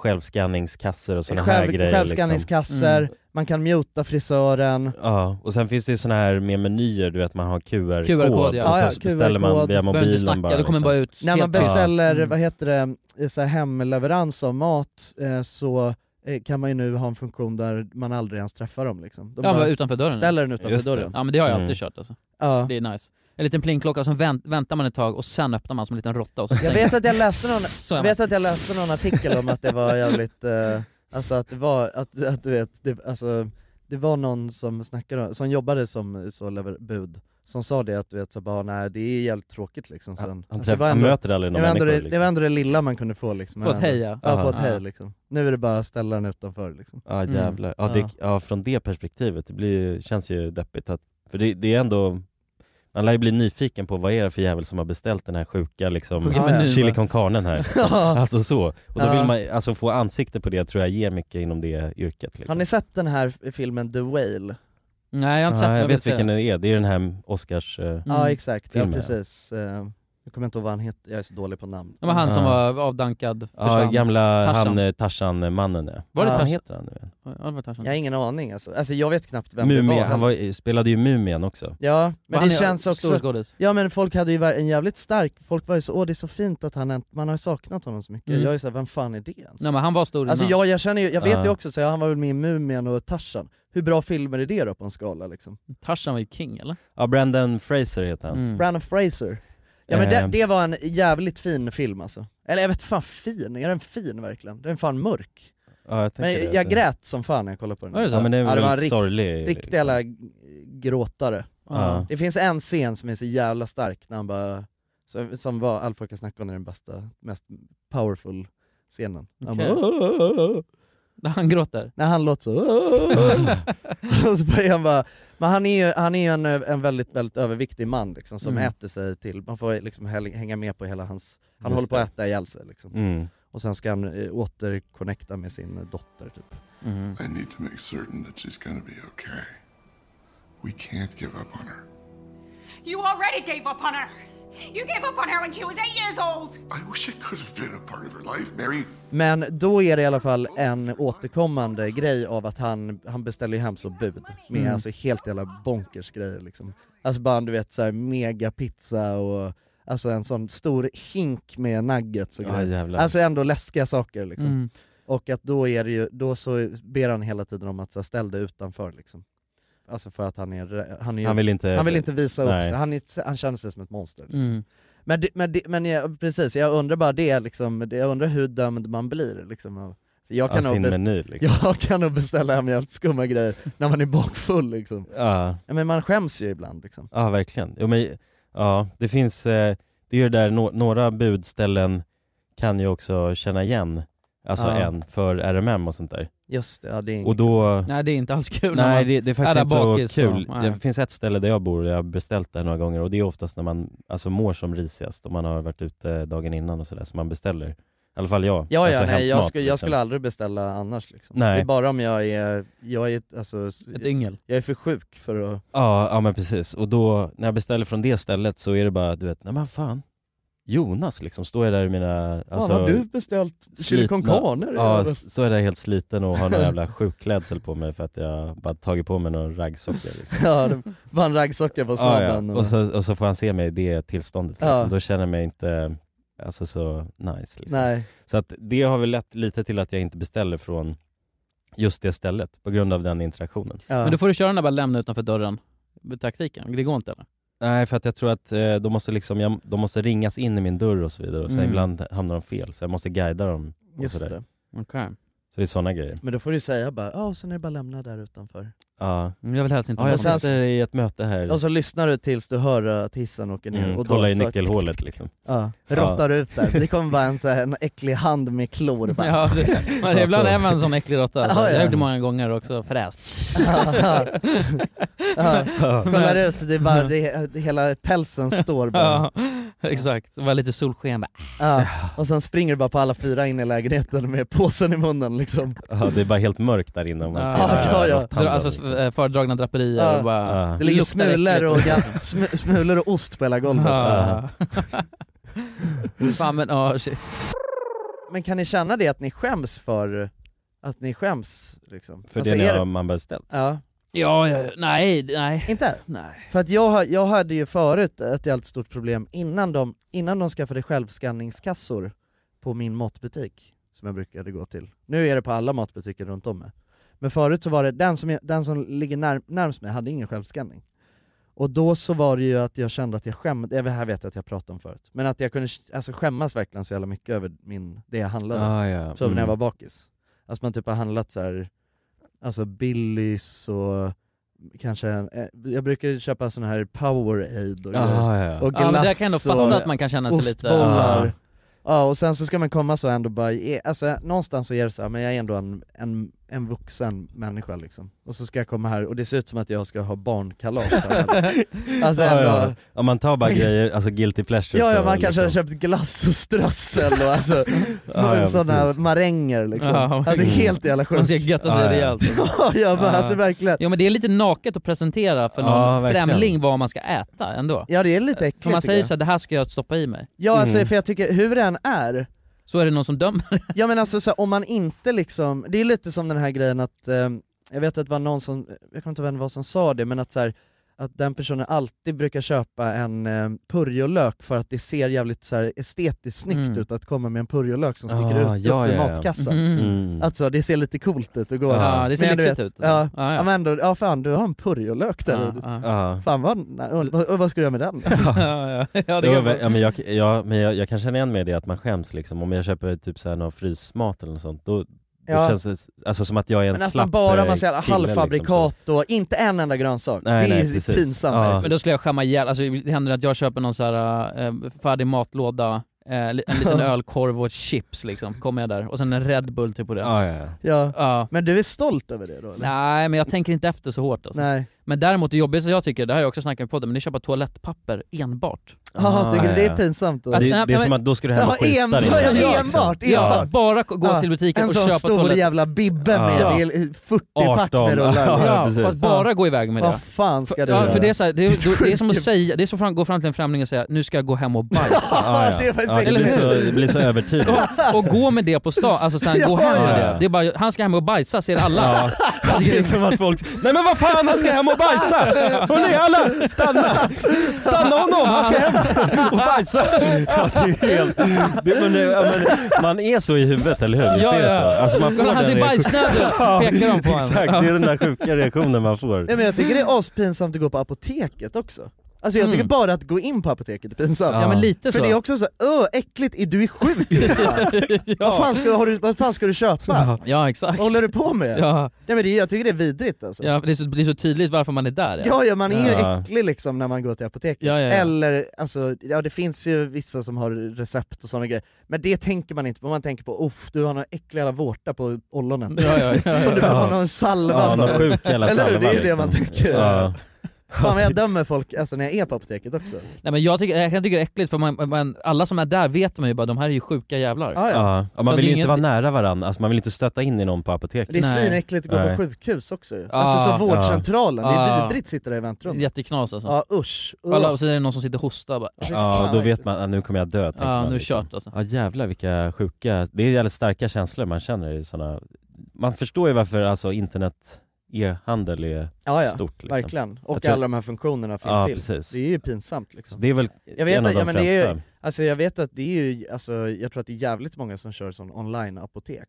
[SPEAKER 3] självskanningskasser och sådana här
[SPEAKER 2] Själv,
[SPEAKER 3] grejer. liksom.
[SPEAKER 2] självskanningskasser, man kan muta frisören,
[SPEAKER 3] Ja, och sen finns det såna här med menyer, du vet man har QR-kod
[SPEAKER 1] QR-kod, ja.
[SPEAKER 3] och
[SPEAKER 1] Ja,
[SPEAKER 3] sen
[SPEAKER 1] ja,
[SPEAKER 3] så beställer man
[SPEAKER 2] QR-kod.
[SPEAKER 3] via
[SPEAKER 1] Behöver inte
[SPEAKER 3] mobilen
[SPEAKER 1] snacka,
[SPEAKER 3] bara. liksom.
[SPEAKER 1] det kommer bara ut
[SPEAKER 2] När man
[SPEAKER 1] helt
[SPEAKER 2] beställer,
[SPEAKER 1] Mm.
[SPEAKER 2] vad heter det, eh, så här hemleverans av mat eh, så eh, kan man ju nu ha en funktion där man aldrig ens träffar dem liksom.
[SPEAKER 1] ja,
[SPEAKER 2] bara
[SPEAKER 1] bara utanför dörren.
[SPEAKER 2] Ställer den utanför dörren.
[SPEAKER 1] Ja men det har jag alltid
[SPEAKER 2] Mm.
[SPEAKER 1] kört alltså.
[SPEAKER 2] Ja.
[SPEAKER 1] Det är nice. En liten plingklocka, som vänt, väntar man ett tag och sen öppnar man som en liten råtta och så
[SPEAKER 2] Jag
[SPEAKER 1] stänger
[SPEAKER 2] vet
[SPEAKER 1] man.
[SPEAKER 2] att jag läste
[SPEAKER 1] Så
[SPEAKER 2] någon,
[SPEAKER 1] är
[SPEAKER 2] jag
[SPEAKER 1] man.
[SPEAKER 2] vet att jag läste någon artikel om att det var jävligt, eh, alltså att det var, att, att du vet, det, alltså, det var någon som snackade, om- som jobbade som så lever, bud, som sa det att du vet så bara nej det är jävligt tråkigt liksom sen.
[SPEAKER 3] han
[SPEAKER 2] Alltså,
[SPEAKER 3] träff-
[SPEAKER 2] det var
[SPEAKER 3] han möter aldrig någon
[SPEAKER 2] det var ändå
[SPEAKER 3] människa,
[SPEAKER 2] det, det var
[SPEAKER 3] liksom.
[SPEAKER 2] ändå det lilla man kunde få liksom.
[SPEAKER 3] Få ett hej,
[SPEAKER 2] ja.
[SPEAKER 3] ja.
[SPEAKER 2] Ja, få ett
[SPEAKER 3] Aha.
[SPEAKER 2] hej liksom. Nu är det bara att ställa den utanför liksom.
[SPEAKER 3] Ja jävlar. Ja,
[SPEAKER 2] Ja.
[SPEAKER 3] det, ja från det perspektivet, det blir, ju- känns ju deppigt att, för det, det är ändå man lär ju bli nyfiken på vad är det för jävel som har beställt den här sjuka liksom,
[SPEAKER 1] Sjuka menyn, va?
[SPEAKER 3] chili con carnen här liksom.
[SPEAKER 2] Ja.
[SPEAKER 3] Alltså så. Och då
[SPEAKER 2] Ja.
[SPEAKER 3] vill man, alltså få ansikte på det tror jag ger mycket inom det yrket liksom.
[SPEAKER 2] Har ni sett den här f- filmen The Whale?
[SPEAKER 1] Nej jag har inte
[SPEAKER 3] Ja,
[SPEAKER 1] sett den,
[SPEAKER 3] jag
[SPEAKER 1] vill
[SPEAKER 3] vet
[SPEAKER 1] se
[SPEAKER 3] vilken
[SPEAKER 1] den. Mm.
[SPEAKER 3] den är, det är den här Oscars eh,
[SPEAKER 2] Ja exakt, ja
[SPEAKER 3] filmen,
[SPEAKER 2] precis. Eh, Jag kommer inte ihåg vad han heter, jag är så dålig på namn.
[SPEAKER 1] Det var han som
[SPEAKER 3] Ja.
[SPEAKER 1] var avdankad,
[SPEAKER 3] Ja,
[SPEAKER 1] försvann.
[SPEAKER 3] gamla
[SPEAKER 1] Tarzan.
[SPEAKER 3] han, eh, Tarzan-mannen ja.
[SPEAKER 1] Var det
[SPEAKER 3] Vad
[SPEAKER 1] Tarzan?
[SPEAKER 3] heter han nu igen?
[SPEAKER 1] Ja, det var Tarzan.
[SPEAKER 2] Jag har ingen aning alltså. alltså jag vet knappt vem det
[SPEAKER 3] Mumien,
[SPEAKER 2] var.
[SPEAKER 3] han var, spelade ju Mumien också.
[SPEAKER 2] Ja, men
[SPEAKER 1] han
[SPEAKER 2] det
[SPEAKER 1] är
[SPEAKER 2] känns
[SPEAKER 1] stor
[SPEAKER 2] också...
[SPEAKER 1] skådis.
[SPEAKER 2] Ja men folk hade ju var- en jävligt stark, folk var ju så åh det är så fint att han, är- man har ju saknat honom så mycket.
[SPEAKER 1] Mm.
[SPEAKER 2] Jag är såhär, vem fan är det ens?
[SPEAKER 1] Nej men han var stor
[SPEAKER 2] Alltså
[SPEAKER 1] innan.
[SPEAKER 2] jag, jag känner ju, jag vet
[SPEAKER 1] Ja.
[SPEAKER 2] ju också, så här, han var väl med i Mumien och Tarzan. Hur bra filmer är det då på en skala liksom?
[SPEAKER 1] Mm. Tarzan var ju king eller?
[SPEAKER 3] Ja, Brandon Fraser heter han.
[SPEAKER 2] Brandon Fraser. Ja men
[SPEAKER 3] Eh.
[SPEAKER 2] det, det var en jävligt fin film alltså. Eller jag vet fan fin, är den fin verkligen? Den är fan mörk.
[SPEAKER 3] Ja, jag
[SPEAKER 2] Men
[SPEAKER 3] tänker
[SPEAKER 2] jag,
[SPEAKER 3] det.
[SPEAKER 2] grät som fan när jag kollade på den.
[SPEAKER 3] Var det så? Ja, men det är väl
[SPEAKER 2] var en
[SPEAKER 3] lite
[SPEAKER 2] rikt-
[SPEAKER 3] sorglig-
[SPEAKER 2] Riktig
[SPEAKER 1] liksom-
[SPEAKER 2] jävla g- gråtare.
[SPEAKER 3] Ja.
[SPEAKER 2] Det finns en scen som är så jävla stark när han bara, som, som var Allt folk kan snacka om är den bästa, mest powerful scenen. Han
[SPEAKER 1] Okej.
[SPEAKER 2] bara,
[SPEAKER 1] När han gråter?
[SPEAKER 2] när han låter så och så börjar han bara, men han är ju, han är ju en, en väldigt, väldigt överviktig man liksom, som
[SPEAKER 3] Mm.
[SPEAKER 2] äter sig till, man får liksom häl- hänga med på hela hans, han
[SPEAKER 3] Just
[SPEAKER 2] håller på att
[SPEAKER 3] det.
[SPEAKER 2] äta ihjäl sig liksom.
[SPEAKER 3] Mm.
[SPEAKER 2] Och sen ska han eh, återconnecta med sin eh, dotter typ.
[SPEAKER 12] I need to make certain that she's gonna be okay. We can't give up on her.
[SPEAKER 13] You already gave up on her. You gave up on her when she was eight years old.
[SPEAKER 12] I wish I could have been a part of her life, Mary.
[SPEAKER 2] Men då är det i alla fall en återkommande grej av att han, han beställer ju hem så bud med
[SPEAKER 3] Mm.
[SPEAKER 2] alltså helt jävla bonkers grejer liksom. Alltså bara du vet såhär megapizza och alltså en sån stor hink med nuggets och
[SPEAKER 3] Ja,
[SPEAKER 2] grejer.
[SPEAKER 3] jävlar.
[SPEAKER 2] alltså ändå läskiga saker liksom.
[SPEAKER 3] Mm.
[SPEAKER 2] Och att då är det ju, då så ber han hela tiden om att så här, ställ dig utanför liksom. Alltså för att han är, rä- han är ju-
[SPEAKER 3] Han vill inte-
[SPEAKER 2] han vill inte visa upp
[SPEAKER 3] Nej.
[SPEAKER 2] sig, han, är, han känner sig som ett monster liksom.
[SPEAKER 1] Mm.
[SPEAKER 2] Men, det, men, det, men jag, precis, jag undrar bara det liksom, det- jag undrar hur dömd man blir liksom. av- Så jag
[SPEAKER 3] Av
[SPEAKER 2] kan nog
[SPEAKER 3] sin
[SPEAKER 2] best-
[SPEAKER 3] meny, liksom.
[SPEAKER 2] Jag kan nog beställa hem jävligt skumma grejer när man är bakfull liksom.
[SPEAKER 3] Ja.
[SPEAKER 2] Ja, men man skäms ju ibland liksom.
[SPEAKER 3] Ja, verkligen. Jo, men, ja, det finns, eh, det är ju det där, no några budställen kan ju också känna igen, alltså
[SPEAKER 2] Ja.
[SPEAKER 3] en, för RMM och sånt där.
[SPEAKER 2] Just det, ja, det är
[SPEAKER 3] Och då...
[SPEAKER 1] Nej det är inte alls kul när
[SPEAKER 3] Nej
[SPEAKER 1] man
[SPEAKER 3] det, det är faktiskt
[SPEAKER 1] där
[SPEAKER 3] inte så
[SPEAKER 1] bakis då.
[SPEAKER 3] kul.
[SPEAKER 1] Nej.
[SPEAKER 3] det finns ett ställe där jag bor, jag har beställt där några gånger och det är oftast när man alltså, mår som risigast och man har varit ute dagen innan och sådär, så man beställer. I alla fall jag.
[SPEAKER 2] Ja, ja
[SPEAKER 3] alltså,
[SPEAKER 2] nej, jag,
[SPEAKER 3] hämtmat,
[SPEAKER 2] skulle, jag
[SPEAKER 3] liksom.
[SPEAKER 2] skulle aldrig beställa annars liksom.
[SPEAKER 3] Nej.
[SPEAKER 2] Det är bara om jag är, jag är alltså, ett
[SPEAKER 1] yngel.
[SPEAKER 2] Jag är för sjuk för att
[SPEAKER 3] Ja, ja men precis. Och då, när jag beställer från det stället så är det bara, du vet, nej men fan. Jonas liksom, står jag där i mina...
[SPEAKER 2] Fan, har du beställt chili con carne?
[SPEAKER 3] Alltså, Ja, så är jag där helt sliten och har någon jävla sjukklädsel på mig för att jag bara tagit på mig någon raggsockor liksom.
[SPEAKER 2] Ja, det var en raggsockor på
[SPEAKER 3] Ah, Ja,
[SPEAKER 2] snabben.
[SPEAKER 3] ja. Och, så, och så får han se mig i det tillståndet liksom.
[SPEAKER 2] Ja.
[SPEAKER 3] Då känner jag mig inte alltså, så nice. Liksom.
[SPEAKER 2] Nej.
[SPEAKER 3] Så att det har väl lett lite till att jag inte beställer från just det stället på grund av den interaktionen.
[SPEAKER 1] Men då får du köra den där bara lämna utanför dörren, taktiken. Det går inte eller?
[SPEAKER 3] Nej, för att jag tror att eh, de, måste liksom, jag, de måste ringas in i min dörr och så vidare och sen
[SPEAKER 1] Mm.
[SPEAKER 3] ibland hamnar de fel så jag måste guida dem. och
[SPEAKER 2] Just
[SPEAKER 3] sådär.
[SPEAKER 2] det.
[SPEAKER 1] Okej.
[SPEAKER 3] Så det är sådana grejer.
[SPEAKER 2] Men då får du säga bara, ja och sen är det bara lämna där utanför.
[SPEAKER 3] Ja.
[SPEAKER 1] Mm, Jag vill helst inte
[SPEAKER 3] ja,
[SPEAKER 1] vara
[SPEAKER 3] jag
[SPEAKER 1] med.
[SPEAKER 3] sitter i ett möte här.
[SPEAKER 2] Och så lyssnar du tills du hör att hissen åker ner
[SPEAKER 3] Mm,
[SPEAKER 2] och
[SPEAKER 3] kollar i
[SPEAKER 2] så-
[SPEAKER 3] nyckelhålet, liksom.
[SPEAKER 2] Ja,
[SPEAKER 3] Ja.
[SPEAKER 2] råttar ut där. Det kommer bara en, så här, en äcklig hand med klor bara.
[SPEAKER 1] Ja, det, men ibland är man en sån äcklig råtta. Alltså.
[SPEAKER 2] Ja, ja.
[SPEAKER 1] Jag har gjort det många gånger också, fräst.
[SPEAKER 2] Ja. Ja, kollar
[SPEAKER 1] Men-
[SPEAKER 2] ut, det är bara, det, det, hela pälsen står bara.
[SPEAKER 1] Ja, exakt. Det var lite solsken bara.
[SPEAKER 2] Ja. Och sen springer du bara på alla fyra in i lägenheten med påsen i munnen liksom.
[SPEAKER 3] Ja, det är bara helt mörkt där inne. om Man
[SPEAKER 1] Ja,
[SPEAKER 3] ser
[SPEAKER 1] ja, ja.
[SPEAKER 3] råtthanden,
[SPEAKER 1] Alltså
[SPEAKER 3] liksom.
[SPEAKER 1] eh, föredragna draperier
[SPEAKER 2] Ja.
[SPEAKER 1] och bara...
[SPEAKER 3] Ja.
[SPEAKER 2] Det ligger
[SPEAKER 1] luktar
[SPEAKER 2] smulor och,
[SPEAKER 1] äckligt.
[SPEAKER 2] ga- sm- smulor och ost på hela golvet.
[SPEAKER 1] Ja. Fan men ja, shit.
[SPEAKER 2] Men kan ni känna det att ni skäms för, att ni skäms liksom?
[SPEAKER 3] För
[SPEAKER 2] Alltså,
[SPEAKER 3] det
[SPEAKER 2] är
[SPEAKER 3] är när man beställt.
[SPEAKER 2] Ja.
[SPEAKER 1] Ja, ja, nej, nej.
[SPEAKER 2] Inte? Nej. För att jag, har- jag hade ju förut ett jävligt stort problem innan de, innan de skaffade självskanningskassor på min matbutik, som jag brukade gå till. Nu är det på alla matbutiker runt om mig. Men förut så var det, den som, jag, den som ligger när, närmst mig hade ingen självskanning. Och då så var det ju att jag kände att jag skämde, det här vet jag att jag pratade om förut, men att jag kunde alltså, skämmas verkligen så jävla mycket över min, det jag handlade.
[SPEAKER 3] Ah, ja.
[SPEAKER 2] Så när jag
[SPEAKER 3] Mm.
[SPEAKER 2] var bakis. Alltså man typ har handlat så här, alltså Billys och kanske, en, eh, jag brukar köpa sån här Powerade och,
[SPEAKER 3] Ah,
[SPEAKER 2] grejer.
[SPEAKER 3] ja, ja.
[SPEAKER 2] och
[SPEAKER 1] Ja, men där
[SPEAKER 2] glass
[SPEAKER 1] kan jag ändå fatta
[SPEAKER 2] och
[SPEAKER 1] att man kan känna sig lite-
[SPEAKER 2] ostbollar.
[SPEAKER 1] Ah.
[SPEAKER 2] Ja och sen så ska man komma så ändå bara, ge- alltså någonstans så är det så här, men jag är ändå en, en en vuxen människa liksom. Och så ska jag komma här och det ser ut som att jag ska ha barnkalas här. alltså
[SPEAKER 3] ja,
[SPEAKER 2] ändå,
[SPEAKER 3] ja. ja, man tar bara grejer, alltså guilty pleasures
[SPEAKER 2] Ja, ja
[SPEAKER 3] och
[SPEAKER 2] man kanske
[SPEAKER 3] liksom.
[SPEAKER 2] hade köpt glass och strössel och alltså,
[SPEAKER 3] Ja, ja,
[SPEAKER 2] sådana
[SPEAKER 3] precis.
[SPEAKER 2] maränger liksom.
[SPEAKER 1] Ja, man-
[SPEAKER 2] alltså helt jävla sjukt.
[SPEAKER 1] Man ska götta sig rejält.
[SPEAKER 2] Ja, ja, men alltså verkligen.
[SPEAKER 1] Ja men det är lite naket att presentera för någon
[SPEAKER 2] Ja, verkligen.
[SPEAKER 1] främling vad man ska äta ändå.
[SPEAKER 2] Ja det är lite äckligt
[SPEAKER 1] För man
[SPEAKER 2] tycker
[SPEAKER 1] säger
[SPEAKER 2] jag.
[SPEAKER 1] såhär, det här ska jag stoppa i mig.
[SPEAKER 2] Ja alltså
[SPEAKER 3] mm.
[SPEAKER 2] för jag tycker, hur det än är
[SPEAKER 1] Så är det någon som dömer.
[SPEAKER 2] Ja men alltså så här, om man inte liksom, det är lite som den här grejen att, eh, jag vet att det var någon som, jag kommer inte ihåg vem det var som sa det, men att så här, att den personen alltid brukar köpa en eh, purjolök för att det ser jävligt så här, estetiskt snyggt
[SPEAKER 3] Mm.
[SPEAKER 2] ut att komma med en purjolök som sticker
[SPEAKER 3] Ah,
[SPEAKER 2] ut
[SPEAKER 3] ja,
[SPEAKER 2] upp ur
[SPEAKER 3] ja, ja.
[SPEAKER 2] matkassen.
[SPEAKER 3] Mm.
[SPEAKER 2] Alltså det ser lite coolt ut att gå
[SPEAKER 3] Ja,
[SPEAKER 2] där.
[SPEAKER 3] det ser
[SPEAKER 2] Men du
[SPEAKER 3] lyxigt
[SPEAKER 2] vet,
[SPEAKER 3] ut.
[SPEAKER 2] Ja,
[SPEAKER 3] Ja, ja.
[SPEAKER 2] ja. men ändå, ja fan du har en purjolök där.
[SPEAKER 3] Ja, ja.
[SPEAKER 2] Fan vad, nej, vad, vad ska du göra med den?
[SPEAKER 1] ja, ja. Ja, det
[SPEAKER 3] Jo,
[SPEAKER 1] kan
[SPEAKER 3] men,
[SPEAKER 1] vara-
[SPEAKER 3] ja, men, jag, ja, men jag, jag kan känna igen mig i det att man skäms liksom. Om jag köper typ så här någon frysmat eller något sånt, då, då
[SPEAKER 2] Ja.
[SPEAKER 3] känns det alltså, som att jag är en
[SPEAKER 2] Men att
[SPEAKER 3] slapp
[SPEAKER 2] man bara har
[SPEAKER 3] eh,
[SPEAKER 2] massa jävla
[SPEAKER 3] kille, liksom,
[SPEAKER 2] halvfabrikat och inte en enda grönsak.
[SPEAKER 3] Nej,
[SPEAKER 2] det är
[SPEAKER 3] nej, precis.
[SPEAKER 2] pinsamt.
[SPEAKER 3] Ja.
[SPEAKER 2] verkligen.
[SPEAKER 1] Men då skulle jag skämma ihjäl, alltså det händer att jag köper någon så här eh, färdig matlåda, eh, li- en liten ölkorv och chips liksom, kommer jag där. Och sen en Red Bull typ på det.
[SPEAKER 3] Ja, ja, ja.
[SPEAKER 2] Ja. Men du är stolt över det då eller?
[SPEAKER 1] Nej men jag tänker inte efter så hårt alltså.
[SPEAKER 2] Nej.
[SPEAKER 1] Men däremot det jobbigaste jag tycker, det här har jag också snackat med podden, men det är att köpa toalettpapper enbart.
[SPEAKER 3] Ah,
[SPEAKER 2] Jaha, tycker du det är pinsamt då?
[SPEAKER 1] Att- nej, men-
[SPEAKER 2] Ja, en- Ja,
[SPEAKER 3] liksom.
[SPEAKER 2] enbart,
[SPEAKER 1] Ja,
[SPEAKER 2] enbart!
[SPEAKER 1] bara gå till butiken
[SPEAKER 2] en
[SPEAKER 1] och
[SPEAKER 2] sån
[SPEAKER 1] köpa
[SPEAKER 2] stor
[SPEAKER 1] toalett-
[SPEAKER 2] jävla bibbe med,
[SPEAKER 1] Ja.
[SPEAKER 2] det är 40 pack med
[SPEAKER 1] 18.
[SPEAKER 2] rullar.
[SPEAKER 1] Ja, och att bara gå iväg med det.
[SPEAKER 2] Vad fan ska
[SPEAKER 1] För-
[SPEAKER 2] du
[SPEAKER 1] ja,
[SPEAKER 2] göra?
[SPEAKER 1] För det, är så här, det, är, det är som att säga, det är som att fram- gå fram till en främling och säga nu ska jag gå hem och bajsa.
[SPEAKER 3] Ja, ja. Det är faktiskt Ja, det blir så-
[SPEAKER 1] Eller hur?
[SPEAKER 3] det blir så övertydligt.
[SPEAKER 1] Och, och gå med det på stan, alltså sen gå
[SPEAKER 3] Ja,
[SPEAKER 1] hem med
[SPEAKER 3] ja.
[SPEAKER 1] det. Det är bara, han ska hem och bajsa ser alla. liksom-
[SPEAKER 3] Ja. Det är som att folk, nej men vad fan han ska hem och bajsa! Hörni alla, stanna! Stanna honom, han ska hem och bajsa! Ja, det är helt, det, men, det- ja, men, man är så i huvudet eller hur? Visst
[SPEAKER 1] Ja,
[SPEAKER 3] är det
[SPEAKER 1] ja.
[SPEAKER 3] så? Alltså, man får
[SPEAKER 1] Kolla, han
[SPEAKER 3] den
[SPEAKER 1] ser
[SPEAKER 3] reaktion-
[SPEAKER 1] bajsnödig ut, så pekar de på honom.
[SPEAKER 3] Exakt, det är den där sjuka reaktionen man får.
[SPEAKER 2] Nej men jag tycker det är aspinsamt att gå på apoteket också. Alltså jag
[SPEAKER 3] Mm.
[SPEAKER 2] tycker bara att gå in på apoteket är pinsamt.
[SPEAKER 3] Ja, men lite
[SPEAKER 2] För
[SPEAKER 3] så.
[SPEAKER 2] det är också så, här, öh äckligt, är du är sjuk ja. vad, fan ska, har du, vad fan ska du köpa?
[SPEAKER 1] Ja exakt.
[SPEAKER 2] Vad håller du på med?
[SPEAKER 1] Ja.
[SPEAKER 2] Nej, men det, jag tycker det är vidrigt alltså.
[SPEAKER 1] Ja, det är så, det är så tydligt varför man är där.
[SPEAKER 2] Ja, ja man är ju
[SPEAKER 1] Ja.
[SPEAKER 2] äcklig liksom när man går till apoteket.
[SPEAKER 1] Ja, ja, ja.
[SPEAKER 2] Eller, alltså, ja det finns ju vissa som har recept och sådana grejer. Men det tänker man inte på, man tänker på uff, du har några äckliga jävla vårta på ollonen.
[SPEAKER 3] Ja, ja, ja,
[SPEAKER 2] som du
[SPEAKER 3] ja.
[SPEAKER 2] behöver ha någon salva
[SPEAKER 3] Ja,
[SPEAKER 2] för.
[SPEAKER 3] någon sjuk jävla
[SPEAKER 2] Eller hur? Det är ju
[SPEAKER 3] salva,
[SPEAKER 2] det man
[SPEAKER 3] liksom.
[SPEAKER 2] tänker.
[SPEAKER 3] Ja.
[SPEAKER 2] Fan vad jag dömer folk alltså, när jag är på apoteket också.
[SPEAKER 1] Nej, men jag, tycker, jag kan tycka det är äckligt för man, man, alla som är där vet man ju bara de här är ju sjuka jävlar.
[SPEAKER 2] Ja,
[SPEAKER 3] Ja.
[SPEAKER 1] Så
[SPEAKER 3] Ja, man
[SPEAKER 1] det
[SPEAKER 3] vill
[SPEAKER 1] är
[SPEAKER 3] ju
[SPEAKER 1] ingen-
[SPEAKER 3] inte vara nära varandra, alltså, man vill inte stöta in i någon på apoteket.
[SPEAKER 2] Det är svinäckligt att gå
[SPEAKER 3] Nej.
[SPEAKER 2] på sjukhus också ju.
[SPEAKER 1] Ah,
[SPEAKER 2] Alltså som
[SPEAKER 1] ja.
[SPEAKER 2] vårdcentralen, det
[SPEAKER 1] Ah.
[SPEAKER 2] är vidrigt att sitta där i väntrummet.
[SPEAKER 1] Jätteknas alltså.
[SPEAKER 2] Ja usch.
[SPEAKER 1] Och alla- och så är det någon som sitter och hostar bara.
[SPEAKER 3] Ja, då vet man att nu kommer jag dö tänker
[SPEAKER 1] Ja,
[SPEAKER 3] man,
[SPEAKER 1] nu är
[SPEAKER 3] liksom.
[SPEAKER 1] kört, alltså.
[SPEAKER 3] Ja jävlar vilka sjuka, det är jävligt starka känslor man känner i sådana Man förstår ju varför alltså internet e-handel är
[SPEAKER 2] Ja, ja.
[SPEAKER 3] stort liksom.
[SPEAKER 2] Verkligen. Och
[SPEAKER 3] Jag tror-
[SPEAKER 2] alla de här funktionerna finns
[SPEAKER 3] ja,
[SPEAKER 2] till.
[SPEAKER 3] Precis.
[SPEAKER 2] Det är ju pinsamt liksom.
[SPEAKER 3] Så det är väl
[SPEAKER 2] jag vet,
[SPEAKER 3] en av
[SPEAKER 2] att-
[SPEAKER 3] de
[SPEAKER 2] ja, men det är ju,
[SPEAKER 3] främsta.
[SPEAKER 2] alltså, jag vet att det är ju, alltså, jag tror att det är jävligt många som kör sån online-apotek.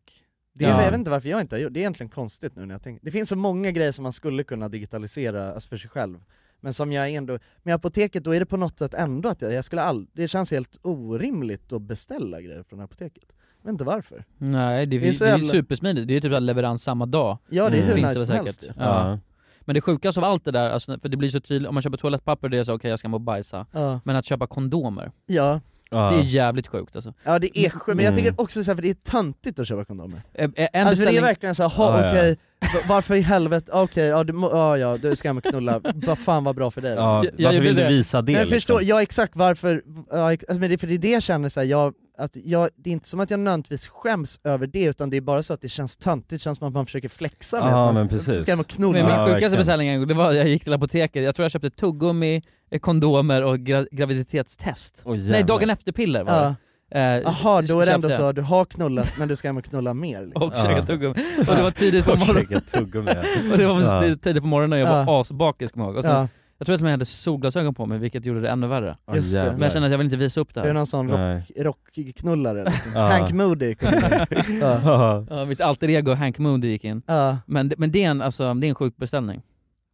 [SPEAKER 2] Det är,
[SPEAKER 3] Ja.
[SPEAKER 2] Jag vet inte varför jag inte har gjort det, är egentligen konstigt nu när jag tänker. Det finns så många grejer som man skulle kunna digitalisera alltså, för sig själv. Men som jag ändå, med apoteket då är det på något sätt ändå att jag, jag skulle all, det känns helt orimligt att beställa grejer från apoteket. Jag vet inte varför.
[SPEAKER 1] Nej det,
[SPEAKER 2] Det är
[SPEAKER 1] är,
[SPEAKER 2] så
[SPEAKER 1] det är ju
[SPEAKER 2] jävla-
[SPEAKER 1] supersmidigt, det är typ så här leverans samma dag.
[SPEAKER 2] Ja, det är hur
[SPEAKER 1] Mm. Finns
[SPEAKER 2] nice
[SPEAKER 1] väl
[SPEAKER 2] som helst
[SPEAKER 1] säkert.
[SPEAKER 2] ju.
[SPEAKER 1] Ja.
[SPEAKER 2] Ja.
[SPEAKER 1] Men det sjukaste av allt det där, alltså, för det blir så tydligt, om man köper toalettpapper det är så okej jag ska må bajsa.
[SPEAKER 2] Ja.
[SPEAKER 1] Men att köpa kondomer,
[SPEAKER 2] Ja.
[SPEAKER 1] det är jävligt sjukt alltså.
[SPEAKER 2] Ja det är skönt, men jag
[SPEAKER 1] Mm.
[SPEAKER 2] tycker också så här, för det är töntigt att köpa kondomer.
[SPEAKER 1] En
[SPEAKER 2] alltså
[SPEAKER 1] beställning-
[SPEAKER 2] det är verkligen såhär, ha
[SPEAKER 1] Ja, ja.
[SPEAKER 2] okej, va- varför i helvete, okej, ja, du, må- ja ja, du ska hem och knulla, vad fan vad bra för dig då.
[SPEAKER 3] Ja, Jag- jag varför vill gjorde du det. visa det,
[SPEAKER 2] Men jag
[SPEAKER 3] liksom?
[SPEAKER 2] förstår, ja exakt varför, ja, ex- alltså, men det är för det är det jag känner såhär, jag, att jag, det är inte som att jag nödvändigtvis skäms över det, utan det är bara så att det känns töntigt, det känns som att man försöker flexa med
[SPEAKER 3] Ja,
[SPEAKER 2] att man
[SPEAKER 3] men precis.
[SPEAKER 2] ska hem och knulla.
[SPEAKER 1] Men min sjukaste
[SPEAKER 3] verkligen.
[SPEAKER 1] beställning det var att jag gick till apoteket, jag tror jag köpte tuggummi, eh, kondomer och gra graviditetstest. Nej
[SPEAKER 2] jävlar.
[SPEAKER 1] dagen efter piller var
[SPEAKER 2] Ja.
[SPEAKER 1] det. Eh,
[SPEAKER 2] Jaha, då är det ändå
[SPEAKER 1] köpte jag.
[SPEAKER 2] så att du har knullat men du ska hem och knulla mer liksom.
[SPEAKER 1] Och käka tuggummi. Och det var tidigt på
[SPEAKER 3] Och
[SPEAKER 1] morgonen.
[SPEAKER 3] käka tuggummi, ja.
[SPEAKER 1] och det var
[SPEAKER 3] Ja.
[SPEAKER 1] tidigt- tidigt på morgonen och jag var
[SPEAKER 3] Ja.
[SPEAKER 1] asbakis kommer jag ihåg. Och sen,
[SPEAKER 3] Ja.
[SPEAKER 1] Jag tror att jag hade solglasögon på mig vilket gjorde det ännu värre.
[SPEAKER 2] Just Just det. det.
[SPEAKER 1] Men jag kände att jag vill inte visa upp det här.
[SPEAKER 2] Är det någon sån rock, rockknullare? Liksom. Hank Moody kommer.
[SPEAKER 1] ja. ja, mitt alter ego Hank Moody gick in.
[SPEAKER 2] Ja.
[SPEAKER 1] Men, det- men det, är en, alltså, det är en sjuk beställning.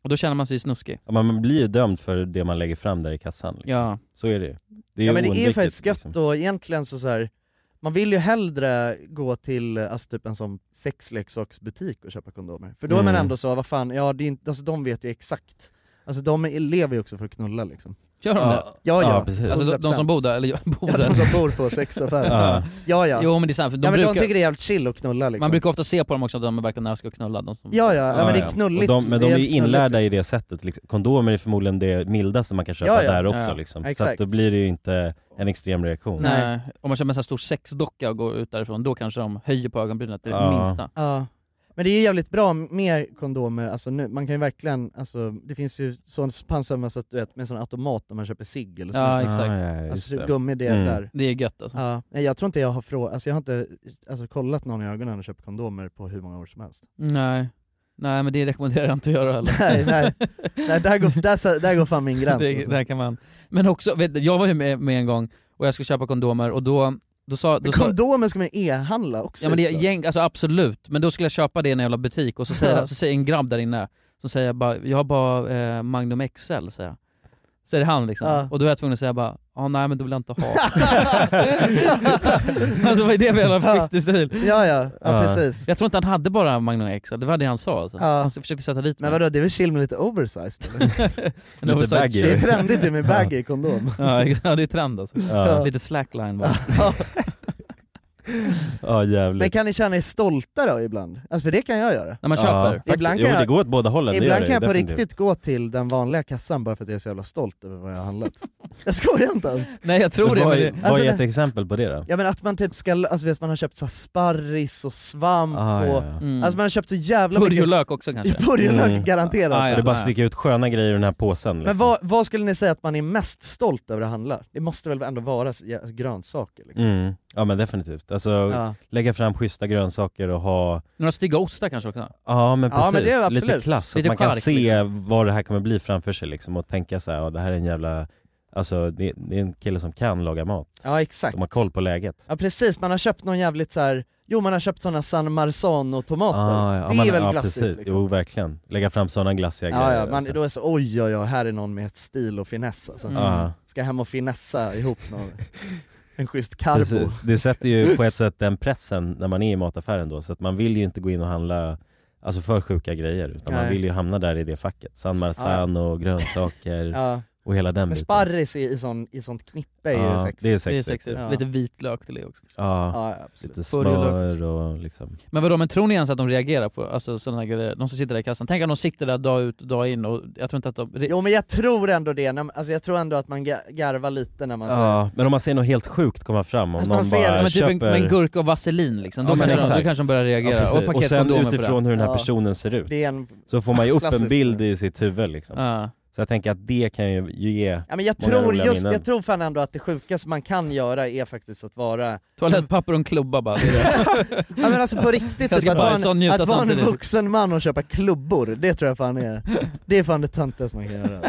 [SPEAKER 1] Och då känner man sig snuskig.
[SPEAKER 3] Ja, man blir ju dömd för det man lägger fram där i kassan. Liksom.
[SPEAKER 1] Ja.
[SPEAKER 3] Så är det ju. Det är
[SPEAKER 2] ja
[SPEAKER 3] ju
[SPEAKER 2] men det är ju
[SPEAKER 3] oundvikligt,
[SPEAKER 2] faktiskt gött
[SPEAKER 3] liksom.
[SPEAKER 2] och egentligen så, så här. man vill ju hellre gå till eh, alltså, typ en sån sexleksaksbutik och köpa kondomer. För då är man
[SPEAKER 3] Mm.
[SPEAKER 2] ändå så, vad fan, ja det är inte, alltså, de vet ju exakt. Alltså de är- lever ju också för att knulla liksom.
[SPEAKER 1] Gör de det?
[SPEAKER 2] Ja, ja, ja.
[SPEAKER 1] Alltså de, de som bor där, eller jag bor där.
[SPEAKER 2] de som bor på sexaffären. Ja. ja, ja.
[SPEAKER 1] Jo men det är sant, för de,
[SPEAKER 2] ja, men
[SPEAKER 1] brukar,
[SPEAKER 2] de tycker det är jävligt chill att knulla liksom.
[SPEAKER 1] man brukar ofta se på dem också att de verkar när de ska knulla. De som...
[SPEAKER 2] Ja, ja, ja, men det är knulligt.
[SPEAKER 3] Och de, men
[SPEAKER 2] Det
[SPEAKER 3] de är ju
[SPEAKER 2] jävligt knulligt,
[SPEAKER 3] inlärda i det sättet, liksom. kondomer är förmodligen det mildaste man kan köpa
[SPEAKER 2] Ja, ja.
[SPEAKER 3] där också
[SPEAKER 1] Ja,
[SPEAKER 3] liksom. Så
[SPEAKER 1] exakt.
[SPEAKER 3] att då blir det ju inte en extrem reaktion.
[SPEAKER 1] Nej. Om man kör med en sån här stor sexdocka och går ut därifrån, då kanske de höjer på ögonbrynet det är det
[SPEAKER 3] Ja.
[SPEAKER 1] minsta.
[SPEAKER 2] Ja. Men det är ju jävligt bra med kondomer, alltså nu, man kan ju verkligen, alltså, det finns ju sån pansarmössa så att du vet, med en sån automat när man köper cigg eller sånt.
[SPEAKER 1] Ja, exakt.
[SPEAKER 3] Ah, ja, just
[SPEAKER 2] alltså
[SPEAKER 3] det.
[SPEAKER 2] gummi det
[SPEAKER 3] Mm.
[SPEAKER 2] där.
[SPEAKER 1] Liksom. Det är gött alltså.
[SPEAKER 2] Ja. Nej, jag tror inte jag har frågat, alltså jag har inte alltså, kollat någon i ögonen och köpt kondomer på hur många år som helst.
[SPEAKER 1] Nej. Nej men det rekommenderar jag inte att göra heller.
[SPEAKER 2] Nej, nej. nej där, går, där, sa- där går fan min gräns.
[SPEAKER 1] det,
[SPEAKER 2] alltså.
[SPEAKER 1] där kan man. Men också, vet, du, jag var ju med, med en gång och jag skulle köpa kondomer och då, då sa... Då
[SPEAKER 2] Men
[SPEAKER 1] sa
[SPEAKER 2] kondomer ska man ju e-handla också.
[SPEAKER 1] ja, men det, är
[SPEAKER 2] såklart.
[SPEAKER 1] gäng, alltså absolut, men då skulle jag köpa det i en jävla butik och så säger,
[SPEAKER 2] Ja.
[SPEAKER 1] så säger en grabb där inne, som säger jag bara, jag har bara eh, Magnum XL säger jag. Säger han liksom.
[SPEAKER 2] Ja.
[SPEAKER 1] Och då är jag tvungen att säga bara, ja nej men då vill jag inte ha. alltså vad är det för jävla
[SPEAKER 2] Ja.
[SPEAKER 1] stil?
[SPEAKER 2] Ja, ja, ja
[SPEAKER 1] Ja.
[SPEAKER 2] precis.
[SPEAKER 1] Jag tror inte han hade bara Magnum XL, det var det han sa alltså.
[SPEAKER 2] Ja.
[SPEAKER 1] Han försökte sätta dit
[SPEAKER 2] Men
[SPEAKER 1] mig.
[SPEAKER 2] vadå, det är väl chill med lite oversized?
[SPEAKER 1] En oversized baggy.
[SPEAKER 2] Det är trendigt det med baggy kondom.
[SPEAKER 1] Ja, ex- ja det är trend alltså.
[SPEAKER 2] Ja.
[SPEAKER 1] Lite slackline bara.
[SPEAKER 3] Ja jävligt.
[SPEAKER 2] Men kan ni känna er stolta då ibland? Alltså för det kan jag göra.
[SPEAKER 1] När man köper.
[SPEAKER 3] faktiskt.
[SPEAKER 2] Ibland
[SPEAKER 3] jo,
[SPEAKER 2] kan jag-
[SPEAKER 3] det går åt båda hållen, det gör
[SPEAKER 2] Ibland
[SPEAKER 3] det
[SPEAKER 2] kan jag på
[SPEAKER 3] definitivt.
[SPEAKER 2] riktigt gå till den vanliga kassan bara för att jag är så jävla stolt över vad jag har handlat. jag skojar inte ens.
[SPEAKER 1] Nej jag tror det.
[SPEAKER 3] Vad
[SPEAKER 1] Men
[SPEAKER 3] är,
[SPEAKER 1] det...
[SPEAKER 3] vad
[SPEAKER 2] Alltså,
[SPEAKER 3] är
[SPEAKER 2] det-
[SPEAKER 3] ett exempel på det då?
[SPEAKER 2] Ja men att man typ ska, alltså vet man har köpt så här sparris och svamp
[SPEAKER 3] Ah, ja,
[SPEAKER 2] och...
[SPEAKER 3] ja.
[SPEAKER 1] Mm.
[SPEAKER 2] Alltså man har köpt så jävla
[SPEAKER 1] Purjolök också kanske?
[SPEAKER 2] Purjolök
[SPEAKER 3] Mm.
[SPEAKER 2] garanterat.
[SPEAKER 1] Ah, ja.
[SPEAKER 3] Det bara sticker ut sköna grejer i den här påsen liksom.
[SPEAKER 2] Alltså- Men vad, vad skulle ni säga att man är mest stolt över att handla? Det måste väl ändå vara så- ja, grönsaker liksom?
[SPEAKER 3] Mm. Ja men definitivt. Alltså,
[SPEAKER 2] Ja.
[SPEAKER 3] lägga fram schyssta grönsaker och ha,
[SPEAKER 1] Några stygga ostar kanske också?
[SPEAKER 3] ja men
[SPEAKER 2] Ja, men
[SPEAKER 3] precis,
[SPEAKER 2] det är
[SPEAKER 3] lite
[SPEAKER 2] absolut. liksom.
[SPEAKER 3] klass. Så att
[SPEAKER 1] Lite
[SPEAKER 3] man kan
[SPEAKER 1] chark,
[SPEAKER 3] se vad det här kommer bli framför sig liksom och tänka så här, ja det här är en jävla, alltså det, det är en kille som kan laga mat.
[SPEAKER 2] Ja exakt.
[SPEAKER 3] De har koll på läget.
[SPEAKER 2] Ja precis, man har köpt någon jävligt så här. jo man har köpt sådana San Marzano-tomater.
[SPEAKER 3] Ah,
[SPEAKER 2] det är
[SPEAKER 3] man-
[SPEAKER 2] väl
[SPEAKER 3] ja,
[SPEAKER 2] glassigt
[SPEAKER 3] precis.
[SPEAKER 2] liksom.
[SPEAKER 3] Jo verkligen, lägga fram sådana glassiga
[SPEAKER 2] Ja,
[SPEAKER 3] grejer.
[SPEAKER 2] ja, man,
[SPEAKER 3] alltså.
[SPEAKER 2] då är det så oj oj oj, här är någon med ett stil och finess alltså.
[SPEAKER 3] Mm. Ja.
[SPEAKER 2] Ska hem och finessa ihop någon, en schysst karbo.
[SPEAKER 3] Precis. Det sätter ju på ett sätt den pressen när man är i mataffären då, så att man vill ju inte gå in och handla Alltså för sjuka grejer, utan man
[SPEAKER 2] Nej.
[SPEAKER 3] vill ju hamna där i det facket. San Marzano, och grönsaker
[SPEAKER 2] Ja.
[SPEAKER 3] och hela den
[SPEAKER 2] Men
[SPEAKER 3] biten.
[SPEAKER 2] sparris i, i, sån, i sånt knippe är
[SPEAKER 3] Ja,
[SPEAKER 2] ju sexigt.
[SPEAKER 3] det är
[SPEAKER 1] Det är
[SPEAKER 3] sexigt.
[SPEAKER 1] sexigt.
[SPEAKER 2] Ja.
[SPEAKER 1] Lite vitlök till det också.
[SPEAKER 3] Ja,
[SPEAKER 2] Ja, ja, absolut.
[SPEAKER 3] lite
[SPEAKER 1] Purjolök.
[SPEAKER 3] smör och liksom
[SPEAKER 1] Men vadå, men tror ni ens att de reagerar på alltså, sådana här grejer? De som sitter där i kassan. Tänk att de sitter där dag ut och dag in och jag tror inte att de... re-
[SPEAKER 2] Jo men jag tror ändå det, när, alltså jag tror ändå att man ga- garvar lite när man säger
[SPEAKER 3] Ja, men om man ser något helt sjukt komma fram, om
[SPEAKER 2] Alltså, man
[SPEAKER 3] någon
[SPEAKER 2] ser-
[SPEAKER 3] bara
[SPEAKER 1] Ja, men typ en,
[SPEAKER 3] köper...
[SPEAKER 1] med en gurka och vaselin liksom. Då,
[SPEAKER 3] Ja, men
[SPEAKER 1] kanske, de,
[SPEAKER 3] exakt.
[SPEAKER 1] då kanske de börjar reagera.
[SPEAKER 3] precis.
[SPEAKER 1] och
[SPEAKER 3] och sen
[SPEAKER 1] paketkondomer på
[SPEAKER 3] utifrån
[SPEAKER 1] det.
[SPEAKER 3] hur den här
[SPEAKER 2] Ja.
[SPEAKER 3] personen ser ut,
[SPEAKER 2] det är en...
[SPEAKER 3] så får man ju upp en
[SPEAKER 2] Klassiskt.
[SPEAKER 3] bild i sitt huvud liksom.
[SPEAKER 1] Ja.
[SPEAKER 3] Så jag tänker att det kan ju ju ge
[SPEAKER 2] Ja men jag
[SPEAKER 3] Många
[SPEAKER 2] tror
[SPEAKER 3] roliga
[SPEAKER 2] just,
[SPEAKER 3] minnen.
[SPEAKER 2] jag tror fan ändå att det sjukaste man kan göra är faktiskt att vara
[SPEAKER 1] Toalettpapper och en klubba bara. Det är det.
[SPEAKER 2] Ja men alltså på riktigt,
[SPEAKER 1] Jag
[SPEAKER 2] typ,
[SPEAKER 1] ska
[SPEAKER 2] att vara
[SPEAKER 1] bajsa och
[SPEAKER 2] en,
[SPEAKER 1] njuta
[SPEAKER 2] att vara en
[SPEAKER 1] samtidigt.
[SPEAKER 2] vuxen man och köpa klubbor, det tror jag fan är, det är fan det töntigaste man kan göra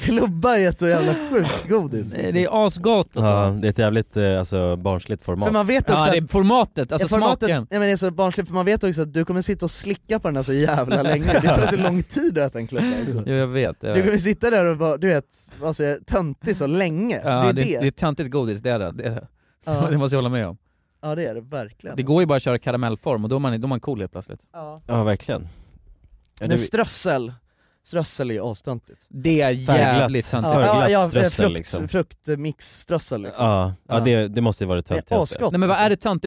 [SPEAKER 2] Klubba är ett så jävla sjukt godis
[SPEAKER 1] Nej, det är asgott alltså.
[SPEAKER 3] Ja, det är ett jävligt eh, alltså, barnsligt format.
[SPEAKER 2] För man vet också
[SPEAKER 1] Ja, det
[SPEAKER 2] att
[SPEAKER 1] är formatet, alltså
[SPEAKER 2] formatet,
[SPEAKER 1] smaken.
[SPEAKER 2] Nej men det är så barnsligt, för man vet också att du kommer sitta och slicka på den här så jävla länge, det tar så lång tid att äta en klubba också.
[SPEAKER 1] Jo, jag vet. Jag
[SPEAKER 2] Du
[SPEAKER 1] vet.
[SPEAKER 2] kommer sitta där och vara, du vet, alltså, töntig så länge,
[SPEAKER 1] Ja,
[SPEAKER 2] det är det.
[SPEAKER 1] det är töntigt godis, det är det. Det, är det.
[SPEAKER 2] Ja.
[SPEAKER 1] det måste jag hålla med om.
[SPEAKER 2] Ja det är det verkligen
[SPEAKER 1] Det går ju bara att köra karamellform och då är man, då är man cool helt plötsligt.
[SPEAKER 2] ja.
[SPEAKER 3] Ja, verkligen. Ja,
[SPEAKER 2] Men
[SPEAKER 3] det-
[SPEAKER 2] strössel, strössel är ju astöntigt
[SPEAKER 1] Det är
[SPEAKER 3] Färgglatt.
[SPEAKER 1] jävligt töntigt.
[SPEAKER 3] Ja. Förglatt strössel,
[SPEAKER 2] frukt,
[SPEAKER 3] liksom.
[SPEAKER 2] fruktmixströssel liksom.
[SPEAKER 3] ja, ja
[SPEAKER 2] Ja.
[SPEAKER 3] det, det måste ju vara det
[SPEAKER 2] Det är
[SPEAKER 3] töntigaste.
[SPEAKER 2] asgott.
[SPEAKER 1] Nej men vad är det töntigt?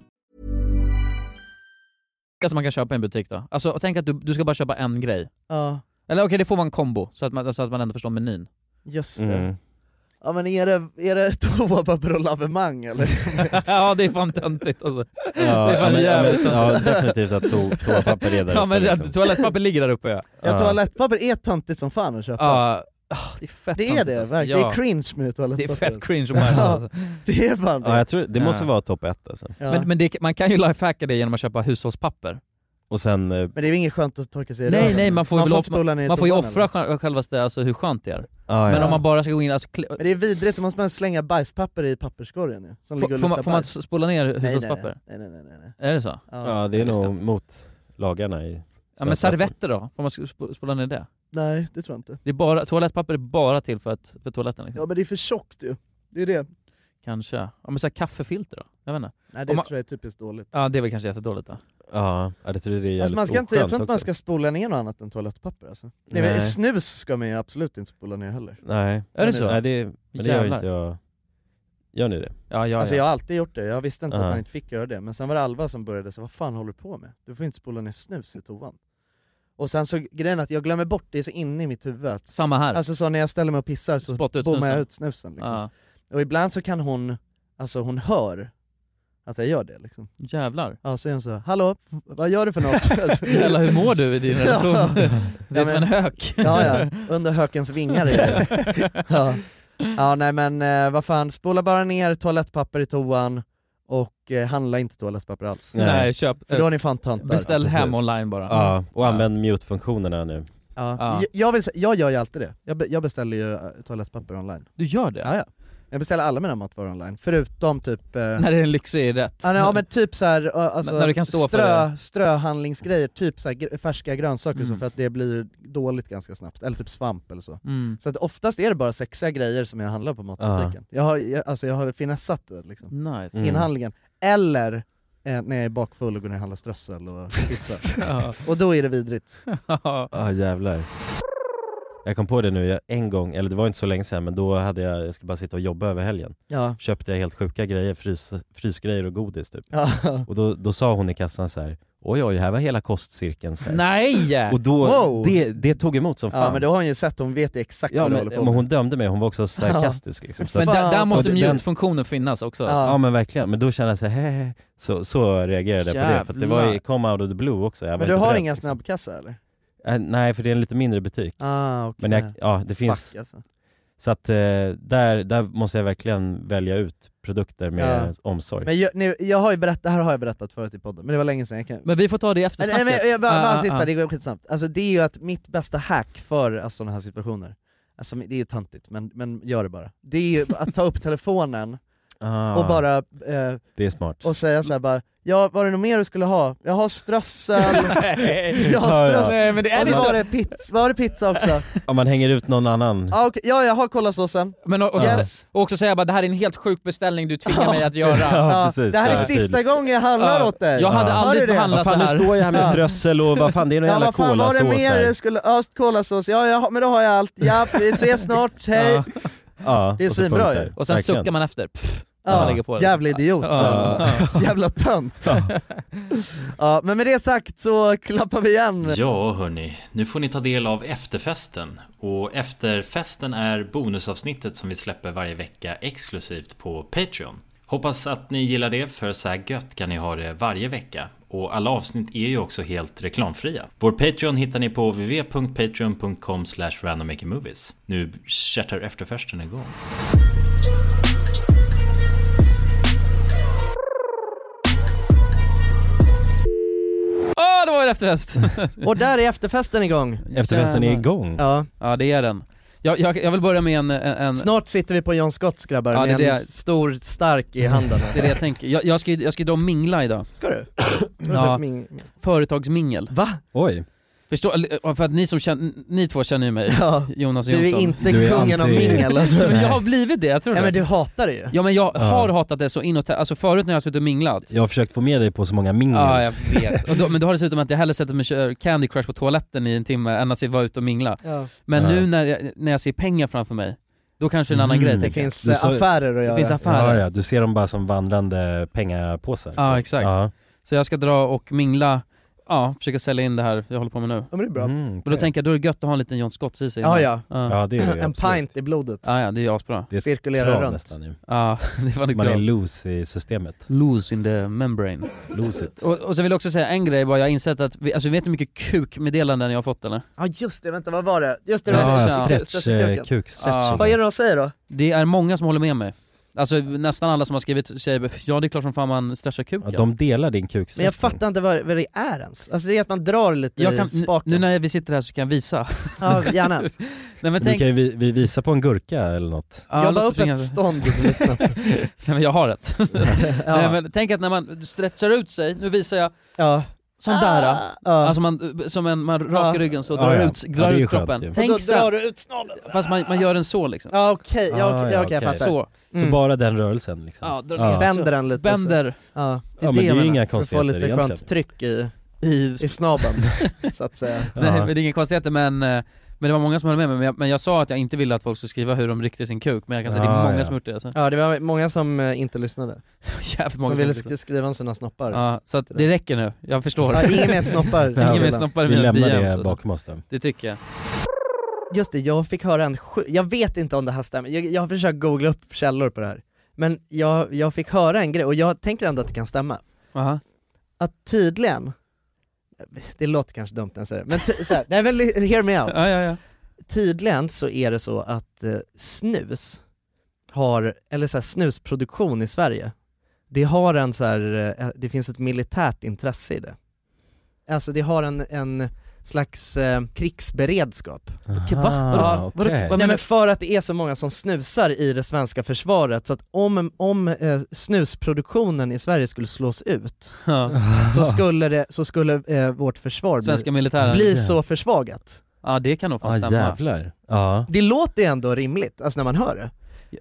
[SPEAKER 1] som man kan köpa i en butik då. Alltså tänk att du, du ska bara köpa en grej.
[SPEAKER 2] Ja.
[SPEAKER 1] Eller okej, det får vara en kombo, så att, man, så att man ändå förstår menyn.
[SPEAKER 2] Just
[SPEAKER 1] det.
[SPEAKER 2] Ja men är det, är det toapapper och lavemang eller?
[SPEAKER 1] ja det är fan töntigt alltså.
[SPEAKER 2] Ja,
[SPEAKER 1] det är
[SPEAKER 2] ja,
[SPEAKER 1] fan
[SPEAKER 2] men- ja,
[SPEAKER 1] jävligt
[SPEAKER 2] men- ja,
[SPEAKER 1] töntigt.
[SPEAKER 2] definitivt att to- toapapper är där
[SPEAKER 1] Ja
[SPEAKER 2] uppe,
[SPEAKER 1] men
[SPEAKER 2] liksom.
[SPEAKER 1] toalettpapper ligger där uppe ja.
[SPEAKER 2] Ja toalettpapper är töntigt som fan att köpa.
[SPEAKER 1] Ja. Ah, det är fett
[SPEAKER 2] det är
[SPEAKER 1] töntigt,
[SPEAKER 2] det
[SPEAKER 1] alltså.
[SPEAKER 2] verkligen, det
[SPEAKER 1] Ja.
[SPEAKER 2] är cringe med toalettpapper.
[SPEAKER 1] Det är fett cringe om man är alltså.
[SPEAKER 2] Det är fan det.
[SPEAKER 3] Ja, jag tror, det måste
[SPEAKER 1] Ja.
[SPEAKER 3] vara topp ett alltså.
[SPEAKER 2] Ja.
[SPEAKER 1] Men, men det, man kan ju lifehacka det genom att köpa hushållspapper.
[SPEAKER 3] Och sen... eh,
[SPEAKER 2] Men det är ju inget skönt att torka sig i
[SPEAKER 1] Nej
[SPEAKER 2] röven.
[SPEAKER 1] nej, man får, ju
[SPEAKER 2] man
[SPEAKER 1] väl
[SPEAKER 2] får,
[SPEAKER 1] offra-
[SPEAKER 2] inte spola ner i
[SPEAKER 1] man får ju
[SPEAKER 2] toan,
[SPEAKER 1] offra sj- självaste, alltså hur skönt det är.
[SPEAKER 3] Ja,
[SPEAKER 1] Men
[SPEAKER 3] ja.
[SPEAKER 1] om man bara ska gå in, alltså, kli-
[SPEAKER 2] Men det är vidrigt, då måste man slänga bajspapper i papperskorgen ju, som
[SPEAKER 1] Får-
[SPEAKER 2] ligger och
[SPEAKER 1] får man-
[SPEAKER 2] luktar
[SPEAKER 1] får man
[SPEAKER 2] bajs.
[SPEAKER 1] spola ner
[SPEAKER 2] Nej, nej,
[SPEAKER 1] hushållspapper?
[SPEAKER 2] Nej nej nej nej. nej.
[SPEAKER 1] är det så?
[SPEAKER 3] Ja, det är nog mot lagarna i...
[SPEAKER 1] Ja men servetter då? Får man sp- spola ner det?
[SPEAKER 2] Nej det tror jag inte.
[SPEAKER 1] det är bara, toalettpapper är bara till för, att, för toaletten liksom.
[SPEAKER 2] Ja men det är för tjockt ju, det är det.
[SPEAKER 1] Kanske. Ja men så här kaffefilter då? Jag vet inte.
[SPEAKER 2] Nej
[SPEAKER 1] Om
[SPEAKER 2] det
[SPEAKER 1] man,
[SPEAKER 2] tror jag är typiskt dåligt.
[SPEAKER 1] Ja det är väl kanske jättedåligt då.
[SPEAKER 3] Ja, ja, det tror jag det är jävligt
[SPEAKER 2] Alltså man ska inte, jag
[SPEAKER 3] oskönt
[SPEAKER 2] tror inte
[SPEAKER 3] också.
[SPEAKER 2] man ska spola ner något annat än toalettpapper alltså. Nej,
[SPEAKER 3] Nej.
[SPEAKER 2] men snus ska man ju absolut inte spola ner heller.
[SPEAKER 3] Nej.
[SPEAKER 1] Är det så?
[SPEAKER 3] Nej, det, men det gör
[SPEAKER 1] Jävlar.
[SPEAKER 3] inte jag. Gör ni det?
[SPEAKER 1] Ja, ja,
[SPEAKER 2] alltså
[SPEAKER 1] ja.
[SPEAKER 2] jag har alltid gjort det, jag visste inte
[SPEAKER 3] Ja.
[SPEAKER 2] att man inte fick göra det, men sen var det Alva som började säga vad fan håller du på med? Du får inte spola ner snus i toan. Och sen så grejen är att jag glömmer bort det så inne i mitt huvud att,
[SPEAKER 1] Samma här.
[SPEAKER 2] Alltså så när jag ställer mig och pissar så
[SPEAKER 1] Spotta ut
[SPEAKER 2] bommar jag
[SPEAKER 1] snusen.
[SPEAKER 2] ut snusen liksom.
[SPEAKER 1] Ja.
[SPEAKER 2] Och ibland så kan hon, alltså hon hör att jag gör det liksom.
[SPEAKER 1] Jävlar.
[SPEAKER 2] Ja så är hon så här, hallå, vad gör du för något? Alltså,
[SPEAKER 1] Jävlar, hur mår du i din relation? Det är som en hök.
[SPEAKER 2] ja, ja, under hökens vingar är det. ja. ja nej men eh, vad fan, spola bara ner toalettpapper i toan och eh, handla inte toalettpapper alls.
[SPEAKER 3] Nej. Nej, köp-
[SPEAKER 2] För då är ni fan töntar.
[SPEAKER 1] eh, Beställ
[SPEAKER 3] Precis.
[SPEAKER 1] hem online bara.
[SPEAKER 3] Ja, och använd mute-funktionerna nu.
[SPEAKER 2] Ja.
[SPEAKER 1] Ja.
[SPEAKER 2] Jag, jag, vill, sä- jag gör ju alltid det. Jag, be, jag beställer ju eh, toalettpapper online.
[SPEAKER 1] Du gör det?
[SPEAKER 2] Ja, ja. Jag beställer alla mina matvaror online, förutom typ... eh,
[SPEAKER 1] När det är en lyxig rätt.
[SPEAKER 2] Ja, nej, ja men typ såhär, eh, alltså,
[SPEAKER 1] När du kan stå för
[SPEAKER 2] strö,
[SPEAKER 1] det.
[SPEAKER 2] ströhandlingsgrejer, typ så här, gr- färska grönsaker och så
[SPEAKER 1] Mm.
[SPEAKER 2] för att det blir dåligt ganska snabbt, eller typ svamp eller så.
[SPEAKER 1] Mm.
[SPEAKER 2] Så att oftast är det bara sexiga grejer som jag handlar på matbutiken. Jag, har, jag, alltså, jag har finessat det liksom.
[SPEAKER 1] Nice.
[SPEAKER 2] Mm. Inhandlingen. Eller eh, när jag är bakfull och går ner och handlar strössel och pizza.
[SPEAKER 1] Ja.
[SPEAKER 2] Och då är det vidrigt.
[SPEAKER 1] Ja
[SPEAKER 3] ah, jävlar. Jag kom på det nu, jag, en gång, eller det var inte så länge sedan men då hade jag, jag skulle bara sitta och jobba över helgen.
[SPEAKER 2] Ja.
[SPEAKER 3] Köpte jag helt sjuka grejer, frys, frysgrejer och godis typ.
[SPEAKER 2] Ja.
[SPEAKER 3] Och då, då sa hon i kassan så här. Oj oj, här var hela kostcirkeln så här.
[SPEAKER 1] Nej!
[SPEAKER 3] Och då,
[SPEAKER 2] Äh, Wow!
[SPEAKER 3] det, det tog emot som fan.
[SPEAKER 2] Ja men då har hon ju sett, hon vet ju exakt
[SPEAKER 3] Ja,
[SPEAKER 2] vad du
[SPEAKER 3] men,
[SPEAKER 2] håller på
[SPEAKER 3] men hon dömde mig, hon var också sarkastisk liksom. Så
[SPEAKER 1] Men
[SPEAKER 3] att-
[SPEAKER 1] där, där måste
[SPEAKER 3] och den-
[SPEAKER 1] mute-funktionen finnas också.
[SPEAKER 3] Ja. men verkligen, men då kände jag såhär så, så reagerade jag på det för att det var
[SPEAKER 1] Jävlar.
[SPEAKER 3] ju, kom out of the blue också jag var
[SPEAKER 2] Men du
[SPEAKER 3] inte
[SPEAKER 2] har
[SPEAKER 3] beredd.
[SPEAKER 2] inga snabbkassa eller?
[SPEAKER 3] Eh, Nej för det är en lite mindre butik
[SPEAKER 2] Ah, okej.
[SPEAKER 3] Men jag, ja det finns
[SPEAKER 2] Fuck, alltså.
[SPEAKER 3] Så att eh, där, där måste jag verkligen välja ut produkter med
[SPEAKER 2] Ja.
[SPEAKER 3] omsorg
[SPEAKER 2] Men jag, nu, jag har ju berättat, det här har jag berättat förut i podden, men det var länge sedan jag kan...
[SPEAKER 1] Men vi får ta det efter
[SPEAKER 2] Nej, nej, men jag, bara,
[SPEAKER 1] Ah,
[SPEAKER 2] bara
[SPEAKER 1] ah,
[SPEAKER 2] en sista,
[SPEAKER 1] ah.
[SPEAKER 2] det går skitsnabbt. Alltså det är ju att mitt bästa hack för alltså, sådana här situationer, alltså det är ju töntigt men, men gör det bara. Det är ju att ta upp telefonen
[SPEAKER 3] Ah,
[SPEAKER 2] och bara eh,
[SPEAKER 3] Det är smart
[SPEAKER 2] och säga såhär bara Ja, var det något mer du skulle ha? Jag har strössel, jag har
[SPEAKER 3] Ja, ja.
[SPEAKER 2] strössel,
[SPEAKER 3] Nej, men det är
[SPEAKER 2] och
[SPEAKER 3] det
[SPEAKER 2] så
[SPEAKER 3] så-
[SPEAKER 2] var det pizza, var det pizza också?
[SPEAKER 3] Om man hänger ut någon annan
[SPEAKER 2] Ja, okej, ja jag har kolasåsen.
[SPEAKER 1] Men och, och,
[SPEAKER 2] Yes.
[SPEAKER 1] och också säga bara det här är en helt sjuk beställning du tvingar mig att göra.
[SPEAKER 3] Ja, precis.
[SPEAKER 2] Det här är
[SPEAKER 3] Ja,
[SPEAKER 2] sista
[SPEAKER 3] tydligt.
[SPEAKER 2] gången jag handlar
[SPEAKER 1] Ja.
[SPEAKER 2] åt dig.
[SPEAKER 1] Jag hade
[SPEAKER 2] Hör
[SPEAKER 1] aldrig
[SPEAKER 2] du det?
[SPEAKER 1] handlat
[SPEAKER 3] Vad fan nu står jag här med
[SPEAKER 2] Ja.
[SPEAKER 3] strössel och vad fan det är någon
[SPEAKER 2] Ja,
[SPEAKER 3] jävla
[SPEAKER 2] vad fan var
[SPEAKER 3] kolasås
[SPEAKER 2] det mer
[SPEAKER 3] här
[SPEAKER 2] du skulle, ja kolasås, ja, ja men då har jag allt, ja vi ses snart, hej!
[SPEAKER 3] Ja. Ja,
[SPEAKER 2] Det är
[SPEAKER 3] och så
[SPEAKER 2] svinbra
[SPEAKER 3] punkter.
[SPEAKER 2] ju.
[SPEAKER 1] Och sen
[SPEAKER 3] Verkligen.
[SPEAKER 1] suckar man efter. Pff, när man lägger på
[SPEAKER 2] Ja,
[SPEAKER 1] det.
[SPEAKER 2] jävla idiot
[SPEAKER 1] Ja.
[SPEAKER 2] så.
[SPEAKER 1] Ja.
[SPEAKER 2] Jävla tönt. Ja, men med det sagt så klappar vi igen.
[SPEAKER 11] Ja hörni, nu får ni ta del av efterfesten. Och efterfesten är bonusavsnittet som vi släpper varje vecka exklusivt på Patreon. Hoppas att ni gillar det för så här gött kan ni ha det varje vecka. Och alla avsnitt är ju också helt reklamfria. Vår Patreon hittar ni på www.patreon.com randommakingmovies. Nu chattar efterfesten igång.
[SPEAKER 1] Åh, det var en efterfest!
[SPEAKER 2] Och där är efterfesten igång.
[SPEAKER 3] Efterfesten är igång.
[SPEAKER 2] Ja.
[SPEAKER 1] ja, det är den. Jag, jag, jag vill börja med en... en, en
[SPEAKER 2] Snart sitter vi på John Scotts grabbar
[SPEAKER 1] Ja, det är
[SPEAKER 2] med
[SPEAKER 1] det
[SPEAKER 2] en
[SPEAKER 1] jag-
[SPEAKER 2] stor stark i handen alltså.
[SPEAKER 1] Det är det jag tänker. Jag, jag ska ju jag ska ju dra och mingla idag.
[SPEAKER 2] Ska du?
[SPEAKER 1] Ja,
[SPEAKER 2] Ming-
[SPEAKER 1] företagsmingel.
[SPEAKER 2] Va?
[SPEAKER 1] Oj. Förstå, eller, eh, för att ni som känner, ni två känner ju mig,
[SPEAKER 2] Ja.
[SPEAKER 1] Jonas
[SPEAKER 2] Du är
[SPEAKER 1] Jonsson.
[SPEAKER 2] inte Du är kungen av anti- mingel, alltså.
[SPEAKER 1] men jag har blivit det, jag tror
[SPEAKER 2] Ja
[SPEAKER 1] det.
[SPEAKER 2] men du hatar det ju
[SPEAKER 1] Ja men jag
[SPEAKER 2] Ja.
[SPEAKER 1] har hatat det så inåt, alltså förut när jag har suttit och minglat.
[SPEAKER 3] Jag har försökt få med dig på så många
[SPEAKER 2] Mm.
[SPEAKER 3] mingel.
[SPEAKER 1] Ja jag vet. Och då, men då har det sett ut som att jag hellre sätter mig och kör Candy Crush på toaletten i en timme än att vara ute och mingla.
[SPEAKER 2] Ja.
[SPEAKER 1] Men
[SPEAKER 3] Ja.
[SPEAKER 1] nu när jag, när jag ser pengar framför mig, då kanske det är en annan
[SPEAKER 3] Mm.
[SPEAKER 1] grej tänker jag.
[SPEAKER 3] Du sa-
[SPEAKER 1] Det finns affärer.
[SPEAKER 3] Ja, ja, du ser dem bara som vandrande pengapåsar.
[SPEAKER 1] Ja, exakt. Så jag ska dra och mingla, ja, försöka sälja in det här jag håller på med nu.
[SPEAKER 2] Ja men det är bra. Mm,
[SPEAKER 1] Och då
[SPEAKER 2] okej.
[SPEAKER 1] tänker jag, då är det gött att ha en liten John Scotts i sig.
[SPEAKER 2] Ja, ja.
[SPEAKER 3] Ja, det är det ju,
[SPEAKER 2] En pint i blodet
[SPEAKER 1] Ja, ja, det är ju asbra.
[SPEAKER 3] Det är ett
[SPEAKER 2] Cirkulerar
[SPEAKER 3] krav
[SPEAKER 2] runt.
[SPEAKER 3] nästan ju.
[SPEAKER 1] Ja, det är fan ett
[SPEAKER 3] Man är
[SPEAKER 1] krav.
[SPEAKER 3] loose i systemet.
[SPEAKER 1] Loose in the membrane.
[SPEAKER 3] Lose it.
[SPEAKER 1] Och, och sen vill jag också säga en grej bara, jag har insett att, vi, alltså vet du hur mycket kukmeddelanden jag har fått eller?
[SPEAKER 2] Ja just det, vänta vad var det? Just det,
[SPEAKER 1] Ja,
[SPEAKER 2] det var det.
[SPEAKER 1] stretch,
[SPEAKER 2] Stretchkuken.
[SPEAKER 1] eh, kukstretching.
[SPEAKER 2] Ja. Vad är det de säger då?
[SPEAKER 1] Det är många som håller med mig. Alltså nästan alla som har skrivit säger ja det är klart som fan man stretchar kuken.
[SPEAKER 3] Ja, de delar din
[SPEAKER 2] Men jag
[SPEAKER 3] kuksträckning.
[SPEAKER 2] fattar inte vad, vad det är ens, alltså det är att man drar lite
[SPEAKER 1] jag
[SPEAKER 2] i
[SPEAKER 1] kan, nu-
[SPEAKER 2] spak
[SPEAKER 1] nu när vi sitter här så kan jag visa.
[SPEAKER 2] Ja, gärna.
[SPEAKER 1] Nej men
[SPEAKER 3] Du
[SPEAKER 1] tänk,
[SPEAKER 3] kan ju vi, vi visa på en gurka eller något.
[SPEAKER 1] Ja,
[SPEAKER 2] Jobba
[SPEAKER 1] låt
[SPEAKER 2] upp ett
[SPEAKER 1] oss ringa-
[SPEAKER 2] stånd lite snabbt.
[SPEAKER 1] Nej men jag har ett. Nej,
[SPEAKER 2] Ja.
[SPEAKER 1] men tänk att när man stretchar ut sig, nu visar jag,
[SPEAKER 2] Ja. Ah.
[SPEAKER 1] sån där.
[SPEAKER 2] Ja.
[SPEAKER 1] Alltså man, som en, man rakar ryggen så
[SPEAKER 2] Ja,
[SPEAKER 1] drar
[SPEAKER 2] Ah. ja.
[SPEAKER 1] ut,
[SPEAKER 2] Ja, det
[SPEAKER 1] drar
[SPEAKER 2] är ju
[SPEAKER 1] ut
[SPEAKER 2] skönt
[SPEAKER 1] kroppen.
[SPEAKER 2] ju. Och
[SPEAKER 1] Tänk
[SPEAKER 2] då
[SPEAKER 1] så här-
[SPEAKER 2] drar du ut snabelen.
[SPEAKER 1] Fast man, man gör en så liksom.
[SPEAKER 2] Ja okej,
[SPEAKER 1] Ah,
[SPEAKER 2] ja, okej,
[SPEAKER 1] ja,
[SPEAKER 2] ja, okej, jag
[SPEAKER 1] okej.
[SPEAKER 2] fattar.
[SPEAKER 1] Så.
[SPEAKER 3] Så
[SPEAKER 2] Mm.
[SPEAKER 3] bara den rörelsen liksom.
[SPEAKER 1] Ja, dra
[SPEAKER 2] ner. Bänder den lite
[SPEAKER 1] Bänder.
[SPEAKER 2] så.
[SPEAKER 1] Det
[SPEAKER 2] Ja.
[SPEAKER 1] är
[SPEAKER 3] Ja, men det
[SPEAKER 1] jag
[SPEAKER 3] är ju
[SPEAKER 1] menar.
[SPEAKER 3] inga
[SPEAKER 2] För att få
[SPEAKER 3] konstigheter
[SPEAKER 2] lite
[SPEAKER 3] egentligen.
[SPEAKER 2] skönt tryck i, i, snabeln, så att säga.
[SPEAKER 1] Nej
[SPEAKER 3] Ja.
[SPEAKER 1] men det är inga konstigheter men, eh, men det var många som höll med mig, men jag, men jag sa att jag inte ville att folk skulle skriva hur de riktar sin kuk, men jag kan säga att det
[SPEAKER 2] Ah,
[SPEAKER 1] är många
[SPEAKER 2] ja.
[SPEAKER 1] som gjort det alltså.
[SPEAKER 2] Ja det var många som eh, inte lyssnade.
[SPEAKER 1] Jävligt många
[SPEAKER 2] Som ville
[SPEAKER 1] som
[SPEAKER 2] sk- skriva om sina snoppar.
[SPEAKER 1] Ja, så att det räcker nu, jag förstår.
[SPEAKER 2] Ja, inga mer snoppar.
[SPEAKER 1] Ingen mer snoppar i
[SPEAKER 3] Vi
[SPEAKER 1] mina
[SPEAKER 3] lämnar det
[SPEAKER 1] DMs, alltså.
[SPEAKER 3] bakom oss då.
[SPEAKER 1] Det tycker jag.
[SPEAKER 2] Just det, jag fick höra en sjuk, jag vet inte om det här stämmer, jag, jag har försökt googla upp källor på det här. Men jag, jag fick höra en grej, och jag tänker ändå att det kan stämma. Att tydligen, det låter kanske dumt när jag säger det, men ty, så här, nej men li- hear me out.
[SPEAKER 1] Ja, ja, ja.
[SPEAKER 2] Tydligen så är det så att eh, snus har, eller så här, snusproduktion i Sverige, det har en så här, eh, det finns ett militärt intresse i det. Alltså det har en, en slags eh, krigsberedskap.
[SPEAKER 1] Okej, va?
[SPEAKER 3] Ah,
[SPEAKER 1] Vadå?
[SPEAKER 2] Ja,
[SPEAKER 1] Vadå? Vad menar
[SPEAKER 2] Ah,
[SPEAKER 1] du?
[SPEAKER 2] Nej, men för att det är så många som snusar i det svenska försvaret, så att om, om eh, snusproduktionen i Sverige skulle slås ut,
[SPEAKER 1] Ja.
[SPEAKER 2] så skulle, det, så skulle eh, vårt försvar
[SPEAKER 1] Svenska
[SPEAKER 2] bli,
[SPEAKER 1] militären.
[SPEAKER 2] bli så försvagat.
[SPEAKER 1] Ja det kan nog fan
[SPEAKER 3] Ah,
[SPEAKER 2] Ja,
[SPEAKER 1] stämma.
[SPEAKER 2] jävlar.
[SPEAKER 3] Ja.
[SPEAKER 2] Det låter ju ändå rimligt, alltså när man hör det.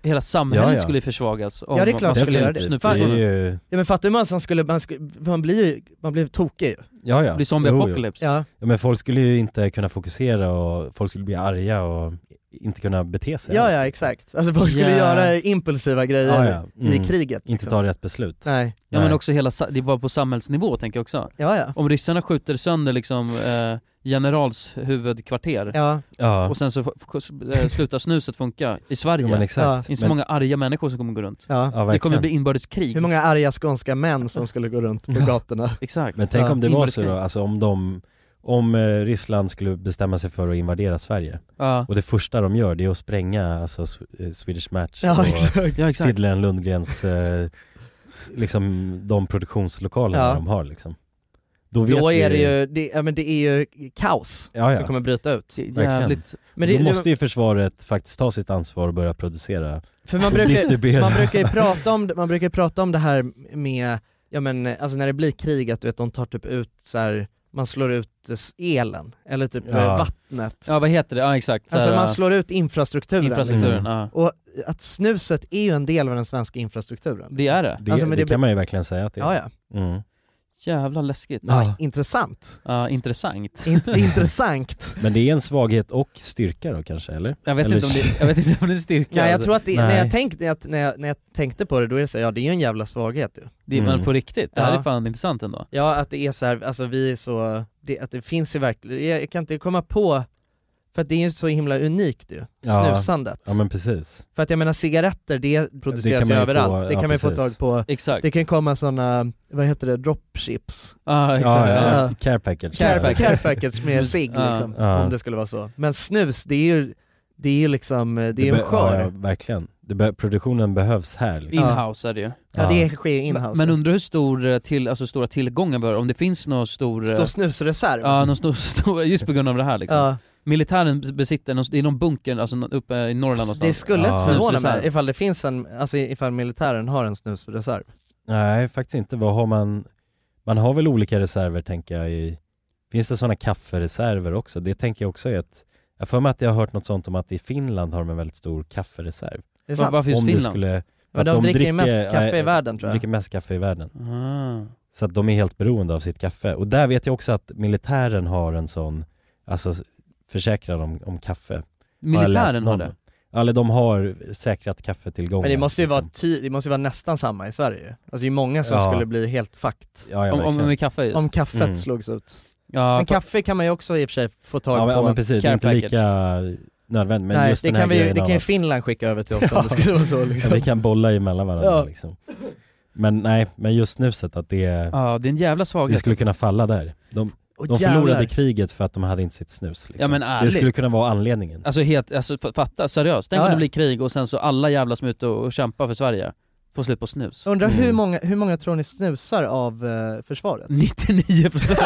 [SPEAKER 1] Hela samhället
[SPEAKER 2] Ja, ja.
[SPEAKER 1] skulle ju försvagas om
[SPEAKER 2] ja det är klart
[SPEAKER 1] man
[SPEAKER 2] det skulle göra
[SPEAKER 1] skulle
[SPEAKER 2] det.
[SPEAKER 1] snuppa
[SPEAKER 2] Fan.
[SPEAKER 3] ju-
[SPEAKER 2] Ja men fattar du hur många som skulle, man, skulle, man blir ju, man blir tokig ju.
[SPEAKER 3] Ja, ja.
[SPEAKER 1] Det blir zombie
[SPEAKER 3] Jo, jo.
[SPEAKER 1] apocalypse.
[SPEAKER 2] Ja.
[SPEAKER 3] Ja, men folk skulle ju inte kunna fokusera och folk skulle bli arga och inte kunna bete sig.
[SPEAKER 2] Ja
[SPEAKER 3] alls.
[SPEAKER 2] ja exakt, alltså folk skulle
[SPEAKER 1] Ja.
[SPEAKER 2] göra impulsiva grejer
[SPEAKER 3] Ja, ja. Mm.
[SPEAKER 2] i kriget. liksom.
[SPEAKER 3] Inte ta rätt beslut.
[SPEAKER 2] Nej.
[SPEAKER 1] Ja men också hela, sa- det är bara på samhällsnivå tänker jag också.
[SPEAKER 2] Ja, ja.
[SPEAKER 1] Om ryssarna skjuter sönder liksom eh, generals huvudkvarter
[SPEAKER 2] Ja.
[SPEAKER 3] Ja.
[SPEAKER 1] och sen så f- f- eh, slutar snuset funka i Sverige.
[SPEAKER 3] Ja, men exakt.
[SPEAKER 1] Det finns så
[SPEAKER 3] Men-
[SPEAKER 1] många arga människor som kommer gå runt.
[SPEAKER 2] Ja.
[SPEAKER 3] Ja,
[SPEAKER 1] det kommer
[SPEAKER 3] verkligen.
[SPEAKER 1] bli inbördeskrig.
[SPEAKER 2] Hur många arga skånska män som skulle gå runt på gatorna.
[SPEAKER 1] Exakt.
[SPEAKER 3] Men tänk
[SPEAKER 2] Ja.
[SPEAKER 3] om det var så då,
[SPEAKER 2] Inbördeskrig.
[SPEAKER 3] alltså om de, om eh, Ryssland skulle bestämma sig för att invadera Sverige
[SPEAKER 1] Ja.
[SPEAKER 3] och det första de gör det är att spränga alltså S- eh, Swedish Match
[SPEAKER 2] Ja,
[SPEAKER 3] och
[SPEAKER 2] exakt. Ja, exakt.
[SPEAKER 3] Fiddlaren Lundgrens, eh, liksom de produktionslokalerna
[SPEAKER 2] Ja.
[SPEAKER 3] de har liksom.
[SPEAKER 2] Då,
[SPEAKER 3] vet vi-
[SPEAKER 2] är det ju, det, ja, men det är ju kaos
[SPEAKER 3] Ja, ja.
[SPEAKER 2] som kommer bryta ut.
[SPEAKER 3] Verkligen.
[SPEAKER 2] Men det,
[SPEAKER 3] Då måste ju försvaret faktiskt ta sitt ansvar och börja producera
[SPEAKER 2] För man
[SPEAKER 3] och
[SPEAKER 2] brukar,
[SPEAKER 3] distribuera.
[SPEAKER 2] man brukar ju prata om, det- man brukar ju prata om det här med, ja men alltså när det blir krig att du vet de tar typ ut så här man slår ut eh, elen, eller typ
[SPEAKER 1] Ja.
[SPEAKER 2] eh, vattnet.
[SPEAKER 1] Ja vad heter det? Ja exakt. Så
[SPEAKER 2] Alltså
[SPEAKER 1] här,
[SPEAKER 2] man
[SPEAKER 1] äh,
[SPEAKER 2] slår ut infrastrukturen.
[SPEAKER 1] Infrastrukturen,
[SPEAKER 2] liksom.
[SPEAKER 1] ja.
[SPEAKER 2] Och att snuset är ju en del av den svenska infrastrukturen.
[SPEAKER 1] Det är det.
[SPEAKER 3] Det, det, kan man ju verkligen säga att det är.
[SPEAKER 2] alltså, Ja, ja.
[SPEAKER 3] Mm.
[SPEAKER 1] Jävla läskigt.
[SPEAKER 3] Ja, Ja.
[SPEAKER 2] Intressant.
[SPEAKER 1] Ja, intressant.
[SPEAKER 2] intressant.
[SPEAKER 3] Men det är en svaghet och styrka då kanske, eller?
[SPEAKER 1] Jag vet
[SPEAKER 3] eller...
[SPEAKER 1] inte om det- jag vet inte om det är styrka,
[SPEAKER 2] Ja, jag
[SPEAKER 1] alltså.
[SPEAKER 2] tror att det,
[SPEAKER 3] Nej.
[SPEAKER 2] när, jag tänkte, när, jag, när, jag, när jag tänkte på det, då är det så här, ja det är ju en jävla svaghet ju.
[SPEAKER 1] Det är men
[SPEAKER 3] Mm.
[SPEAKER 1] på riktigt, det här
[SPEAKER 2] Ja.
[SPEAKER 1] är fan intressant ändå.
[SPEAKER 2] Ja, att det är så här, alltså vi är så, det, att det finns ju verkligen, jag, jag kan inte komma på, för att det är ju så himla unikt ju,
[SPEAKER 3] Ja.
[SPEAKER 2] snusandet.
[SPEAKER 3] Ja men precis.
[SPEAKER 2] För att jag menar cigaretter, det produceras
[SPEAKER 3] kan
[SPEAKER 2] ju
[SPEAKER 3] man ju
[SPEAKER 2] överallt,
[SPEAKER 3] få-
[SPEAKER 2] det
[SPEAKER 3] ja,
[SPEAKER 2] kan man ju få
[SPEAKER 3] precis.
[SPEAKER 2] tag på.
[SPEAKER 1] Exakt.
[SPEAKER 2] Det kan komma sådana, vad heter det, dropships?
[SPEAKER 1] Ja,
[SPEAKER 3] exakt. Ja, ja. Care package.
[SPEAKER 2] Care,
[SPEAKER 3] Care package.
[SPEAKER 2] care package med cigg
[SPEAKER 3] Ja.
[SPEAKER 2] liksom,
[SPEAKER 3] Ja.
[SPEAKER 2] om det skulle vara så. Men snus, det är ju, det är ju liksom, det är ju
[SPEAKER 3] be-
[SPEAKER 2] en skör.
[SPEAKER 3] Ja, verkligen. Det be- produktionen behövs här liksom.
[SPEAKER 1] Inhouse är det ju.
[SPEAKER 2] Ja, det sker ju inhouse,
[SPEAKER 1] Men- Men
[SPEAKER 2] ja.
[SPEAKER 1] undrar hur stor, eh, till, alltså, stora tillgångar vi har, om det finns någon stor... eh,
[SPEAKER 2] Stor snusreserv.
[SPEAKER 1] Ja, någon stor, stor, just på grund av det här liksom.
[SPEAKER 2] Ja.
[SPEAKER 1] militären besitter, någon, det är någon bunker alltså, nå- uppe i Norrland någonstans.
[SPEAKER 2] Det skulle inte
[SPEAKER 1] Ja.
[SPEAKER 2] förvåna
[SPEAKER 1] Snusreserv.
[SPEAKER 2] mig ifall det finns en, alltså ifall militären har en snusreserv.
[SPEAKER 3] Nej, faktiskt inte. Vad har man? Man har väl olika reserver tänker jag i... Finns det sådana kaffereserver också? Det tänker jag också är ett... Jag har för mig att jag har hört något sånt om att i Finland har de en väldigt stor kaffereserv.
[SPEAKER 2] det sant? Varför just
[SPEAKER 3] Om det
[SPEAKER 2] Finland?
[SPEAKER 3] Skulle,
[SPEAKER 2] Men
[SPEAKER 3] för att
[SPEAKER 2] de dricker ju mest
[SPEAKER 3] ja,
[SPEAKER 2] kaffe i världen, tror jag.
[SPEAKER 3] dricker mest kaffe i världen.
[SPEAKER 1] Ah.
[SPEAKER 3] Så att de är helt beroende av sitt kaffe. Och där vet jag också att militären har en sån, alltså försäkran om, om kaffe. Har jag
[SPEAKER 2] Militären
[SPEAKER 3] läst
[SPEAKER 2] har
[SPEAKER 3] någon-
[SPEAKER 2] det?
[SPEAKER 3] Ja, Eller de har säkrat liksom. kaffetillgången.
[SPEAKER 2] Men det måste ju vara, ty- det måste ju vara nästan samma i Sverige ju. Alltså det är många som
[SPEAKER 3] Ja.
[SPEAKER 2] skulle bli helt fakt
[SPEAKER 3] Ja, ja, Om- om- verkligen. med kaffe just.
[SPEAKER 2] Om kaffet
[SPEAKER 3] Mm.
[SPEAKER 2] slogs ut.
[SPEAKER 1] Ja,
[SPEAKER 2] men
[SPEAKER 1] för-
[SPEAKER 2] kaffe kan man ju också i och för sig få tag
[SPEAKER 3] ja, men,
[SPEAKER 2] på.
[SPEAKER 3] ja, men precis, det är inte
[SPEAKER 2] Care
[SPEAKER 3] lika nödvändigt. Men
[SPEAKER 2] Nej,
[SPEAKER 3] just
[SPEAKER 2] det
[SPEAKER 3] den här
[SPEAKER 2] kan vi ju-
[SPEAKER 3] grejen
[SPEAKER 2] det
[SPEAKER 3] av
[SPEAKER 2] kan ju
[SPEAKER 3] att-
[SPEAKER 2] Finland skicka över till oss om det skulle vara så, liksom.
[SPEAKER 3] Ja, vi kan bolla emellan varandra
[SPEAKER 2] Ja.
[SPEAKER 3] liksom. Men nej, men just snuset att det är...
[SPEAKER 1] Ja, det är en jävla svaghet.
[SPEAKER 3] Det skulle kunna falla där. De,
[SPEAKER 1] Åh,
[SPEAKER 3] de förlorade
[SPEAKER 1] jävlar.
[SPEAKER 3] kriget för att de hade inte sitt snus. Liksom.
[SPEAKER 1] Ja, men
[SPEAKER 3] det
[SPEAKER 1] ärligt.
[SPEAKER 3] skulle kunna vara anledningen.
[SPEAKER 1] Alltså, helt, alltså f- fatta, seriöst. Tänk
[SPEAKER 2] Ja,
[SPEAKER 1] om
[SPEAKER 2] ja.
[SPEAKER 1] det blir krig och sen så alla jävla som är ute och, och kämpar för Sverige får slut på snus.
[SPEAKER 2] Undrar
[SPEAKER 3] Mm.
[SPEAKER 2] hur, många, hur många tror ni snusar av eh, försvaret?
[SPEAKER 1] 99 procent!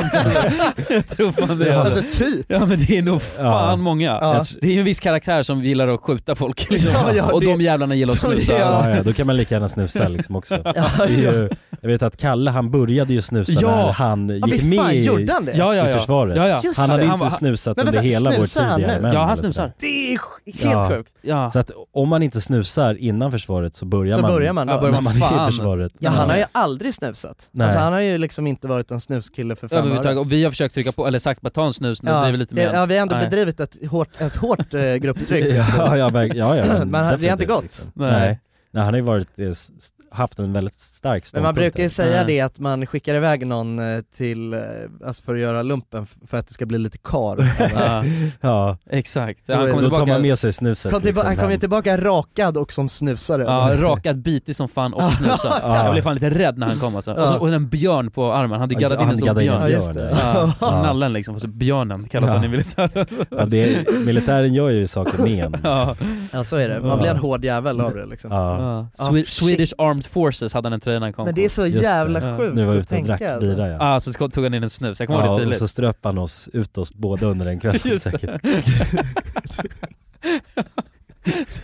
[SPEAKER 1] jag tror fan det.
[SPEAKER 2] Alltså typ!
[SPEAKER 1] Ja men det är nog fan
[SPEAKER 2] Ja.
[SPEAKER 1] många.
[SPEAKER 2] Ja.
[SPEAKER 1] Jag tr- Det är ju en viss karaktär som gillar att skjuta folk liksom.
[SPEAKER 2] Ja, ja,
[SPEAKER 1] och
[SPEAKER 2] det-
[SPEAKER 1] de jävlarna gillar att
[SPEAKER 2] de
[SPEAKER 1] snusa.
[SPEAKER 3] Ja, ja, då kan man lika gärna snusa liksom också. det är ju, jag vet att Kalle han började ju snusa
[SPEAKER 1] Ja.
[SPEAKER 3] när han
[SPEAKER 1] Ja,
[SPEAKER 3] gick
[SPEAKER 1] visst
[SPEAKER 3] med
[SPEAKER 1] fan
[SPEAKER 3] i,
[SPEAKER 1] gjorde han det?
[SPEAKER 3] i
[SPEAKER 1] Ja, ja, ja.
[SPEAKER 3] försvaret.
[SPEAKER 1] Ja, ja. Just
[SPEAKER 3] Han
[SPEAKER 1] det.
[SPEAKER 3] hade
[SPEAKER 1] Han
[SPEAKER 3] inte
[SPEAKER 1] var-
[SPEAKER 3] snusat
[SPEAKER 1] Men
[SPEAKER 3] under
[SPEAKER 1] vänta,
[SPEAKER 3] hela vår tid
[SPEAKER 1] snusar han
[SPEAKER 3] i
[SPEAKER 1] nu?
[SPEAKER 3] RMM
[SPEAKER 1] Ja, han
[SPEAKER 3] eller sådär.
[SPEAKER 1] snusar.
[SPEAKER 2] Det är sj- helt
[SPEAKER 3] Ja.
[SPEAKER 2] sjukt.
[SPEAKER 1] Ja.
[SPEAKER 3] Så att om man inte snusar innan försvaret så börjar
[SPEAKER 2] Så
[SPEAKER 3] man,
[SPEAKER 2] börjar man då.
[SPEAKER 3] när
[SPEAKER 2] Ja, börjar man
[SPEAKER 3] är
[SPEAKER 2] fan.
[SPEAKER 3] i försvaret.
[SPEAKER 2] Ja, han har ju aldrig snusat.
[SPEAKER 3] Nej.
[SPEAKER 2] Alltså han har ju liksom inte varit en snuskille för fem
[SPEAKER 1] Överhuvudtaget.
[SPEAKER 2] öre.
[SPEAKER 1] Och vi har försökt trycka på, eller sagt bara ta en snus nu,
[SPEAKER 2] Ja,
[SPEAKER 1] driver lite
[SPEAKER 2] det-
[SPEAKER 1] mer.
[SPEAKER 2] ja, vi har ändå
[SPEAKER 1] Nej.
[SPEAKER 2] bedrivit ett hårt, ett hårt eh, grupptryck.
[SPEAKER 3] ja, ja, verk- ja, ja,
[SPEAKER 2] Men han- det har inte
[SPEAKER 3] definitivt,
[SPEAKER 2] gått.
[SPEAKER 3] liksom.
[SPEAKER 2] Nej.
[SPEAKER 3] Nej. Nej, han har ju varit, eh, s- haft en väldigt stark
[SPEAKER 2] Men
[SPEAKER 3] ståndpunkt.
[SPEAKER 2] man brukar ju
[SPEAKER 3] där.
[SPEAKER 2] säga det att man skickar iväg någon eh, till, eh, alltså för att göra lumpen f- för att det ska bli lite kar.
[SPEAKER 1] Ja.
[SPEAKER 3] Ja.
[SPEAKER 1] Exakt.
[SPEAKER 3] Då, då
[SPEAKER 1] kommer
[SPEAKER 3] tar
[SPEAKER 1] tillbaka-
[SPEAKER 3] man med sig snuset.
[SPEAKER 2] Kom tillba-
[SPEAKER 3] liksom,
[SPEAKER 2] han kom ju
[SPEAKER 3] hem.
[SPEAKER 2] tillbaka rakad och som snusare.
[SPEAKER 1] Ja, rakat, bitig som fan och snusad.
[SPEAKER 2] Ja.
[SPEAKER 1] Jag blev fan lite rädd när han kom alltså. Och, så,
[SPEAKER 2] Ja.
[SPEAKER 1] och en björn på armen, han hade
[SPEAKER 3] Ja,
[SPEAKER 1] gaddat in
[SPEAKER 3] han
[SPEAKER 1] en stor
[SPEAKER 3] gaddade in en
[SPEAKER 1] björn.
[SPEAKER 3] björn, Ja, just det.
[SPEAKER 1] Ja.
[SPEAKER 3] ja.
[SPEAKER 1] Nallen liksom, och så björnen kallas
[SPEAKER 3] Ja.
[SPEAKER 1] han i militären.
[SPEAKER 3] Ja, det är, militären gör ju saker med en.
[SPEAKER 1] Ja.
[SPEAKER 2] Ja så är det, man blir en hård jävel av det liksom.
[SPEAKER 3] Ja.
[SPEAKER 1] Ja. Swe- Swedish Armed Forces hade han en tröja när han kom.
[SPEAKER 2] Men det är så
[SPEAKER 3] Just det.
[SPEAKER 2] jävla
[SPEAKER 1] Ja.
[SPEAKER 2] sjukt
[SPEAKER 3] Nu var
[SPEAKER 2] att
[SPEAKER 3] ute och
[SPEAKER 2] tänka, alltså.
[SPEAKER 3] drack bira ja.
[SPEAKER 1] Ja, så sko- tog han in en snus, jag kommer ihåg
[SPEAKER 3] ja
[SPEAKER 1] det
[SPEAKER 3] och
[SPEAKER 1] tydligt.
[SPEAKER 3] så ströp han oss, ut oss båda under en kväll
[SPEAKER 1] Just det.
[SPEAKER 3] säkert.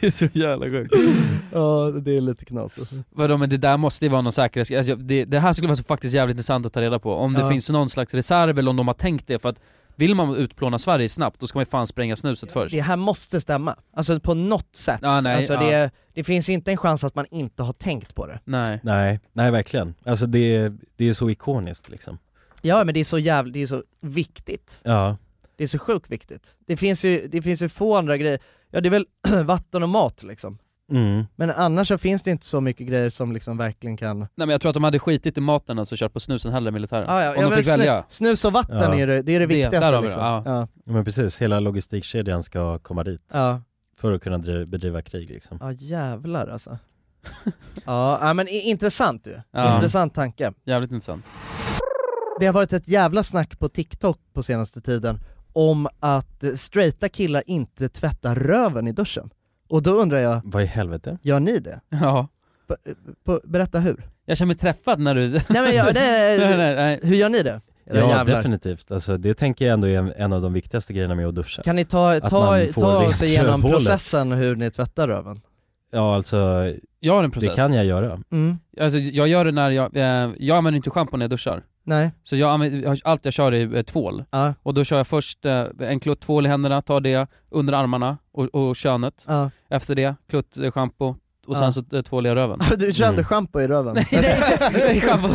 [SPEAKER 1] det är så jävla sjukt.
[SPEAKER 2] Ja det är lite knasigt.
[SPEAKER 1] Vadå men det där måste ju vara någon säkerhets... Alltså, det, det här skulle vara så faktiskt jävligt intressant att ta reda på, om det
[SPEAKER 2] Ja.
[SPEAKER 1] finns någon slags reserv eller om de har tänkt det för att vill man utplåna Sverige snabbt då ska man ju fan spränga snuset först.
[SPEAKER 2] Det här måste stämma, alltså på något sätt.
[SPEAKER 1] Ja, nej,
[SPEAKER 2] alltså,
[SPEAKER 1] ja.
[SPEAKER 2] det, det finns inte en chans att man inte har tänkt på det.
[SPEAKER 1] Nej.
[SPEAKER 3] Nej, nej verkligen. Alltså det, det är så ikoniskt liksom.
[SPEAKER 2] Ja men det är så jävligt, det är så viktigt.
[SPEAKER 3] Ja.
[SPEAKER 2] Det är så sjukt viktigt. Det finns ju, det finns ju få andra grejer, ja det är väl vatten och mat liksom.
[SPEAKER 3] Mm.
[SPEAKER 2] Men annars så finns det inte så mycket grejer som liksom verkligen kan...
[SPEAKER 1] Nej men jag tror att de hade skitit i maten och alltså, kört på snusen hellre i militären.
[SPEAKER 2] Ja, ja,
[SPEAKER 1] om
[SPEAKER 2] ja,
[SPEAKER 1] de
[SPEAKER 2] men
[SPEAKER 1] fick
[SPEAKER 2] snu-
[SPEAKER 1] välja.
[SPEAKER 2] snus och vatten
[SPEAKER 3] Ja.
[SPEAKER 2] är det, det är
[SPEAKER 1] Det,
[SPEAKER 2] det viktigaste
[SPEAKER 1] där har vi
[SPEAKER 2] liksom.
[SPEAKER 1] det, ja.
[SPEAKER 2] Ja.
[SPEAKER 3] Ja, men precis, hela logistikkedjan ska komma dit.
[SPEAKER 2] Ja.
[SPEAKER 3] För att kunna dri- bedriva krig liksom.
[SPEAKER 2] Ja jävlar alltså. ja, ja, men i- intressant ju.
[SPEAKER 1] Ja.
[SPEAKER 2] Intressant tanke.
[SPEAKER 1] Jävligt intressant.
[SPEAKER 2] Det har varit ett jävla snack på TikTok på senaste tiden om att eh, straighta killar inte tvättar röven i duschen. Och då undrar jag,
[SPEAKER 3] Vad i helvete?
[SPEAKER 2] gör ni det?
[SPEAKER 1] Ja.
[SPEAKER 2] Be- be- berätta hur?
[SPEAKER 1] Jag känner mig träffad när du...
[SPEAKER 2] Nej men jag, nej,
[SPEAKER 1] nej, nej, nej.
[SPEAKER 2] hur gör ni det?
[SPEAKER 3] Ja, definitivt. Alltså, det tänker jag ändå är en, en av de viktigaste grejerna med att duscha.
[SPEAKER 2] Kan ni ta,
[SPEAKER 3] Att
[SPEAKER 2] ta,
[SPEAKER 3] man får
[SPEAKER 2] ta
[SPEAKER 3] rent
[SPEAKER 2] oss igenom
[SPEAKER 3] rövhålet.
[SPEAKER 2] processen hur ni tvättar röven?
[SPEAKER 3] Ja, alltså,
[SPEAKER 1] Jag har en process.
[SPEAKER 3] det kan jag göra.
[SPEAKER 2] Mm.
[SPEAKER 1] Alltså jag gör det när jag, eh, jag använder inte schampo när jag duschar.
[SPEAKER 2] Nej.
[SPEAKER 1] Så jag använder, allt jag kör är eh, tvål.
[SPEAKER 2] Ja.
[SPEAKER 1] Och då kör jag först eh, en klutt tvål i händerna, tar det under armarna och, och könet.
[SPEAKER 2] Ja.
[SPEAKER 1] Efter det, klutt eh, schampo och sen
[SPEAKER 2] Ja.
[SPEAKER 1] så eh, tvålar jag röven.
[SPEAKER 2] Du körde
[SPEAKER 1] Mm.
[SPEAKER 2] schampo i röven?
[SPEAKER 1] Nej, schampo.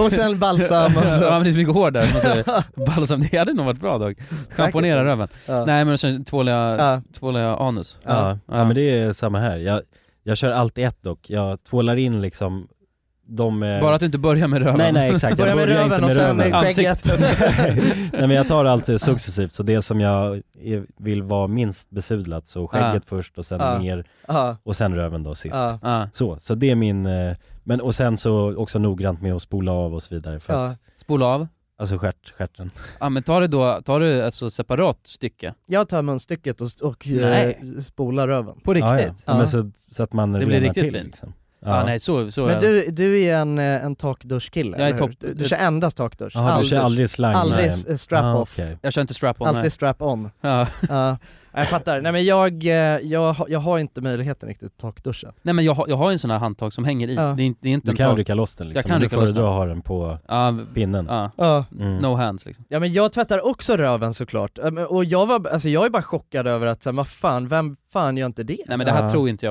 [SPEAKER 2] och sen balsam och
[SPEAKER 1] Ja men
[SPEAKER 2] så.
[SPEAKER 1] det är så mycket hår där, man säger. balsam, det hade nog varit bra dock. Schamponera röven.
[SPEAKER 2] Ja.
[SPEAKER 1] Nej men sen tvålar jag,
[SPEAKER 2] Ja.
[SPEAKER 1] tvålar jag anus.
[SPEAKER 3] Ja. Ja. men det är samma här. Jag, jag kör alltid ett dock. Jag tvålar in liksom de... eh,
[SPEAKER 1] Bara att du inte börjar med röven.
[SPEAKER 3] Nej nej exakt,
[SPEAKER 1] Börja
[SPEAKER 3] jag
[SPEAKER 1] med
[SPEAKER 3] börjar
[SPEAKER 1] röven
[SPEAKER 3] inte
[SPEAKER 1] och
[SPEAKER 3] med
[SPEAKER 1] sen
[SPEAKER 3] röven.
[SPEAKER 1] med skägget.
[SPEAKER 3] Ansiktet. nej men jag tar allt successivt, så det som jag är, vill vara minst besudlat, så skägget
[SPEAKER 1] Ja.
[SPEAKER 3] först och sen
[SPEAKER 1] Ja.
[SPEAKER 3] ner
[SPEAKER 1] Ja.
[SPEAKER 3] och sen röven då sist.
[SPEAKER 1] Ja. Ja.
[SPEAKER 3] Så, så det är min, eh, men och sen så också noggrant med att spola av och så vidare för
[SPEAKER 1] Ja.
[SPEAKER 3] att,
[SPEAKER 1] Spola av?
[SPEAKER 3] alltså stjärt, stjärten.
[SPEAKER 1] Ja men tar du då, tar du alltså separat stycke?
[SPEAKER 2] Jag tar munstycket och, och eh,
[SPEAKER 1] Nej.
[SPEAKER 2] spolar röven.
[SPEAKER 1] På riktigt?
[SPEAKER 3] Ja, ja. Ja. Men så, så att man
[SPEAKER 1] Det blir
[SPEAKER 3] renar
[SPEAKER 1] riktigt
[SPEAKER 3] till,
[SPEAKER 1] fint.
[SPEAKER 3] Liksom.
[SPEAKER 1] Ja, nej, så- så är
[SPEAKER 2] Men
[SPEAKER 1] det.
[SPEAKER 2] du, du är en, eh, en takduschkille,
[SPEAKER 1] Jag är
[SPEAKER 2] eller hur?
[SPEAKER 1] top-
[SPEAKER 2] du, du kör endast takdusch?
[SPEAKER 1] Jaha, du
[SPEAKER 2] aldrig-
[SPEAKER 1] kör aldrig slang,
[SPEAKER 2] Aldrig
[SPEAKER 1] nej.
[SPEAKER 2] s- eh, strap-off?
[SPEAKER 1] Ah, okej. Jag kör inte strap-on, nej.
[SPEAKER 2] Alltid strap-on?
[SPEAKER 1] Ja.
[SPEAKER 2] jag fattar, nej men jag, eh, jag, har- jag har inte möjligheten riktigt att takduscha
[SPEAKER 1] Nej men jag har, jag har ju en sån här handtag som hänger i,
[SPEAKER 2] Ja.
[SPEAKER 1] det är inte, det är inte
[SPEAKER 2] Du
[SPEAKER 1] en
[SPEAKER 2] kan
[SPEAKER 1] tag-
[SPEAKER 2] rycka loss den liksom,
[SPEAKER 1] Jag kan
[SPEAKER 2] men du
[SPEAKER 1] rycka loss
[SPEAKER 2] föredrar
[SPEAKER 1] den
[SPEAKER 2] att
[SPEAKER 3] ha den på
[SPEAKER 1] ja,
[SPEAKER 3] pinnen
[SPEAKER 1] ja.
[SPEAKER 2] Ja.
[SPEAKER 3] Mm.
[SPEAKER 1] No hands liksom
[SPEAKER 2] Ja men jag tvättar också röven såklart, Eh, men- och jag var, alltså jag är bara chockad över att så här, vad fan, vem fan gör inte det?
[SPEAKER 3] Ja. Men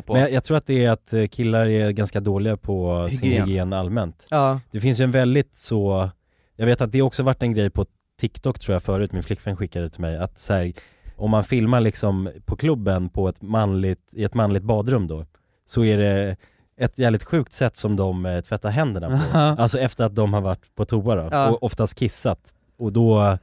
[SPEAKER 3] jag, jag tror att det är att eh, killar är ganska dåliga på sin
[SPEAKER 2] Hygien.
[SPEAKER 3] hygien allmänt.
[SPEAKER 2] Ja.
[SPEAKER 3] Det finns ju en väldigt så, jag vet att det också varit en grej på TikTok tror jag förut, min flickvän skickade det till mig, att så här, om man filmar liksom på klubben på ett manligt, i ett manligt badrum då, så är det ett jävligt sjukt sätt som de eh, tvättar händerna på. alltså efter att de har varit på toa då,
[SPEAKER 2] Ja.
[SPEAKER 3] och oftast kissat. Och då eh,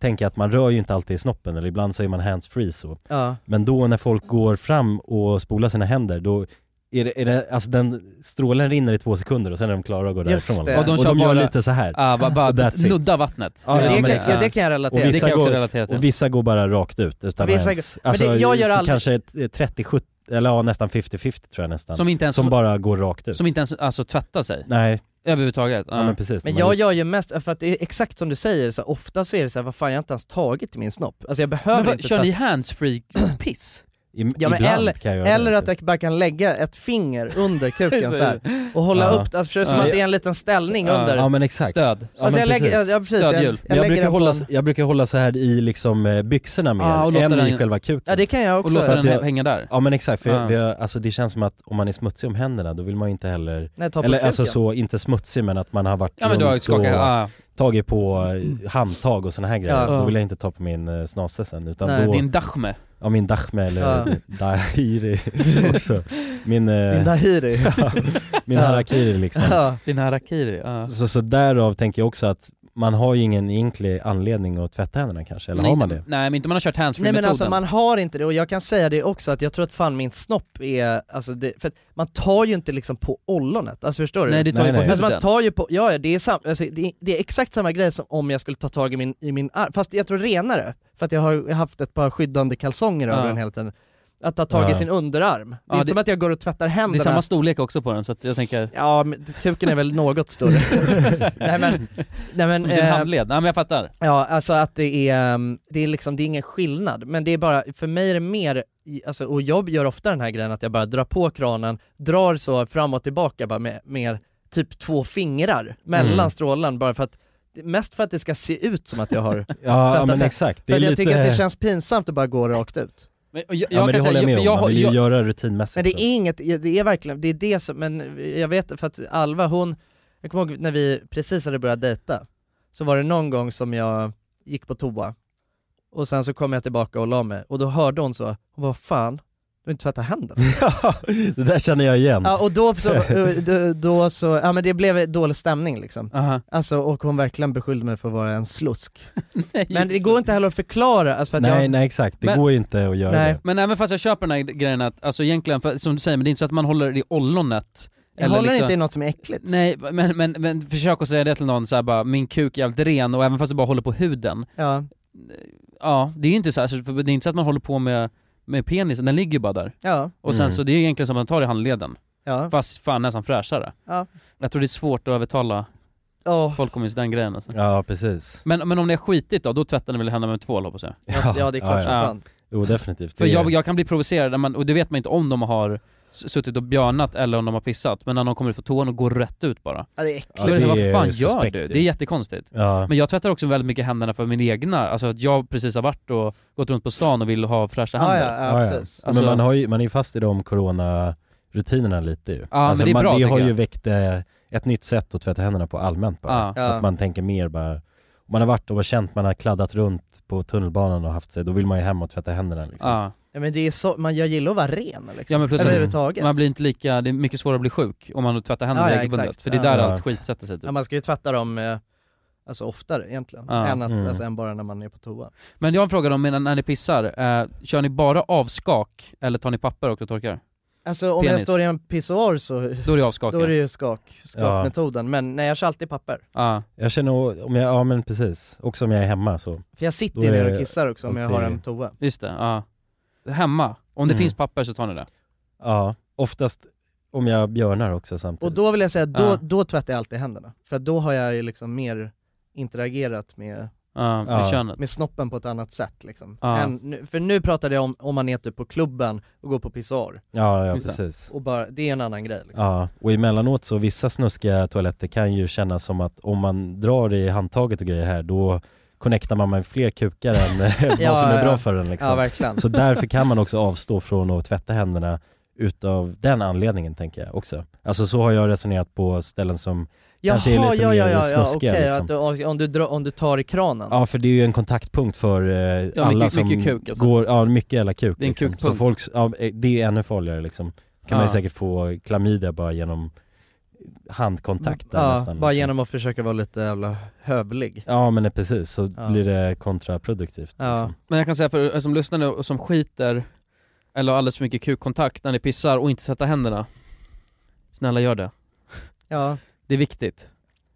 [SPEAKER 3] tänker jag att man rör ju inte alltid i snoppen, eller ibland så är man handsfree så.
[SPEAKER 2] Ja.
[SPEAKER 3] Men då när folk går fram och spolar sina händer, då är det, är det, alltså den, strålen rinner i två sekunder och sen är de klara att gå
[SPEAKER 2] Just
[SPEAKER 3] därifrån.
[SPEAKER 2] det.
[SPEAKER 3] Och de, och de gör lite så här.
[SPEAKER 1] ah, bara,
[SPEAKER 3] Och
[SPEAKER 1] bara
[SPEAKER 3] that's it. Ah,
[SPEAKER 1] nudda vattnet
[SPEAKER 3] Ja, ja,
[SPEAKER 2] det,
[SPEAKER 3] men
[SPEAKER 2] kan,
[SPEAKER 3] exakt.
[SPEAKER 2] ja, liksom- det kan jag relatera
[SPEAKER 3] Och vissa,
[SPEAKER 1] Det kan jag också
[SPEAKER 3] går,
[SPEAKER 1] relatera till.
[SPEAKER 3] och vissa går bara rakt ut utan
[SPEAKER 2] Vissa
[SPEAKER 3] vissa,
[SPEAKER 2] går-
[SPEAKER 3] ens,
[SPEAKER 2] men
[SPEAKER 3] alltså,
[SPEAKER 2] det- jag gör
[SPEAKER 3] så
[SPEAKER 2] aldrig-
[SPEAKER 3] kanske ett- ett 30-70, eller ja, nästan 50-50 tror jag nästan.
[SPEAKER 1] Som inte ens-
[SPEAKER 3] bara går rakt ut.
[SPEAKER 1] Som inte ens alltså, tvättar sig?
[SPEAKER 3] Nej.
[SPEAKER 1] Överhuvudtaget? Ah.
[SPEAKER 3] Ja, men precis.
[SPEAKER 2] Men
[SPEAKER 3] Man
[SPEAKER 2] jag
[SPEAKER 3] har-
[SPEAKER 2] gör ju mest, för att det är exakt som du säger, så här, ofta så är det så här, vad fan jag har inte ens tagit i min snopp. Alltså jag behöver
[SPEAKER 1] Men vad,
[SPEAKER 2] inte
[SPEAKER 1] kör
[SPEAKER 2] ta-
[SPEAKER 1] ni handsfree piss?
[SPEAKER 2] Ja, men eller, eller att jag bara kan lägga ett finger under kuken så här och hålla
[SPEAKER 3] Ja.
[SPEAKER 2] upp, alltså för det är som
[SPEAKER 3] Ja.
[SPEAKER 2] att det är en liten ställning under.
[SPEAKER 3] Ja men exakt.
[SPEAKER 2] Så alltså jag lägger, ja, ja, precis, jag, jag,
[SPEAKER 3] Men jag,
[SPEAKER 2] lägger
[SPEAKER 3] brukar
[SPEAKER 2] den på
[SPEAKER 3] hålla,
[SPEAKER 2] en-
[SPEAKER 3] jag brukar hålla så här i liksom eh, byxorna mer,
[SPEAKER 2] Ja, och låta
[SPEAKER 3] än i
[SPEAKER 2] den-
[SPEAKER 3] själva kuken.
[SPEAKER 2] Ja det kan jag också.
[SPEAKER 3] För att jag- Ja men exakt, för
[SPEAKER 2] Ja.
[SPEAKER 3] vi har, alltså, det känns som att om man är smutsig om händerna då vill man ju inte heller,
[SPEAKER 2] Nej, ta på
[SPEAKER 3] eller alltså
[SPEAKER 2] kuken.
[SPEAKER 3] så, inte smutsig men att man har varit
[SPEAKER 1] Ja, men du har
[SPEAKER 3] runt
[SPEAKER 1] skakat- ah, ja.
[SPEAKER 3] och tagit på eh, handtag och sådana här grejer,
[SPEAKER 1] Ja.
[SPEAKER 3] då vill jag inte ta på min eh, snase sen utan
[SPEAKER 1] Nej.
[SPEAKER 3] då
[SPEAKER 1] Din dachme.
[SPEAKER 3] Ja min dachme eller
[SPEAKER 1] Ja.
[SPEAKER 3] dahiri också Min... eh,
[SPEAKER 2] Din dahiri.
[SPEAKER 3] ja, min
[SPEAKER 1] Ja.
[SPEAKER 3] harakiri liksom
[SPEAKER 1] Ja. Din harakiri, ja.
[SPEAKER 3] så, så därav tänker jag också att man har ju ingen egentlig anledning att tvätta händerna kanske, eller
[SPEAKER 1] Men
[SPEAKER 3] har
[SPEAKER 1] inte-
[SPEAKER 3] man det?
[SPEAKER 1] Nej men inte om man har kört
[SPEAKER 2] Nej men
[SPEAKER 1] handsfree-metoden.
[SPEAKER 2] alltså man har inte det, och jag kan säga det också att jag tror att fan min snopp är, alltså det, för att man tar ju inte liksom på ollonet, alltså förstår du?
[SPEAKER 1] Nej, du tar ju på
[SPEAKER 2] alltså man
[SPEAKER 1] huden.
[SPEAKER 2] tar ju på, ja ja, det är, sam, alltså, det, är, det är exakt samma grej som om jag skulle ta tag i min, i min arm, fast jag tror renare, för att jag har haft ett par skyddande kalsonger
[SPEAKER 1] Ja.
[SPEAKER 2] över den hela tiden. Att ta tag i
[SPEAKER 1] Ja.
[SPEAKER 2] sin underarm. Det är
[SPEAKER 1] Ja,
[SPEAKER 2] inte
[SPEAKER 1] det-
[SPEAKER 2] som att jag går och tvättar händerna.
[SPEAKER 1] Det är samma storlek också på den så att jag tänker...
[SPEAKER 2] Ja, men kuken är väl något större. nej men, nej men...
[SPEAKER 1] Som sin
[SPEAKER 2] eh,
[SPEAKER 1] handled, nej men jag fattar.
[SPEAKER 2] Ja, alltså att det är, ehm, det är liksom, det är ingen skillnad, men det är bara, för mig är det mer, i- alltså, och jag gör ofta den här grejen att jag bara drar på kranen, drar så fram och tillbaka bara med, med typ två fingrar mellan
[SPEAKER 3] Mm.
[SPEAKER 2] strålen bara för att mest för att det ska se ut som att jag har
[SPEAKER 3] ja,
[SPEAKER 2] tvättat
[SPEAKER 3] men
[SPEAKER 2] det.
[SPEAKER 3] exakt.
[SPEAKER 2] För
[SPEAKER 3] Det är
[SPEAKER 2] att jag
[SPEAKER 3] lite-
[SPEAKER 2] tycker att det känns pinsamt att bara gå rakt ut.
[SPEAKER 1] Men, och jag,
[SPEAKER 3] ja men det håller jag med om, man vill ju göra rutinmässigt
[SPEAKER 2] Men det
[SPEAKER 3] så.
[SPEAKER 2] är inget, det är verkligen, det är det som, men jag vet för att Alva hon, jag kommer ihåg när vi precis hade börjat dejta, så var det någon gång som jag gick på toa, och sen så kom jag tillbaka och la mig, och då hörde hon så, hon bara "Vad fan, du har inte tvättat händerna.
[SPEAKER 3] Det där känner jag igen.
[SPEAKER 2] ja och då så, då, då så, ja men det blev dålig stämning liksom.
[SPEAKER 1] Aha.
[SPEAKER 2] Alltså och hon verkligen beskyllde mig för att vara en slusk. men det går inte heller att förklara, alltså för att
[SPEAKER 3] nej,
[SPEAKER 2] jag,
[SPEAKER 3] nej exakt, det
[SPEAKER 1] Men-
[SPEAKER 3] går ju inte att göra det.
[SPEAKER 1] Men även fast jag köper den här grejen att, alltså egentligen, för, som du säger, men det är inte så att man håller det i ollonet.
[SPEAKER 2] jag håller inte i något som är äckligt.
[SPEAKER 1] liksom- Nej, men, men, men försök att säga det till någon så här bara, min kuk är jävligt ren och även fast du bara håller på huden.
[SPEAKER 2] Ja.
[SPEAKER 1] Ja, det är ju inte så här, så- för det är inte så att man håller på med, med penisen, den ligger ju bara där.
[SPEAKER 2] Ja.
[SPEAKER 1] Och sen
[SPEAKER 2] Mm.
[SPEAKER 1] så, det är ju egentligen som att man tar i handleden.
[SPEAKER 2] Ja.
[SPEAKER 1] Fast fan nästan fräschare.
[SPEAKER 2] Ja.
[SPEAKER 1] Jag tror det är svårt att övertala
[SPEAKER 2] Ja.
[SPEAKER 1] folk om just den grejen alltså.
[SPEAKER 3] Ja, precis.
[SPEAKER 1] Men, men om det är skitigt då, då tvättar ni väl händerna med tvål hoppas jag?
[SPEAKER 2] Alltså, ja, det är klart som fan.
[SPEAKER 3] Jo definitivt.
[SPEAKER 1] För
[SPEAKER 3] Det är-
[SPEAKER 1] jag, jag kan bli provocerad, när man, och det vet man inte om de har s- suttit och björnat eller om de har pissat, men när de kommer ut från toan och går rätt ut bara.
[SPEAKER 2] Ja, det är äckligt.
[SPEAKER 1] Då är det så,
[SPEAKER 3] Ja,
[SPEAKER 1] vad
[SPEAKER 3] det är
[SPEAKER 1] fan gör
[SPEAKER 3] suspekt
[SPEAKER 1] du?
[SPEAKER 3] ju.
[SPEAKER 1] Det är jättekonstigt.
[SPEAKER 3] Ja.
[SPEAKER 1] Men jag tvättar också väldigt mycket händerna för min egna, alltså att jag precis har varit och gått runt på stan och vill ha fräscha
[SPEAKER 2] Ah, Ja,
[SPEAKER 1] händer.
[SPEAKER 2] ja, ja, precis.
[SPEAKER 1] Alltså,
[SPEAKER 3] Men man, har ju, man är ju fast i de coronarutinerna lite ju. Alltså,
[SPEAKER 1] Ja, men det är
[SPEAKER 3] man,
[SPEAKER 1] bra,
[SPEAKER 3] det
[SPEAKER 1] tycker
[SPEAKER 3] har ju
[SPEAKER 1] jag.
[SPEAKER 3] väckt eh, ett nytt sätt att tvätta händerna på allmänt bara.
[SPEAKER 1] Ja.
[SPEAKER 3] Att man tänker mer bara, om man har varit och har känt, man har kladdat runt på tunnelbanan och haft sig, då vill man ju hem och tvätta händerna liksom.
[SPEAKER 1] Ja.
[SPEAKER 2] Ja, men det är så, man, jag gillar att vara ren liksom.
[SPEAKER 1] Ja men plus
[SPEAKER 2] Överhuvudtaget.
[SPEAKER 1] att man blir inte lika, det är mycket svårare att bli sjuk om man tvättar händerna
[SPEAKER 2] Ah, Ja, ja,
[SPEAKER 1] regelbundet,
[SPEAKER 2] exakt.
[SPEAKER 1] för det är
[SPEAKER 2] Ja.
[SPEAKER 1] där
[SPEAKER 3] Ah.
[SPEAKER 2] Ja.
[SPEAKER 1] allt skit sätter sig typ.
[SPEAKER 2] Ja, man ska ju tvätta dem eh, alltså oftare egentligen,
[SPEAKER 1] Ja.
[SPEAKER 2] än, att,
[SPEAKER 1] Mm.
[SPEAKER 2] alltså, än bara när man är på toa.
[SPEAKER 1] Men jag har en fråga om när när ni pissar, eh, kör ni bara avskak eller tar ni papper och torkar?
[SPEAKER 2] Alltså om jag
[SPEAKER 1] Penis.
[SPEAKER 2] står i en pissoar så
[SPEAKER 1] Då är det avskak,
[SPEAKER 2] Då är det
[SPEAKER 1] ja.
[SPEAKER 2] ju skak, skakmetoden, men nej jag kör alltid papper.
[SPEAKER 1] Ah.
[SPEAKER 3] Jag känner, nog- om jag, ja men precis, också om jag är hemma så.
[SPEAKER 2] För jag sitter
[SPEAKER 3] Då
[SPEAKER 2] ju
[SPEAKER 3] är
[SPEAKER 2] ner
[SPEAKER 3] det
[SPEAKER 2] och kissar också om jag har
[SPEAKER 3] alltid-
[SPEAKER 2] en toa.
[SPEAKER 1] Just det, ja. Hemma, om det
[SPEAKER 3] Mm.
[SPEAKER 1] finns papper så tar ni det?
[SPEAKER 3] Ja, oftast om jag björnar också samtidigt.
[SPEAKER 2] Och då vill jag säga, då,
[SPEAKER 3] Ja.
[SPEAKER 2] då tvättar jag alltid händerna. För då har jag ju liksom mer interagerat med,
[SPEAKER 1] Ja, med Ja. könet.
[SPEAKER 2] med snoppen på ett annat sätt liksom.
[SPEAKER 1] Ja.
[SPEAKER 2] Än, nu, för nu pratade jag om om man är typ på klubben och går på pissoar.
[SPEAKER 3] Ja, ja,
[SPEAKER 2] Just det.
[SPEAKER 3] precis.
[SPEAKER 2] Och bara, det är en annan grej liksom.
[SPEAKER 3] Ja, och emellanåt så vissa snuskiga toaletter kan ju kännas som att om man drar i handtaget och grejer här då connectar man med fler kukar än
[SPEAKER 2] Ja,
[SPEAKER 3] vad som
[SPEAKER 2] ja,
[SPEAKER 3] är bra
[SPEAKER 2] ja.
[SPEAKER 3] för en liksom.
[SPEAKER 2] Ja, verkligen.
[SPEAKER 3] Så därför kan man också avstå från att tvätta händerna utav den anledningen tänker jag också. Alltså så har jag resonerat på ställen som kanske är lite
[SPEAKER 2] ja,
[SPEAKER 3] mer
[SPEAKER 2] ja, ja, ja, okej,
[SPEAKER 3] snuskiga liksom.
[SPEAKER 2] att du, om, du drar- om du tar i kranen.
[SPEAKER 3] Ja för det är ju en kontaktpunkt för eh,
[SPEAKER 2] mycket-
[SPEAKER 3] alla som
[SPEAKER 2] mycket kuk, alltså.
[SPEAKER 3] går, ja mycket jävla kuk.
[SPEAKER 2] Det är en
[SPEAKER 3] liksom. Så
[SPEAKER 2] kukpunkt.
[SPEAKER 3] folks, ja, eh, det är ännu farligare liksom. Kan man ju
[SPEAKER 2] Ja.
[SPEAKER 3] säkert få klamydia bara genom handkontakt där
[SPEAKER 2] Ja,
[SPEAKER 3] nästan.
[SPEAKER 2] bara
[SPEAKER 3] liksom.
[SPEAKER 2] genom att försöka vara lite jävla hövlig.
[SPEAKER 3] Ja men eh, precis, så
[SPEAKER 2] Ja.
[SPEAKER 3] blir det kontraproduktivt. Liksom.
[SPEAKER 1] Men jag kan säga för er som lyssnar nu och som skiter eller har alldeles för mycket kukkontakt när ni pissar och inte tvättar händerna. Snälla gör det.
[SPEAKER 2] Ja,
[SPEAKER 1] Det är viktigt.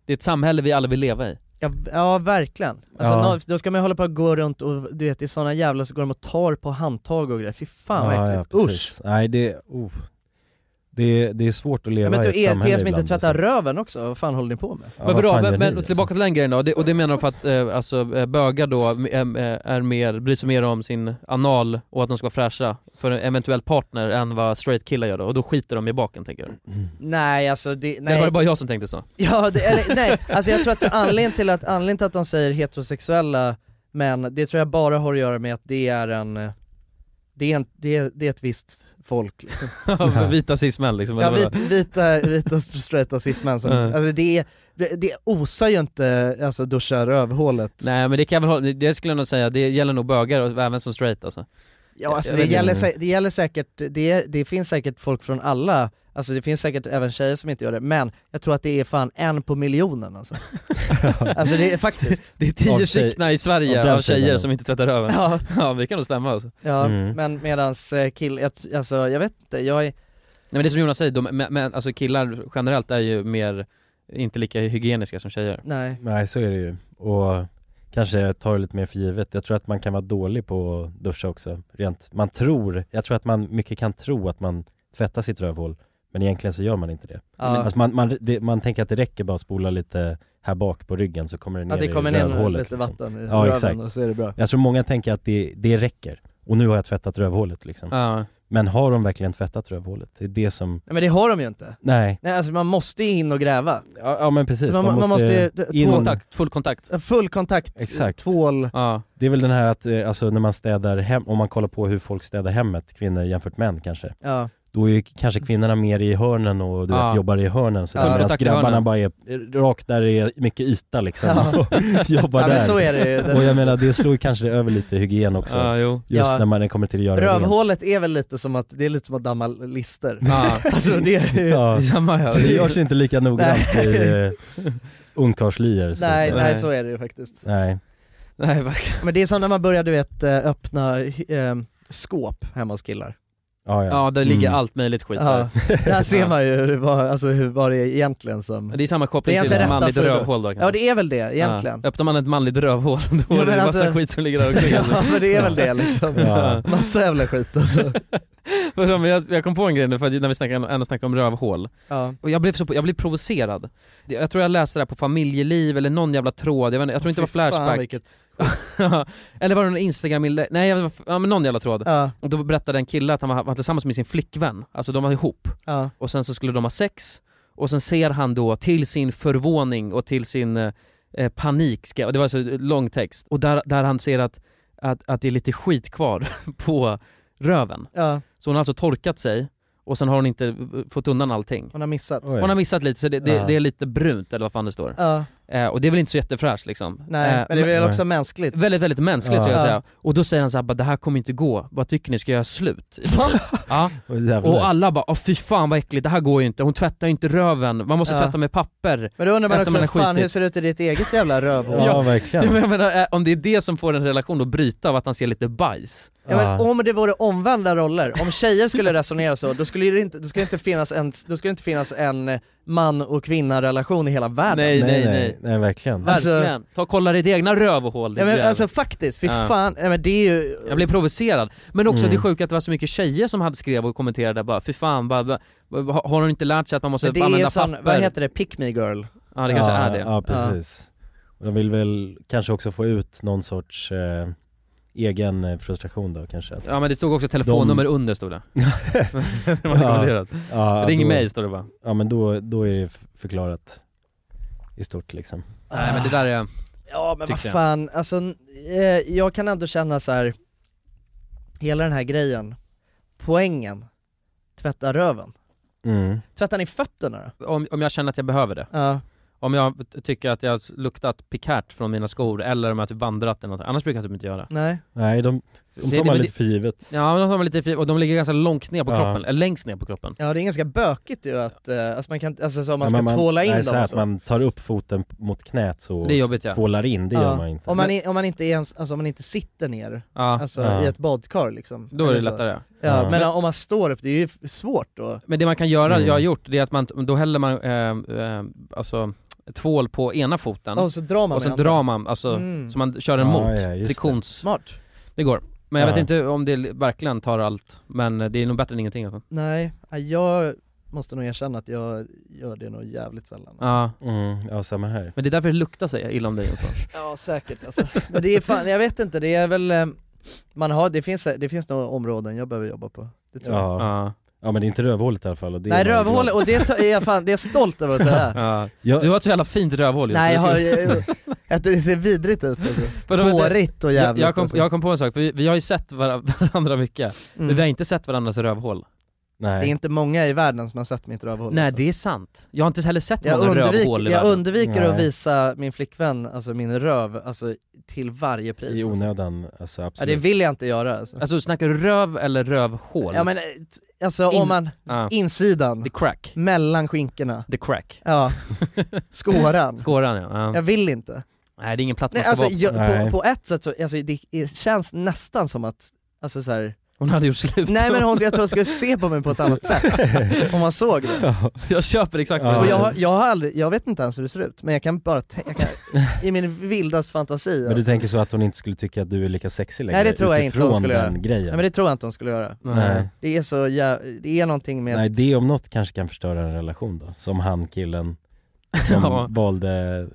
[SPEAKER 1] Det är ett samhälle vi alla vill leva i.
[SPEAKER 2] ja, ja verkligen. Alltså,
[SPEAKER 1] Ja.
[SPEAKER 2] nå- då ska man ju hålla på att gå runt och du vet i sådana jävlar så går de och tar på handtag och grejer, fy fan vad äckligt. Usch!
[SPEAKER 3] precis. Nej det, oh. det, det är svårt att leva
[SPEAKER 2] Ja, men
[SPEAKER 3] i
[SPEAKER 2] du
[SPEAKER 3] ett
[SPEAKER 2] er
[SPEAKER 3] samhälle
[SPEAKER 2] till er som inte
[SPEAKER 3] ibland, liksom. alltså.
[SPEAKER 2] tvättar röven också, vad fan håller ni på med?
[SPEAKER 3] Ja,
[SPEAKER 1] men
[SPEAKER 3] vad
[SPEAKER 1] bra,
[SPEAKER 3] fan gör
[SPEAKER 1] men,
[SPEAKER 3] ni,
[SPEAKER 1] men
[SPEAKER 3] liksom?
[SPEAKER 1] tillbaka till den grejen då. Det, och det menar de för att eh, alltså, eh, bögar då eh, eh, är mer, bryr sig mer om sin anal och att de ska vara fräscha för en eventuell partner än vad straight killar gör då. Och då skiter de i baken tänker du?
[SPEAKER 2] Nej alltså det, nej.
[SPEAKER 1] Nej. Var det bara jag som tänkte så?
[SPEAKER 2] Ja, det, eller nej, alltså jag tror att anledningen till att, anledningen till att de säger heterosexuella män, det tror jag bara har att göra med att det är en, eh, det är, en, det är, det är ett visst folk liksom.
[SPEAKER 1] Vita cis-män liksom.
[SPEAKER 2] Ja,
[SPEAKER 1] eller
[SPEAKER 2] vit,
[SPEAKER 1] vadå?
[SPEAKER 2] vita, vita straighta cis-män som,
[SPEAKER 1] Ja.
[SPEAKER 2] alltså det, är- det, det osar ju inte alltså duscha rövhålet.
[SPEAKER 1] Nej men det kan jag väl hålla- det- det skulle jag nog säga, det gäller nog bögar och även som straight alltså.
[SPEAKER 2] Ja alltså
[SPEAKER 1] Jag
[SPEAKER 2] det
[SPEAKER 1] vet inte.
[SPEAKER 2] gäller, sä- det gäller säkert, det, det finns säkert folk från alla, alltså det finns säkert även tjejer som inte gör det, men jag tror att det är fan en på miljonen alltså. alltså det är faktiskt.
[SPEAKER 1] Det är
[SPEAKER 2] Av
[SPEAKER 1] tio
[SPEAKER 2] tjej-
[SPEAKER 1] stycken i Sverige
[SPEAKER 2] av
[SPEAKER 1] av,
[SPEAKER 2] den
[SPEAKER 1] tjejer
[SPEAKER 2] sidan.
[SPEAKER 1] som inte tvättar röven.
[SPEAKER 2] Ja.
[SPEAKER 1] Ja, vi kan nog stämma alltså.
[SPEAKER 2] Ja,
[SPEAKER 1] Mm.
[SPEAKER 2] men medans eh, kill, jag, t- alltså jag vet inte, jag är,
[SPEAKER 1] Nej men det är som Jonas säger, de, men, men, alltså killar generellt är ju mer, inte lika hygieniska som tjejer.
[SPEAKER 2] Nej.
[SPEAKER 3] Nej så är det ju. Och kanske tar det lite mer för givet. Jag tror att man kan vara dålig på att duscha också. Rent, man tror, jag tror att man mycket kan tro att man tvättar sitt rövhål. Men egentligen så gör man inte det.
[SPEAKER 2] Ja.
[SPEAKER 3] Alltså man, man, det, man tänker att det räcker bara att spola lite här bak på ryggen så kommer det ner
[SPEAKER 2] Att det kommer
[SPEAKER 3] i
[SPEAKER 2] ner
[SPEAKER 3] rövhålet. liksom.
[SPEAKER 2] lite vatten i
[SPEAKER 3] ja,
[SPEAKER 2] röven
[SPEAKER 3] exakt.
[SPEAKER 2] och så är det bra.
[SPEAKER 3] Jag tror många tänker att det, det räcker. Och nu har jag tvättat rövhålet liksom.
[SPEAKER 1] Ja.
[SPEAKER 3] Men har de verkligen tvättat rövhålet? Det är det som...
[SPEAKER 2] nej men det har de ju inte.
[SPEAKER 3] Nej.
[SPEAKER 2] Nej alltså man måste ju in och gräva.
[SPEAKER 3] Ja, ja men precis,
[SPEAKER 2] Man, man måste,
[SPEAKER 3] in-
[SPEAKER 2] tvål-
[SPEAKER 1] full kontakt.
[SPEAKER 2] Full kontakt,
[SPEAKER 3] Exakt.
[SPEAKER 2] tvål.
[SPEAKER 3] Det är väl den här att, eh, alltså när man städar hem, om man kollar på hur folk städar hemmet, kvinnor jämfört med män kanske.
[SPEAKER 2] Ja.
[SPEAKER 3] Då är ju kanske kvinnorna mer i hörnen och du
[SPEAKER 1] Ja.
[SPEAKER 3] vet, jobbar i hörnen så
[SPEAKER 1] Ja.
[SPEAKER 3] medan
[SPEAKER 1] Kontakt i
[SPEAKER 3] grabbarna
[SPEAKER 1] hörnen.
[SPEAKER 3] bara är eh, rakt där det är mycket yta liksom
[SPEAKER 1] Ja.
[SPEAKER 3] och jobbar
[SPEAKER 1] Ja, men
[SPEAKER 3] där.
[SPEAKER 1] så är det ju. Det-
[SPEAKER 3] Och jag menar det slår ju kanske över lite hygien också.
[SPEAKER 1] Ja, jo.
[SPEAKER 3] Just
[SPEAKER 2] Ja.
[SPEAKER 3] när man kommer till att göra rent.
[SPEAKER 2] Rövhålet är väl lite som att, det är lite som att damma lister.
[SPEAKER 1] Ja.
[SPEAKER 2] alltså det är ju...
[SPEAKER 3] Ja.
[SPEAKER 1] Samma, ja.
[SPEAKER 3] Det görs inte lika noggrant
[SPEAKER 2] Nej.
[SPEAKER 3] i eh, ungkarlslyer. så att
[SPEAKER 2] Nej,
[SPEAKER 3] säga.
[SPEAKER 2] nej så är det ju faktiskt.
[SPEAKER 3] Nej.
[SPEAKER 1] Nej verkligen.
[SPEAKER 2] Men det är som när man börjar du vet eh, öppna eh, skåp hemma hos killar.
[SPEAKER 3] Ja, ja.
[SPEAKER 1] Ja, där ligger
[SPEAKER 3] Mm.
[SPEAKER 1] allt möjligt skit
[SPEAKER 2] Ja,
[SPEAKER 1] där.
[SPEAKER 2] där ser man ju hur- vad, alltså, hur, vad det är egentligen som...
[SPEAKER 1] Det är samma koppling
[SPEAKER 2] Det är ens
[SPEAKER 1] till
[SPEAKER 2] rätta
[SPEAKER 1] manligt
[SPEAKER 2] sidor.
[SPEAKER 1] rövhål då kanske.
[SPEAKER 2] Ja det är väl det egentligen.
[SPEAKER 1] Ja. Öppnar man ett manligt rövhål då
[SPEAKER 2] Ja,
[SPEAKER 1] är det
[SPEAKER 2] men
[SPEAKER 1] massa
[SPEAKER 2] alltså-
[SPEAKER 1] skit som ligger där omkring.
[SPEAKER 2] Ja men det är väl det liksom.
[SPEAKER 1] Ja.
[SPEAKER 2] Massa jävla skit alltså.
[SPEAKER 1] För de- jag, jag kom på en grej nu, för att när vi snackade, ändå snackade om rövhål.
[SPEAKER 2] Ja.
[SPEAKER 1] Och jag blev, så, jag blev provocerad. Det- Jag tror jag läste det här på familjeliv eller någon jävla tråd, jag, vet, inte, jag tror inte det
[SPEAKER 2] Fy fan,
[SPEAKER 1] var Flashback.
[SPEAKER 2] vilket-
[SPEAKER 1] eller var det någon instagram inlä- Nej, jag, ja, men någon jävla tråd.
[SPEAKER 2] Ja.
[SPEAKER 1] Och då berättade en kille att han var, var tillsammans med sin flickvän, alltså de var ihop.
[SPEAKER 2] Ja.
[SPEAKER 1] Och sen så skulle de ha sex, och sen ser han då till sin förvåning och till sin eh, eh, panik, ska, det var så lång text, och där, där han ser att, att, att det är lite skit kvar på röven.
[SPEAKER 2] Ja.
[SPEAKER 1] Så hon har alltså torkat sig, och sen har hon inte eh, fått undan allting.
[SPEAKER 2] Hon har missat.
[SPEAKER 1] Oj. Hon har missat lite, så det, det,
[SPEAKER 2] Ja.
[SPEAKER 1] det är lite brunt eller vad fan det står.
[SPEAKER 2] Ja.
[SPEAKER 1] Eh, och det är väl inte så jättefräscht liksom.
[SPEAKER 2] Nej,
[SPEAKER 1] Eh,
[SPEAKER 2] men det är väl också mänskligt.
[SPEAKER 1] Väldigt, väldigt mänskligt
[SPEAKER 2] Ja.
[SPEAKER 1] skulle jag
[SPEAKER 2] Ja.
[SPEAKER 1] säga. Och då säger han så här, bara, det här kommer inte gå, vad tycker ni, ska jag göra slut? I princip. ja.
[SPEAKER 3] jävlar.
[SPEAKER 1] Och alla bara, åh fy fan vad äckligt, det här går ju inte, hon tvättar ju inte röven, man måste
[SPEAKER 2] Ja.
[SPEAKER 1] tvätta med papper
[SPEAKER 2] Men då undrar man
[SPEAKER 1] efter man
[SPEAKER 2] också,
[SPEAKER 1] har
[SPEAKER 2] fan
[SPEAKER 1] skitit."
[SPEAKER 2] hur ser det ut i ditt eget jävla rövhål?
[SPEAKER 1] Ja, men jag menar, eh, om det är det som får en relation att bryta av att han ser lite bajs,
[SPEAKER 2] Ja, men
[SPEAKER 3] Ah.
[SPEAKER 2] om det vore omvända roller, om tjejer skulle resonera så, då skulle det inte, då skulle det inte, finnas, en, då skulle det inte finnas en eh, man och kvinna relation i hela världen.
[SPEAKER 1] Nej, nej, nej.
[SPEAKER 3] Nej verkligen.
[SPEAKER 2] Alltså-
[SPEAKER 1] Verkligen. Ta och kolla ditt egna rövhål
[SPEAKER 2] Ja, men
[SPEAKER 1] jävel.
[SPEAKER 2] alltså faktiskt, fy
[SPEAKER 1] Ja.
[SPEAKER 2] fan, ja, men det är ju...
[SPEAKER 1] Jag blev provocerad. Men också
[SPEAKER 2] Mm.
[SPEAKER 1] det sjuka att det var så mycket tjejer som hade skrev och kommenterade bara fy fan, bara, bara, har har hon inte lärt sig att man måste
[SPEAKER 2] Men det är
[SPEAKER 1] använda
[SPEAKER 2] ju sån,
[SPEAKER 1] papper?
[SPEAKER 2] vad heter det, pick me girl?
[SPEAKER 1] Ja det kanske är det.
[SPEAKER 3] Ja, precis. Och de vill väl kanske också få ut någon sorts eh, egen eh, frustration då kanske. Att
[SPEAKER 1] Ja men det stod också telefonnummer under stod det. det var rekommenderat.
[SPEAKER 3] ja,
[SPEAKER 1] Ring
[SPEAKER 3] då-
[SPEAKER 1] mig står det bara.
[SPEAKER 3] Ja men då, då är det f- förklarat i stort liksom.
[SPEAKER 1] Nej men det där är...
[SPEAKER 2] Ja men vad
[SPEAKER 1] tyckte jag.
[SPEAKER 2] fan, alltså eh, jag kan ändå känna så här. hela den här grejen, poängen, tvätta röven.
[SPEAKER 3] Mm.
[SPEAKER 2] Tvättar ni fötterna då?
[SPEAKER 1] Om, om jag känner att jag behöver det.
[SPEAKER 2] Ja.
[SPEAKER 1] Om jag t- tycker att jag har luktat pikärt från mina skor eller om jag typ vandrat eller något. Annars brukar jag typ inte göra det.
[SPEAKER 2] Nej.
[SPEAKER 3] Nej, de, de tar
[SPEAKER 1] Det-
[SPEAKER 3] man
[SPEAKER 1] men
[SPEAKER 3] lite
[SPEAKER 1] det-
[SPEAKER 3] för givet.
[SPEAKER 1] Ja men de tar man lite fri, och de ligger ganska långt ner på
[SPEAKER 3] Ja.
[SPEAKER 1] kroppen, eller längst ner på kroppen.
[SPEAKER 2] Ja det är ganska bökigt ju att, eh, alltså man kan, alltså så om man
[SPEAKER 3] Ja,
[SPEAKER 2] ska
[SPEAKER 3] men
[SPEAKER 2] tvåla in
[SPEAKER 3] nej,
[SPEAKER 2] dem
[SPEAKER 3] så här
[SPEAKER 2] och
[SPEAKER 3] att
[SPEAKER 2] så.
[SPEAKER 3] man tar upp foten p- mot knät så
[SPEAKER 1] Det är jobbigt, ja.
[SPEAKER 3] tvålar in, det gör
[SPEAKER 2] Ja.
[SPEAKER 3] man inte.
[SPEAKER 2] Om man, i- om man inte ens, alltså om man inte sitter ner,
[SPEAKER 1] Ja.
[SPEAKER 2] alltså
[SPEAKER 1] Ja.
[SPEAKER 2] i ett badkar liksom.
[SPEAKER 1] Då är det
[SPEAKER 2] Eller så.
[SPEAKER 1] lättare.
[SPEAKER 2] Ja,
[SPEAKER 1] Ja.
[SPEAKER 2] men om man står upp, det är ju f- svårt då.
[SPEAKER 1] Men det man kan göra,
[SPEAKER 2] Mm.
[SPEAKER 1] jag har gjort, det är att man, då häller man eh, eh, alltså tvål på ena foten
[SPEAKER 2] Och så drar man
[SPEAKER 1] och sen
[SPEAKER 2] med
[SPEAKER 1] drar
[SPEAKER 2] handen.
[SPEAKER 1] man, alltså,
[SPEAKER 2] Mm.
[SPEAKER 1] så man kör den
[SPEAKER 3] Ja,
[SPEAKER 1] mot,
[SPEAKER 3] ja, just
[SPEAKER 1] friktions...
[SPEAKER 3] det.
[SPEAKER 2] Smart.
[SPEAKER 1] Det går. Men jag
[SPEAKER 3] Ja.
[SPEAKER 1] vet inte om det verkligen tar allt, men det är nog bättre än ingenting alltså.
[SPEAKER 2] Nej, ja, jag måste nog erkänna att jag gör det nog jävligt sällan. alltså.
[SPEAKER 1] Ja.
[SPEAKER 3] Mm, ja, samma här.
[SPEAKER 1] Men det är därför det luktar så illa om dig och så.
[SPEAKER 2] Ja säkert alltså. Men det är fan, jag vet inte, det är väl, eh, man har, det finns, det finns några områden jag behöver jobba på. Det tror jag.
[SPEAKER 3] Ja.
[SPEAKER 1] Ja.
[SPEAKER 3] men det är inte rövhålet i alla fall. Och det
[SPEAKER 2] Nej
[SPEAKER 3] är man ju
[SPEAKER 2] rövhålet,
[SPEAKER 3] glad-
[SPEAKER 2] och det ta- är jag fan, det är jag stolt över att säga.
[SPEAKER 1] Ja.
[SPEAKER 3] Jag-
[SPEAKER 1] Du har ett så jävla fint rövhål just.
[SPEAKER 2] Nej jag
[SPEAKER 1] Jag
[SPEAKER 2] har,
[SPEAKER 1] skulle-
[SPEAKER 2] jag, jag, det ser vidrigt ut alltså.
[SPEAKER 1] Vadå, vänta?
[SPEAKER 2] Hårigt och
[SPEAKER 1] jag,
[SPEAKER 2] jävligt.
[SPEAKER 1] jag, kom,
[SPEAKER 2] alltså.
[SPEAKER 1] jag kom på en sak, för vi, vi har ju sett vara- varandra mycket,
[SPEAKER 2] Mm.
[SPEAKER 1] men vi har inte sett varandras rövhål.
[SPEAKER 2] Det är
[SPEAKER 3] Nej.
[SPEAKER 2] inte många i världen som har sett mitt rövhål.
[SPEAKER 1] Nej
[SPEAKER 2] alltså.
[SPEAKER 1] det är sant. Jag har inte heller sett
[SPEAKER 2] jag,
[SPEAKER 1] många
[SPEAKER 2] undvik,
[SPEAKER 1] rövhål i
[SPEAKER 2] jag
[SPEAKER 1] världen.
[SPEAKER 2] undviker att
[SPEAKER 3] Nej.
[SPEAKER 2] visa min flickvän, alltså min röv, alltså till varje pris.
[SPEAKER 3] I
[SPEAKER 2] alltså.
[SPEAKER 3] onödan, alltså
[SPEAKER 2] Ja,
[SPEAKER 3] absolut.
[SPEAKER 2] det vill jag inte göra alltså.
[SPEAKER 1] Alltså snackar du röv eller rövhål?
[SPEAKER 2] Ja men eh, t- alltså om
[SPEAKER 1] In-
[SPEAKER 2] man,
[SPEAKER 3] Ah.
[SPEAKER 1] Ja.
[SPEAKER 2] insidan,
[SPEAKER 1] The crack.
[SPEAKER 2] mellan skinkorna,
[SPEAKER 1] The crack.
[SPEAKER 2] ja, skåran.
[SPEAKER 1] Skåran ja.
[SPEAKER 2] Jag
[SPEAKER 1] ja.
[SPEAKER 2] vill inte.
[SPEAKER 1] Nej det är ingen plats man
[SPEAKER 2] Nej,
[SPEAKER 1] ska
[SPEAKER 2] alltså,
[SPEAKER 1] vara på.
[SPEAKER 2] jag,
[SPEAKER 3] Nej.
[SPEAKER 2] på, på ett sätt så, alltså, det är- känns nästan som att, alltså så här,
[SPEAKER 1] Hon hade gjort slut.
[SPEAKER 2] nej men hon, jag tror hon skulle se på mig på ett annat sätt om man såg det.
[SPEAKER 1] jag köper exakt vad
[SPEAKER 2] Och
[SPEAKER 1] du
[SPEAKER 2] jag,
[SPEAKER 1] säger.
[SPEAKER 2] har- jag, har aldrig, jag vet inte ens hur det ser ut, men jag kan bara tän- jag kan, i min vildaste fantasi
[SPEAKER 3] Men du
[SPEAKER 2] alltså.
[SPEAKER 3] tänker så att hon inte skulle tycka att du är lika sexig längre?
[SPEAKER 2] Nej, det tror jag inte hon
[SPEAKER 3] utifrån
[SPEAKER 2] skulle
[SPEAKER 3] den
[SPEAKER 2] göra.
[SPEAKER 3] grejen?
[SPEAKER 2] Nej men det tror jag inte hon skulle göra.
[SPEAKER 3] Nej.
[SPEAKER 2] Det är så jä- det är någonting med
[SPEAKER 3] Nej, det om något kanske kan förstöra en relation då, som han killen som
[SPEAKER 1] Ja.
[SPEAKER 3] valde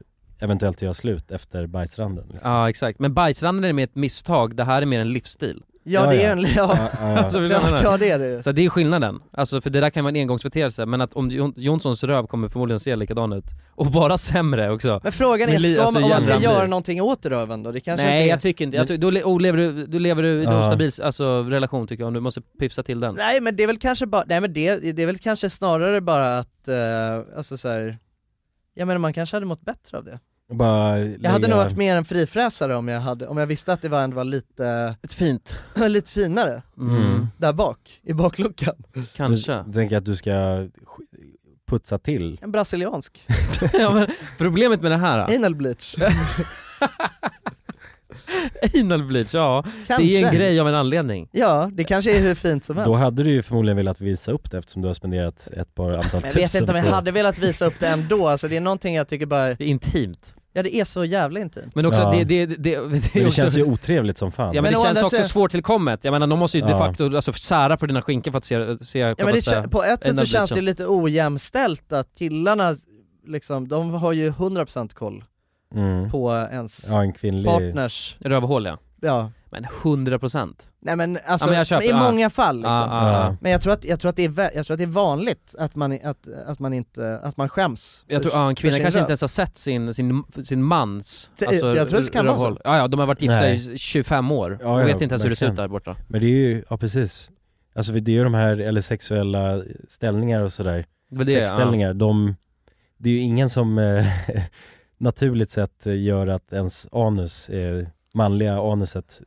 [SPEAKER 3] eventuellt göra slut efter bajsranden liksom.
[SPEAKER 1] Ja exakt, men bajsranden är mer ett misstag, det här är mer en livsstil.
[SPEAKER 2] Ja det är en, ja,
[SPEAKER 3] ja,
[SPEAKER 1] Alltså, förstår
[SPEAKER 3] ja.
[SPEAKER 1] du vad jag
[SPEAKER 2] ja,
[SPEAKER 1] menar?
[SPEAKER 2] ja det är det ju.
[SPEAKER 1] Så det är skillnaden, alltså för det där kan vara en engångsföreteelse men att om Jon- Jonssons röv kommer förmodligen se likadan ut, och bara sämre också.
[SPEAKER 2] Men frågan är,
[SPEAKER 1] Men li-
[SPEAKER 2] ska
[SPEAKER 1] alltså,
[SPEAKER 2] man, om man ska
[SPEAKER 1] jävlar.
[SPEAKER 2] göra någonting åt röven då? Det kanske
[SPEAKER 1] Nej
[SPEAKER 2] inte är...
[SPEAKER 1] jag tycker inte, jag ty- då, le- oh, lever du, då lever du i en
[SPEAKER 3] Ja.
[SPEAKER 1] ostabil alltså, relation tycker jag, om du måste pyfsa till den.
[SPEAKER 2] Nej men det är väl kanske bara, nej men det, det är väl kanske snarare bara att, eh, alltså så här. Jag menar man kanske hade mått bättre av det.
[SPEAKER 3] Bara
[SPEAKER 2] Jag hade nog varit mer en frifräsare om jag hade, om jag visste att det var, ändå var lite,
[SPEAKER 1] Ett fint,
[SPEAKER 2] lite finare
[SPEAKER 1] mm.
[SPEAKER 3] Mm.
[SPEAKER 2] där bak, i bakluckan.
[SPEAKER 1] kanske.
[SPEAKER 3] Jag tänker att du ska sk- putsa till.
[SPEAKER 2] En brasiliansk,
[SPEAKER 1] ja, men, problemet med det här, då.
[SPEAKER 2] anal bleach.
[SPEAKER 1] anal bleach, ja.
[SPEAKER 2] Kanske.
[SPEAKER 1] Det är en grej av en anledning.
[SPEAKER 2] Ja, det kanske är hur fint som helst.
[SPEAKER 3] Då hade du ju förmodligen velat visa upp det eftersom du har spenderat ett par antal
[SPEAKER 2] Men
[SPEAKER 3] tusen
[SPEAKER 2] jag vet inte om jag
[SPEAKER 3] på-
[SPEAKER 2] hade velat visa upp det ändå, alltså det är någonting jag tycker bara,
[SPEAKER 1] Det är intimt.
[SPEAKER 2] ja det är så jävla intimt.
[SPEAKER 1] Men också,
[SPEAKER 3] Ja.
[SPEAKER 1] det, det, det, det,
[SPEAKER 3] Men
[SPEAKER 1] är
[SPEAKER 3] det
[SPEAKER 1] också...
[SPEAKER 3] känns ju otrevligt som fan.
[SPEAKER 1] Ja men,
[SPEAKER 2] Men å
[SPEAKER 1] det känns
[SPEAKER 2] andra
[SPEAKER 1] också
[SPEAKER 2] sidan-
[SPEAKER 1] svårtillkommet, jag menar de måste ju de
[SPEAKER 3] Ja.
[SPEAKER 1] facto alltså, sära på dina skinkor för att se, se
[SPEAKER 2] Ja, men det,
[SPEAKER 1] självaste-
[SPEAKER 2] kän- på ett sätt så
[SPEAKER 1] anal
[SPEAKER 2] känns det
[SPEAKER 1] bleachen.
[SPEAKER 2] lite ojämställt att killarna, liksom, de har ju 100% koll
[SPEAKER 3] mm.
[SPEAKER 2] på ens
[SPEAKER 3] Ja en kvinnlig...
[SPEAKER 2] partners,
[SPEAKER 1] Rövhål ja.
[SPEAKER 2] ja.
[SPEAKER 1] Men 100% procent. Ah,
[SPEAKER 2] Nej men alltså,
[SPEAKER 1] Ja, men jag köper,
[SPEAKER 2] i
[SPEAKER 1] ja.
[SPEAKER 2] många fall liksom.
[SPEAKER 1] Ja.
[SPEAKER 2] Men jag tror, att, jag, tror att det är, vä- jag tror att det är vanligt att man, att, att man, inte, att man skäms.
[SPEAKER 1] Jag tror, ja, en kvinna
[SPEAKER 2] sin
[SPEAKER 1] kanske
[SPEAKER 2] röv.
[SPEAKER 1] inte ens har sett sin, sin, sin mans alltså,
[SPEAKER 2] Det- jag tror det kan vara
[SPEAKER 1] rövhål. Ja, ja, de har varit gifta
[SPEAKER 3] Nej.
[SPEAKER 1] i 25 år
[SPEAKER 3] Ja,
[SPEAKER 1] och
[SPEAKER 3] ja,
[SPEAKER 1] vet inte ens hur det ser
[SPEAKER 3] verkligen.
[SPEAKER 1] ut där borta.
[SPEAKER 3] Men det är ju, ja precis. Alltså det är ju de här, eller sexuella ställningar och sådär.
[SPEAKER 1] Det var det,
[SPEAKER 3] sexställningar, de, det är ju ingen som eh, naturligt sett eh, gör att ens anus, eh, manliga anuset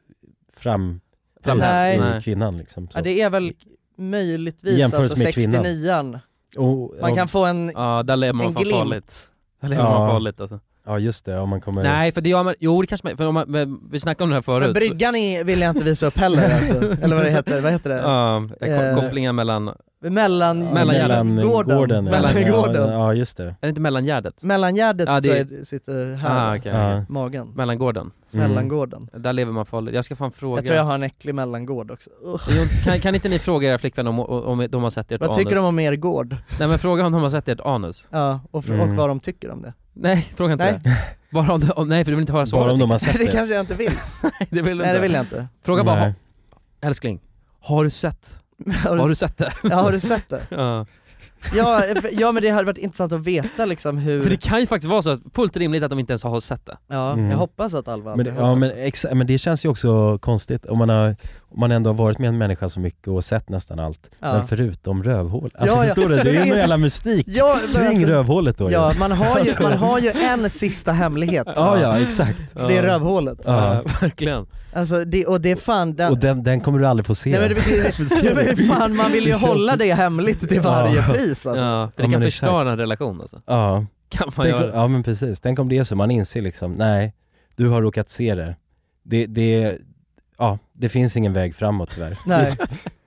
[SPEAKER 3] fram
[SPEAKER 1] Fram-
[SPEAKER 2] Nej.
[SPEAKER 3] i
[SPEAKER 1] Nej.
[SPEAKER 3] kvinnan liksom. Så.
[SPEAKER 2] Ja, det är väl möjligtvis
[SPEAKER 3] Jämförs
[SPEAKER 2] alltså
[SPEAKER 3] med kvinnan.
[SPEAKER 2] 69an,
[SPEAKER 3] Och,
[SPEAKER 2] man
[SPEAKER 3] ja,
[SPEAKER 2] kan få en,
[SPEAKER 1] Ja, ja där lever man
[SPEAKER 2] en
[SPEAKER 1] fan
[SPEAKER 2] glimt.
[SPEAKER 1] farligt. Där lever man
[SPEAKER 3] Ja.
[SPEAKER 1] farligt alltså.
[SPEAKER 3] Ja just det, om man kommer...
[SPEAKER 1] Nej för det gör man, jo det kanske man, för om man, men vi snackade om det här förut.
[SPEAKER 2] Men bryggan är, vill jag inte visa upp heller alltså. eller vad det heter, vad heter det?
[SPEAKER 1] Ja, det är
[SPEAKER 2] Eh,
[SPEAKER 1] ko- kopplingen mellan, är
[SPEAKER 2] Mellan,
[SPEAKER 1] Ja, Mellangärden.
[SPEAKER 2] gården.
[SPEAKER 1] gården, ja.
[SPEAKER 2] Mellangården.
[SPEAKER 1] Ja, ja,
[SPEAKER 3] just det. Mm.
[SPEAKER 1] det inte mellangärdet?
[SPEAKER 2] Mellangärdet
[SPEAKER 1] Ja, det-
[SPEAKER 2] tror jag sitter här,
[SPEAKER 1] Ah, okej,
[SPEAKER 2] i
[SPEAKER 1] okej.
[SPEAKER 2] magen.
[SPEAKER 1] Mellangården.
[SPEAKER 2] Mm. Mellangården.
[SPEAKER 1] Där lever man farligt. Jag ska fan fråga.
[SPEAKER 2] Jag tror jag har en äcklig mellangård också. Ugh.
[SPEAKER 1] Jo, kan, kan inte ni fråga era flickvänner om, om de har sett ert
[SPEAKER 2] Vad
[SPEAKER 1] anus?
[SPEAKER 2] tycker de om er gård?
[SPEAKER 1] Nej men fråga om de har sett ert anus.
[SPEAKER 2] Ja, och, fr- och
[SPEAKER 1] Mm.
[SPEAKER 2] vad de tycker om det.
[SPEAKER 1] Nej, fråga inte
[SPEAKER 2] Nej.
[SPEAKER 1] det. Bara om, de- om, nej för du vill inte höra svaret.
[SPEAKER 3] om de har
[SPEAKER 1] tycker jag.
[SPEAKER 2] det kanske jag inte vill.
[SPEAKER 1] Nej, det vill du
[SPEAKER 2] Nej,
[SPEAKER 1] inte.
[SPEAKER 2] det vill jag inte.
[SPEAKER 1] Fråga bara,
[SPEAKER 3] Nej.
[SPEAKER 1] "Ha- älskling, har du sett?
[SPEAKER 2] Har du-
[SPEAKER 1] Har du sett det?
[SPEAKER 2] Ja, har du sett det?
[SPEAKER 1] ja.
[SPEAKER 2] Ja, eh, ja men det hade varit intressant att veta liksom hur...
[SPEAKER 1] För det kan ju faktiskt vara så, att- fullt rimligt att de inte ens har sett det.
[SPEAKER 2] Ja,
[SPEAKER 3] Mm.
[SPEAKER 2] jag hoppas att Alva
[SPEAKER 3] Men, det-
[SPEAKER 2] aldrig har
[SPEAKER 3] ja,
[SPEAKER 2] sett
[SPEAKER 3] men, exa- men det känns ju också konstigt om man, har, om man ändå har varit med en människa så mycket och sett nästan allt,
[SPEAKER 2] Ja.
[SPEAKER 3] men förutom rövhål. Alltså
[SPEAKER 2] Ja, ja.
[SPEAKER 3] förstår du? Det är ju
[SPEAKER 2] Ja,
[SPEAKER 3] någon jävla mystik
[SPEAKER 2] Ja, men
[SPEAKER 3] kring
[SPEAKER 2] alltså-
[SPEAKER 3] rövhålet då ju.
[SPEAKER 2] Ja, man har ju,
[SPEAKER 3] Alltså-
[SPEAKER 2] man har ju en sista hemlighet.
[SPEAKER 3] Ja, ja, exakt.
[SPEAKER 2] Det är rövhålet.
[SPEAKER 3] Ja.
[SPEAKER 1] verkligen.
[SPEAKER 2] Alltså, det, och det är fan den...
[SPEAKER 3] Och den, den kommer du aldrig få se.
[SPEAKER 2] Nej men det betyder,
[SPEAKER 3] Förstår
[SPEAKER 2] nej,
[SPEAKER 3] du?
[SPEAKER 2] men fan man vill ju
[SPEAKER 3] Det känns-
[SPEAKER 2] hålla det hemligt till varje
[SPEAKER 3] Ja.
[SPEAKER 2] pris alltså.
[SPEAKER 1] Ja, för
[SPEAKER 3] Ja,
[SPEAKER 1] det
[SPEAKER 3] men
[SPEAKER 1] kan
[SPEAKER 3] exakt.
[SPEAKER 1] förstöra en relation alltså.
[SPEAKER 3] Ja.
[SPEAKER 1] Kan man
[SPEAKER 3] Tänk,
[SPEAKER 1] göra.
[SPEAKER 3] ja men precis, tänk om det är så, man inser liksom, nej, du har råkat se det. Det, det, ja, det finns ingen väg framåt tyvärr.
[SPEAKER 2] Nej,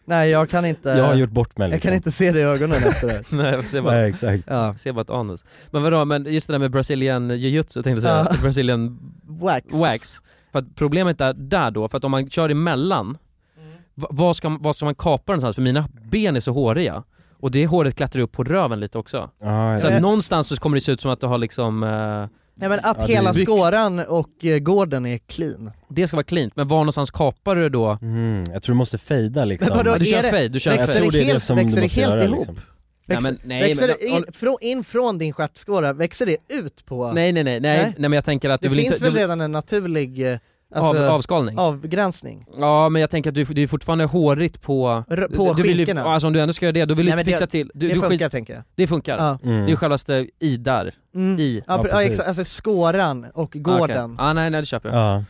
[SPEAKER 2] nej jag kan inte...
[SPEAKER 3] Jag har gjort bort mig
[SPEAKER 2] Jag kan
[SPEAKER 3] liksom.
[SPEAKER 2] inte se det i ögonen efter det.
[SPEAKER 1] Nej, jag ser bara,
[SPEAKER 3] Nej exakt.
[SPEAKER 2] Ja.
[SPEAKER 1] ser bara ett anus. Men vadå, men just det där med Brazilian jiu-jitsu tänkte jag säga,
[SPEAKER 2] Ja.
[SPEAKER 1] Brazilian
[SPEAKER 2] Wax.
[SPEAKER 1] wax. För att problemet är där då, för att om man kör emellan, mm. vad, ska, vad ska man kapa någonstans? För mina ben är så håriga. Och det håret klättrar upp på röven lite också.
[SPEAKER 3] Ja,
[SPEAKER 1] Så att
[SPEAKER 2] Eh.
[SPEAKER 1] någonstans så kommer det se ut som att du har liksom, eh,
[SPEAKER 2] Nej men att
[SPEAKER 1] Ja, det är-
[SPEAKER 2] hela
[SPEAKER 1] Byx.
[SPEAKER 2] skåran och eh, gården är clean.
[SPEAKER 1] det ska vara cleant, men var någonstans kapar du då?
[SPEAKER 3] Mm, jag tror du måste fejda liksom.
[SPEAKER 2] Men vadå,
[SPEAKER 1] Ja, du kör
[SPEAKER 2] är det-
[SPEAKER 1] fade, du kör
[SPEAKER 2] växer
[SPEAKER 1] fade.
[SPEAKER 2] det
[SPEAKER 3] Jag tror det är det
[SPEAKER 2] helt-
[SPEAKER 3] som du
[SPEAKER 2] växer det
[SPEAKER 3] måste
[SPEAKER 2] helt
[SPEAKER 3] göra,
[SPEAKER 2] ihop?
[SPEAKER 3] liksom.
[SPEAKER 1] Nej,
[SPEAKER 2] Växer,
[SPEAKER 1] men- nej,
[SPEAKER 2] växer
[SPEAKER 1] men-
[SPEAKER 2] det in, från, in från din stjärtskåra, växer det ut på...
[SPEAKER 1] Nej nej nej, nej,
[SPEAKER 2] Nej.
[SPEAKER 1] nej men jag tänker att
[SPEAKER 2] det
[SPEAKER 1] du vill
[SPEAKER 2] finns
[SPEAKER 1] inte...
[SPEAKER 2] väl
[SPEAKER 1] du,
[SPEAKER 2] redan en naturlig eh,
[SPEAKER 1] av,
[SPEAKER 2] alltså,
[SPEAKER 1] avskalning?
[SPEAKER 2] avgränsning?
[SPEAKER 1] Ja men jag tänker att du, du är fortfarande hårigt på...
[SPEAKER 2] R-
[SPEAKER 1] du-
[SPEAKER 2] på
[SPEAKER 1] du vill ju,
[SPEAKER 2] skinkorna.
[SPEAKER 1] Alltså om du ändå ska göra det, då vill du
[SPEAKER 2] Nej,
[SPEAKER 1] inte
[SPEAKER 2] men
[SPEAKER 1] fixa
[SPEAKER 2] det-
[SPEAKER 1] till... Du,
[SPEAKER 2] det
[SPEAKER 1] du skit-
[SPEAKER 2] funkar tänker jag.
[SPEAKER 1] det funkar.
[SPEAKER 2] Ja.
[SPEAKER 3] Mm.
[SPEAKER 1] Det är ju självaste i där,
[SPEAKER 2] Mm.
[SPEAKER 1] i.
[SPEAKER 2] Ja,
[SPEAKER 3] Ja,
[SPEAKER 2] pre- ja,
[SPEAKER 3] precis.
[SPEAKER 2] exakt, alltså skåran och
[SPEAKER 1] Ah, okej.
[SPEAKER 2] gården.
[SPEAKER 1] Ah, nej nej det köper jag.
[SPEAKER 3] Ja.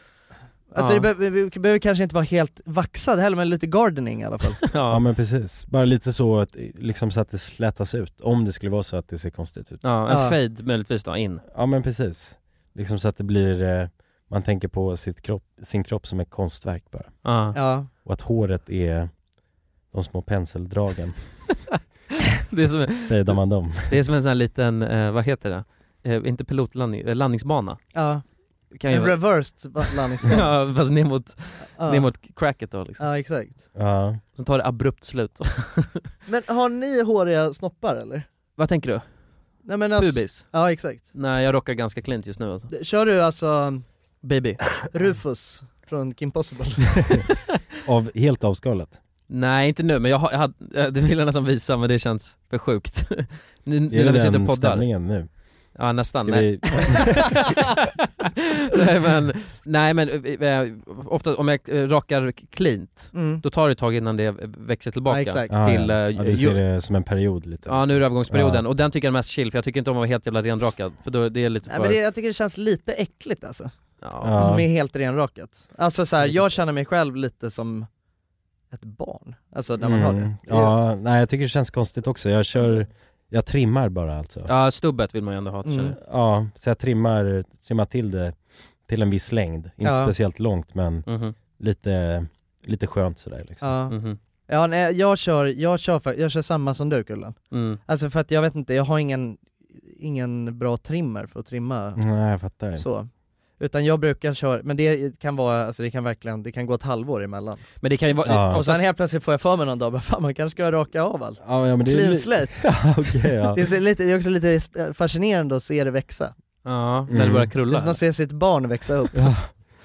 [SPEAKER 2] Alltså
[SPEAKER 1] Ja.
[SPEAKER 2] det be- vi vi behöver kanske inte vara helt vaxad heller men lite gardening i alla fall.
[SPEAKER 3] ja
[SPEAKER 1] Ja.
[SPEAKER 3] men precis, bara lite så att, liksom så att det slätas ut, om det skulle vara så att det ser konstigt ut.
[SPEAKER 1] Ja, en
[SPEAKER 2] Ja.
[SPEAKER 1] fade möjligtvis då, in.
[SPEAKER 3] Ja men precis, liksom så att det blir, eh, man tänker på sitt kropp, sin kropp som ett konstverk bara.
[SPEAKER 1] Ja.
[SPEAKER 2] ja.
[SPEAKER 3] Och att håret är de små penseldragen,
[SPEAKER 1] Det, är som,
[SPEAKER 3] fejdar man dem.
[SPEAKER 1] det är som en sån här liten, eh, vad heter det? Eh, inte pilotlandning, eh, landningsbana.
[SPEAKER 2] ja.
[SPEAKER 1] Kan ju
[SPEAKER 2] En
[SPEAKER 1] vara-
[SPEAKER 2] reversed va- landningsbana. ja.
[SPEAKER 1] ja, fast ner mot, ner
[SPEAKER 2] Ja.
[SPEAKER 1] mot cracket då liksom.
[SPEAKER 2] ja exakt.
[SPEAKER 3] Ja.
[SPEAKER 1] Sen tar det abrupt slut.
[SPEAKER 2] Men har ni håriga snoppar eller?
[SPEAKER 1] vad tänker du?
[SPEAKER 2] Nej men alltså,
[SPEAKER 1] Pubis?
[SPEAKER 2] Ja exakt.
[SPEAKER 1] Nej jag rockar ganska klint just nu alltså.
[SPEAKER 2] Kör du alltså
[SPEAKER 1] Baby?
[SPEAKER 2] Rufus från Kim Possible?
[SPEAKER 3] Av, helt avskalat.
[SPEAKER 1] Nej inte nu men jag, har, jag hade, eh, det vill jag nästan visa men det känns för sjukt. nu nu när vi sitter och poddar.
[SPEAKER 3] stämningen nu?
[SPEAKER 1] Ja nästan.
[SPEAKER 3] Ska
[SPEAKER 1] Nej.
[SPEAKER 3] vi,
[SPEAKER 1] nej men, nej, men eh, eh, ofta om jag eh, rakar klint,
[SPEAKER 2] Mm.
[SPEAKER 1] då tar det ett tag innan det växer tillbaka.
[SPEAKER 2] Ja, exakt.
[SPEAKER 3] ja,
[SPEAKER 1] Till, eh,
[SPEAKER 3] ja. ja, du
[SPEAKER 1] ju-
[SPEAKER 3] ser det som en period lite.
[SPEAKER 1] Ja nu är det övergångsperioden
[SPEAKER 3] Ja.
[SPEAKER 1] och den tycker jag är mest chill för jag tycker inte om att vara helt jävla renrakad för då det är lite
[SPEAKER 2] Nej
[SPEAKER 1] för...
[SPEAKER 2] men det, jag tycker det känns lite äckligt alltså.
[SPEAKER 1] ja.
[SPEAKER 3] Ja. Mm.
[SPEAKER 2] Med helt renrakat. Alltså så här, jag känner mig själv lite som ett barn. Alltså när man har det. det. är-
[SPEAKER 3] Mm. Ja, nej jag tycker det känns konstigt också. Jag kör, jag trimmar bara alltså. Ja,
[SPEAKER 1] ja stubbet vill man ju ändå ha
[SPEAKER 2] Mm.
[SPEAKER 1] mm.
[SPEAKER 3] så jag trimmar, trimmar till det till en viss längd. Inte
[SPEAKER 2] Ja.
[SPEAKER 3] speciellt långt men
[SPEAKER 1] Mhm.
[SPEAKER 3] lite, lite skönt sådär liksom.
[SPEAKER 2] Ja.
[SPEAKER 1] Mhm.
[SPEAKER 2] Ja, nej, jag, kör, jag, kör, fa- jag kör samma som du Kullen.
[SPEAKER 1] Mm.
[SPEAKER 2] Alltså för att jag vet inte, jag har ingen, ingen bra trimmer för att trimma
[SPEAKER 3] Nej jag fattar.
[SPEAKER 2] så. Utan jag brukar köra, men det kan vara, alltså det kan verkligen, det kan gå ett halvår emellan.
[SPEAKER 1] Men det kan ju vara...
[SPEAKER 3] Ja.
[SPEAKER 1] Ja.
[SPEAKER 2] Och sen helt plötsligt får jag för mig någon dag, bara, fan man kanske ska raka av allt.
[SPEAKER 3] Ja, ja, men det är
[SPEAKER 2] Clean
[SPEAKER 3] li-
[SPEAKER 2] slate.
[SPEAKER 3] Ja, okej, ja.
[SPEAKER 2] Det, är så lite, det är också lite sp- fascinerande att se det växa.
[SPEAKER 1] ja, när det
[SPEAKER 3] Mm.
[SPEAKER 1] börjar
[SPEAKER 2] Det är
[SPEAKER 1] krulla.
[SPEAKER 2] som att se sitt barn växa upp.
[SPEAKER 3] Ja.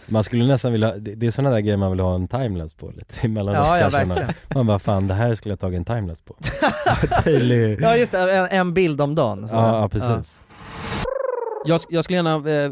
[SPEAKER 3] Man skulle nästan vilja, det det är sådana där grejer man vill ha en timelapse på lite emellanåt
[SPEAKER 2] Ja, ja
[SPEAKER 3] kan jag känna.
[SPEAKER 2] verkligen.
[SPEAKER 3] Man bara fan det här skulle jag tagit en timelapse på. Daily.
[SPEAKER 2] Ja just det, en, en bild om dagen. Så.
[SPEAKER 3] Ja, ja precis.
[SPEAKER 1] Jag, sk- jag skulle gärna eh,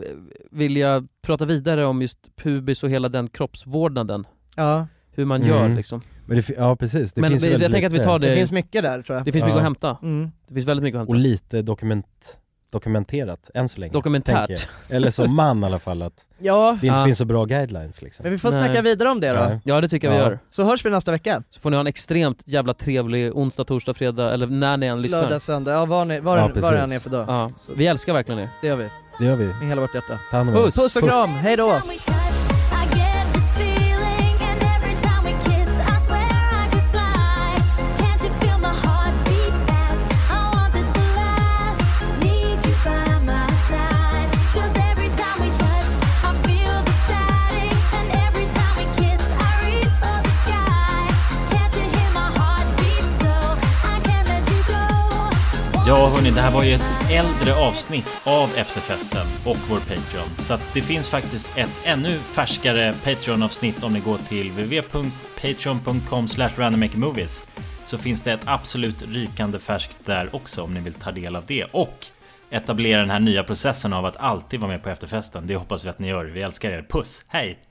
[SPEAKER 1] vilja prata vidare om just pubis och hela den kroppsvårdnaden.
[SPEAKER 2] Ja.
[SPEAKER 1] Hur man
[SPEAKER 3] Mm.
[SPEAKER 1] gör liksom.
[SPEAKER 3] Men det, fi- ja precis, det
[SPEAKER 1] Men
[SPEAKER 3] finns ju
[SPEAKER 1] jag
[SPEAKER 3] väldigt
[SPEAKER 1] tänker att vi
[SPEAKER 3] lite.
[SPEAKER 1] tar
[SPEAKER 2] Det
[SPEAKER 1] Det-
[SPEAKER 2] finns mycket där tror jag.
[SPEAKER 1] Det finns
[SPEAKER 3] Ja.
[SPEAKER 1] mycket att hämta.
[SPEAKER 2] Mm.
[SPEAKER 1] Det finns väldigt mycket att hämta.
[SPEAKER 3] Och lite dokument, dokumenterat än så länge. tänker
[SPEAKER 1] Dokumentärt.
[SPEAKER 3] jag. Eller som man i alla fall att
[SPEAKER 2] Ja,
[SPEAKER 3] det inte
[SPEAKER 1] Ja.
[SPEAKER 3] finns så bra guidelines liksom.
[SPEAKER 2] men vi får
[SPEAKER 1] Nej.
[SPEAKER 2] snacka vidare om det då.
[SPEAKER 3] Ja.
[SPEAKER 1] Ja det tycker jag vi
[SPEAKER 3] Ja.
[SPEAKER 1] gör.
[SPEAKER 2] Så hörs vi nästa vecka.
[SPEAKER 1] Så får ni ha en extremt jävla trevlig onsdag, torsdag, fredag eller när ni än lyssnar.
[SPEAKER 2] Lördag, söndag, ja var, ni, var,
[SPEAKER 3] Ja,
[SPEAKER 2] den- var den
[SPEAKER 3] precis.
[SPEAKER 2] är för dag.
[SPEAKER 1] Ja. Vi älskar verkligen er.
[SPEAKER 2] Det gör vi.
[SPEAKER 1] Det gör vi.
[SPEAKER 2] Med hela vårt hjärta.
[SPEAKER 1] Ta hand om
[SPEAKER 2] Puss, puss och kram, hej då!
[SPEAKER 3] Ja hörni, det här var ju ett äldre avsnitt av Efterfesten och vår Patreon. Så att det finns faktiskt ett ännu färskare Patreon-avsnitt om ni går till www.patreon.com randommakermovies. Så finns det ett absolut rykande färskt där också om ni vill ta del av det. Och etablera den här nya processen av att alltid vara med på Efterfesten. Det hoppas vi att ni gör. Vi älskar er. Puss, hej!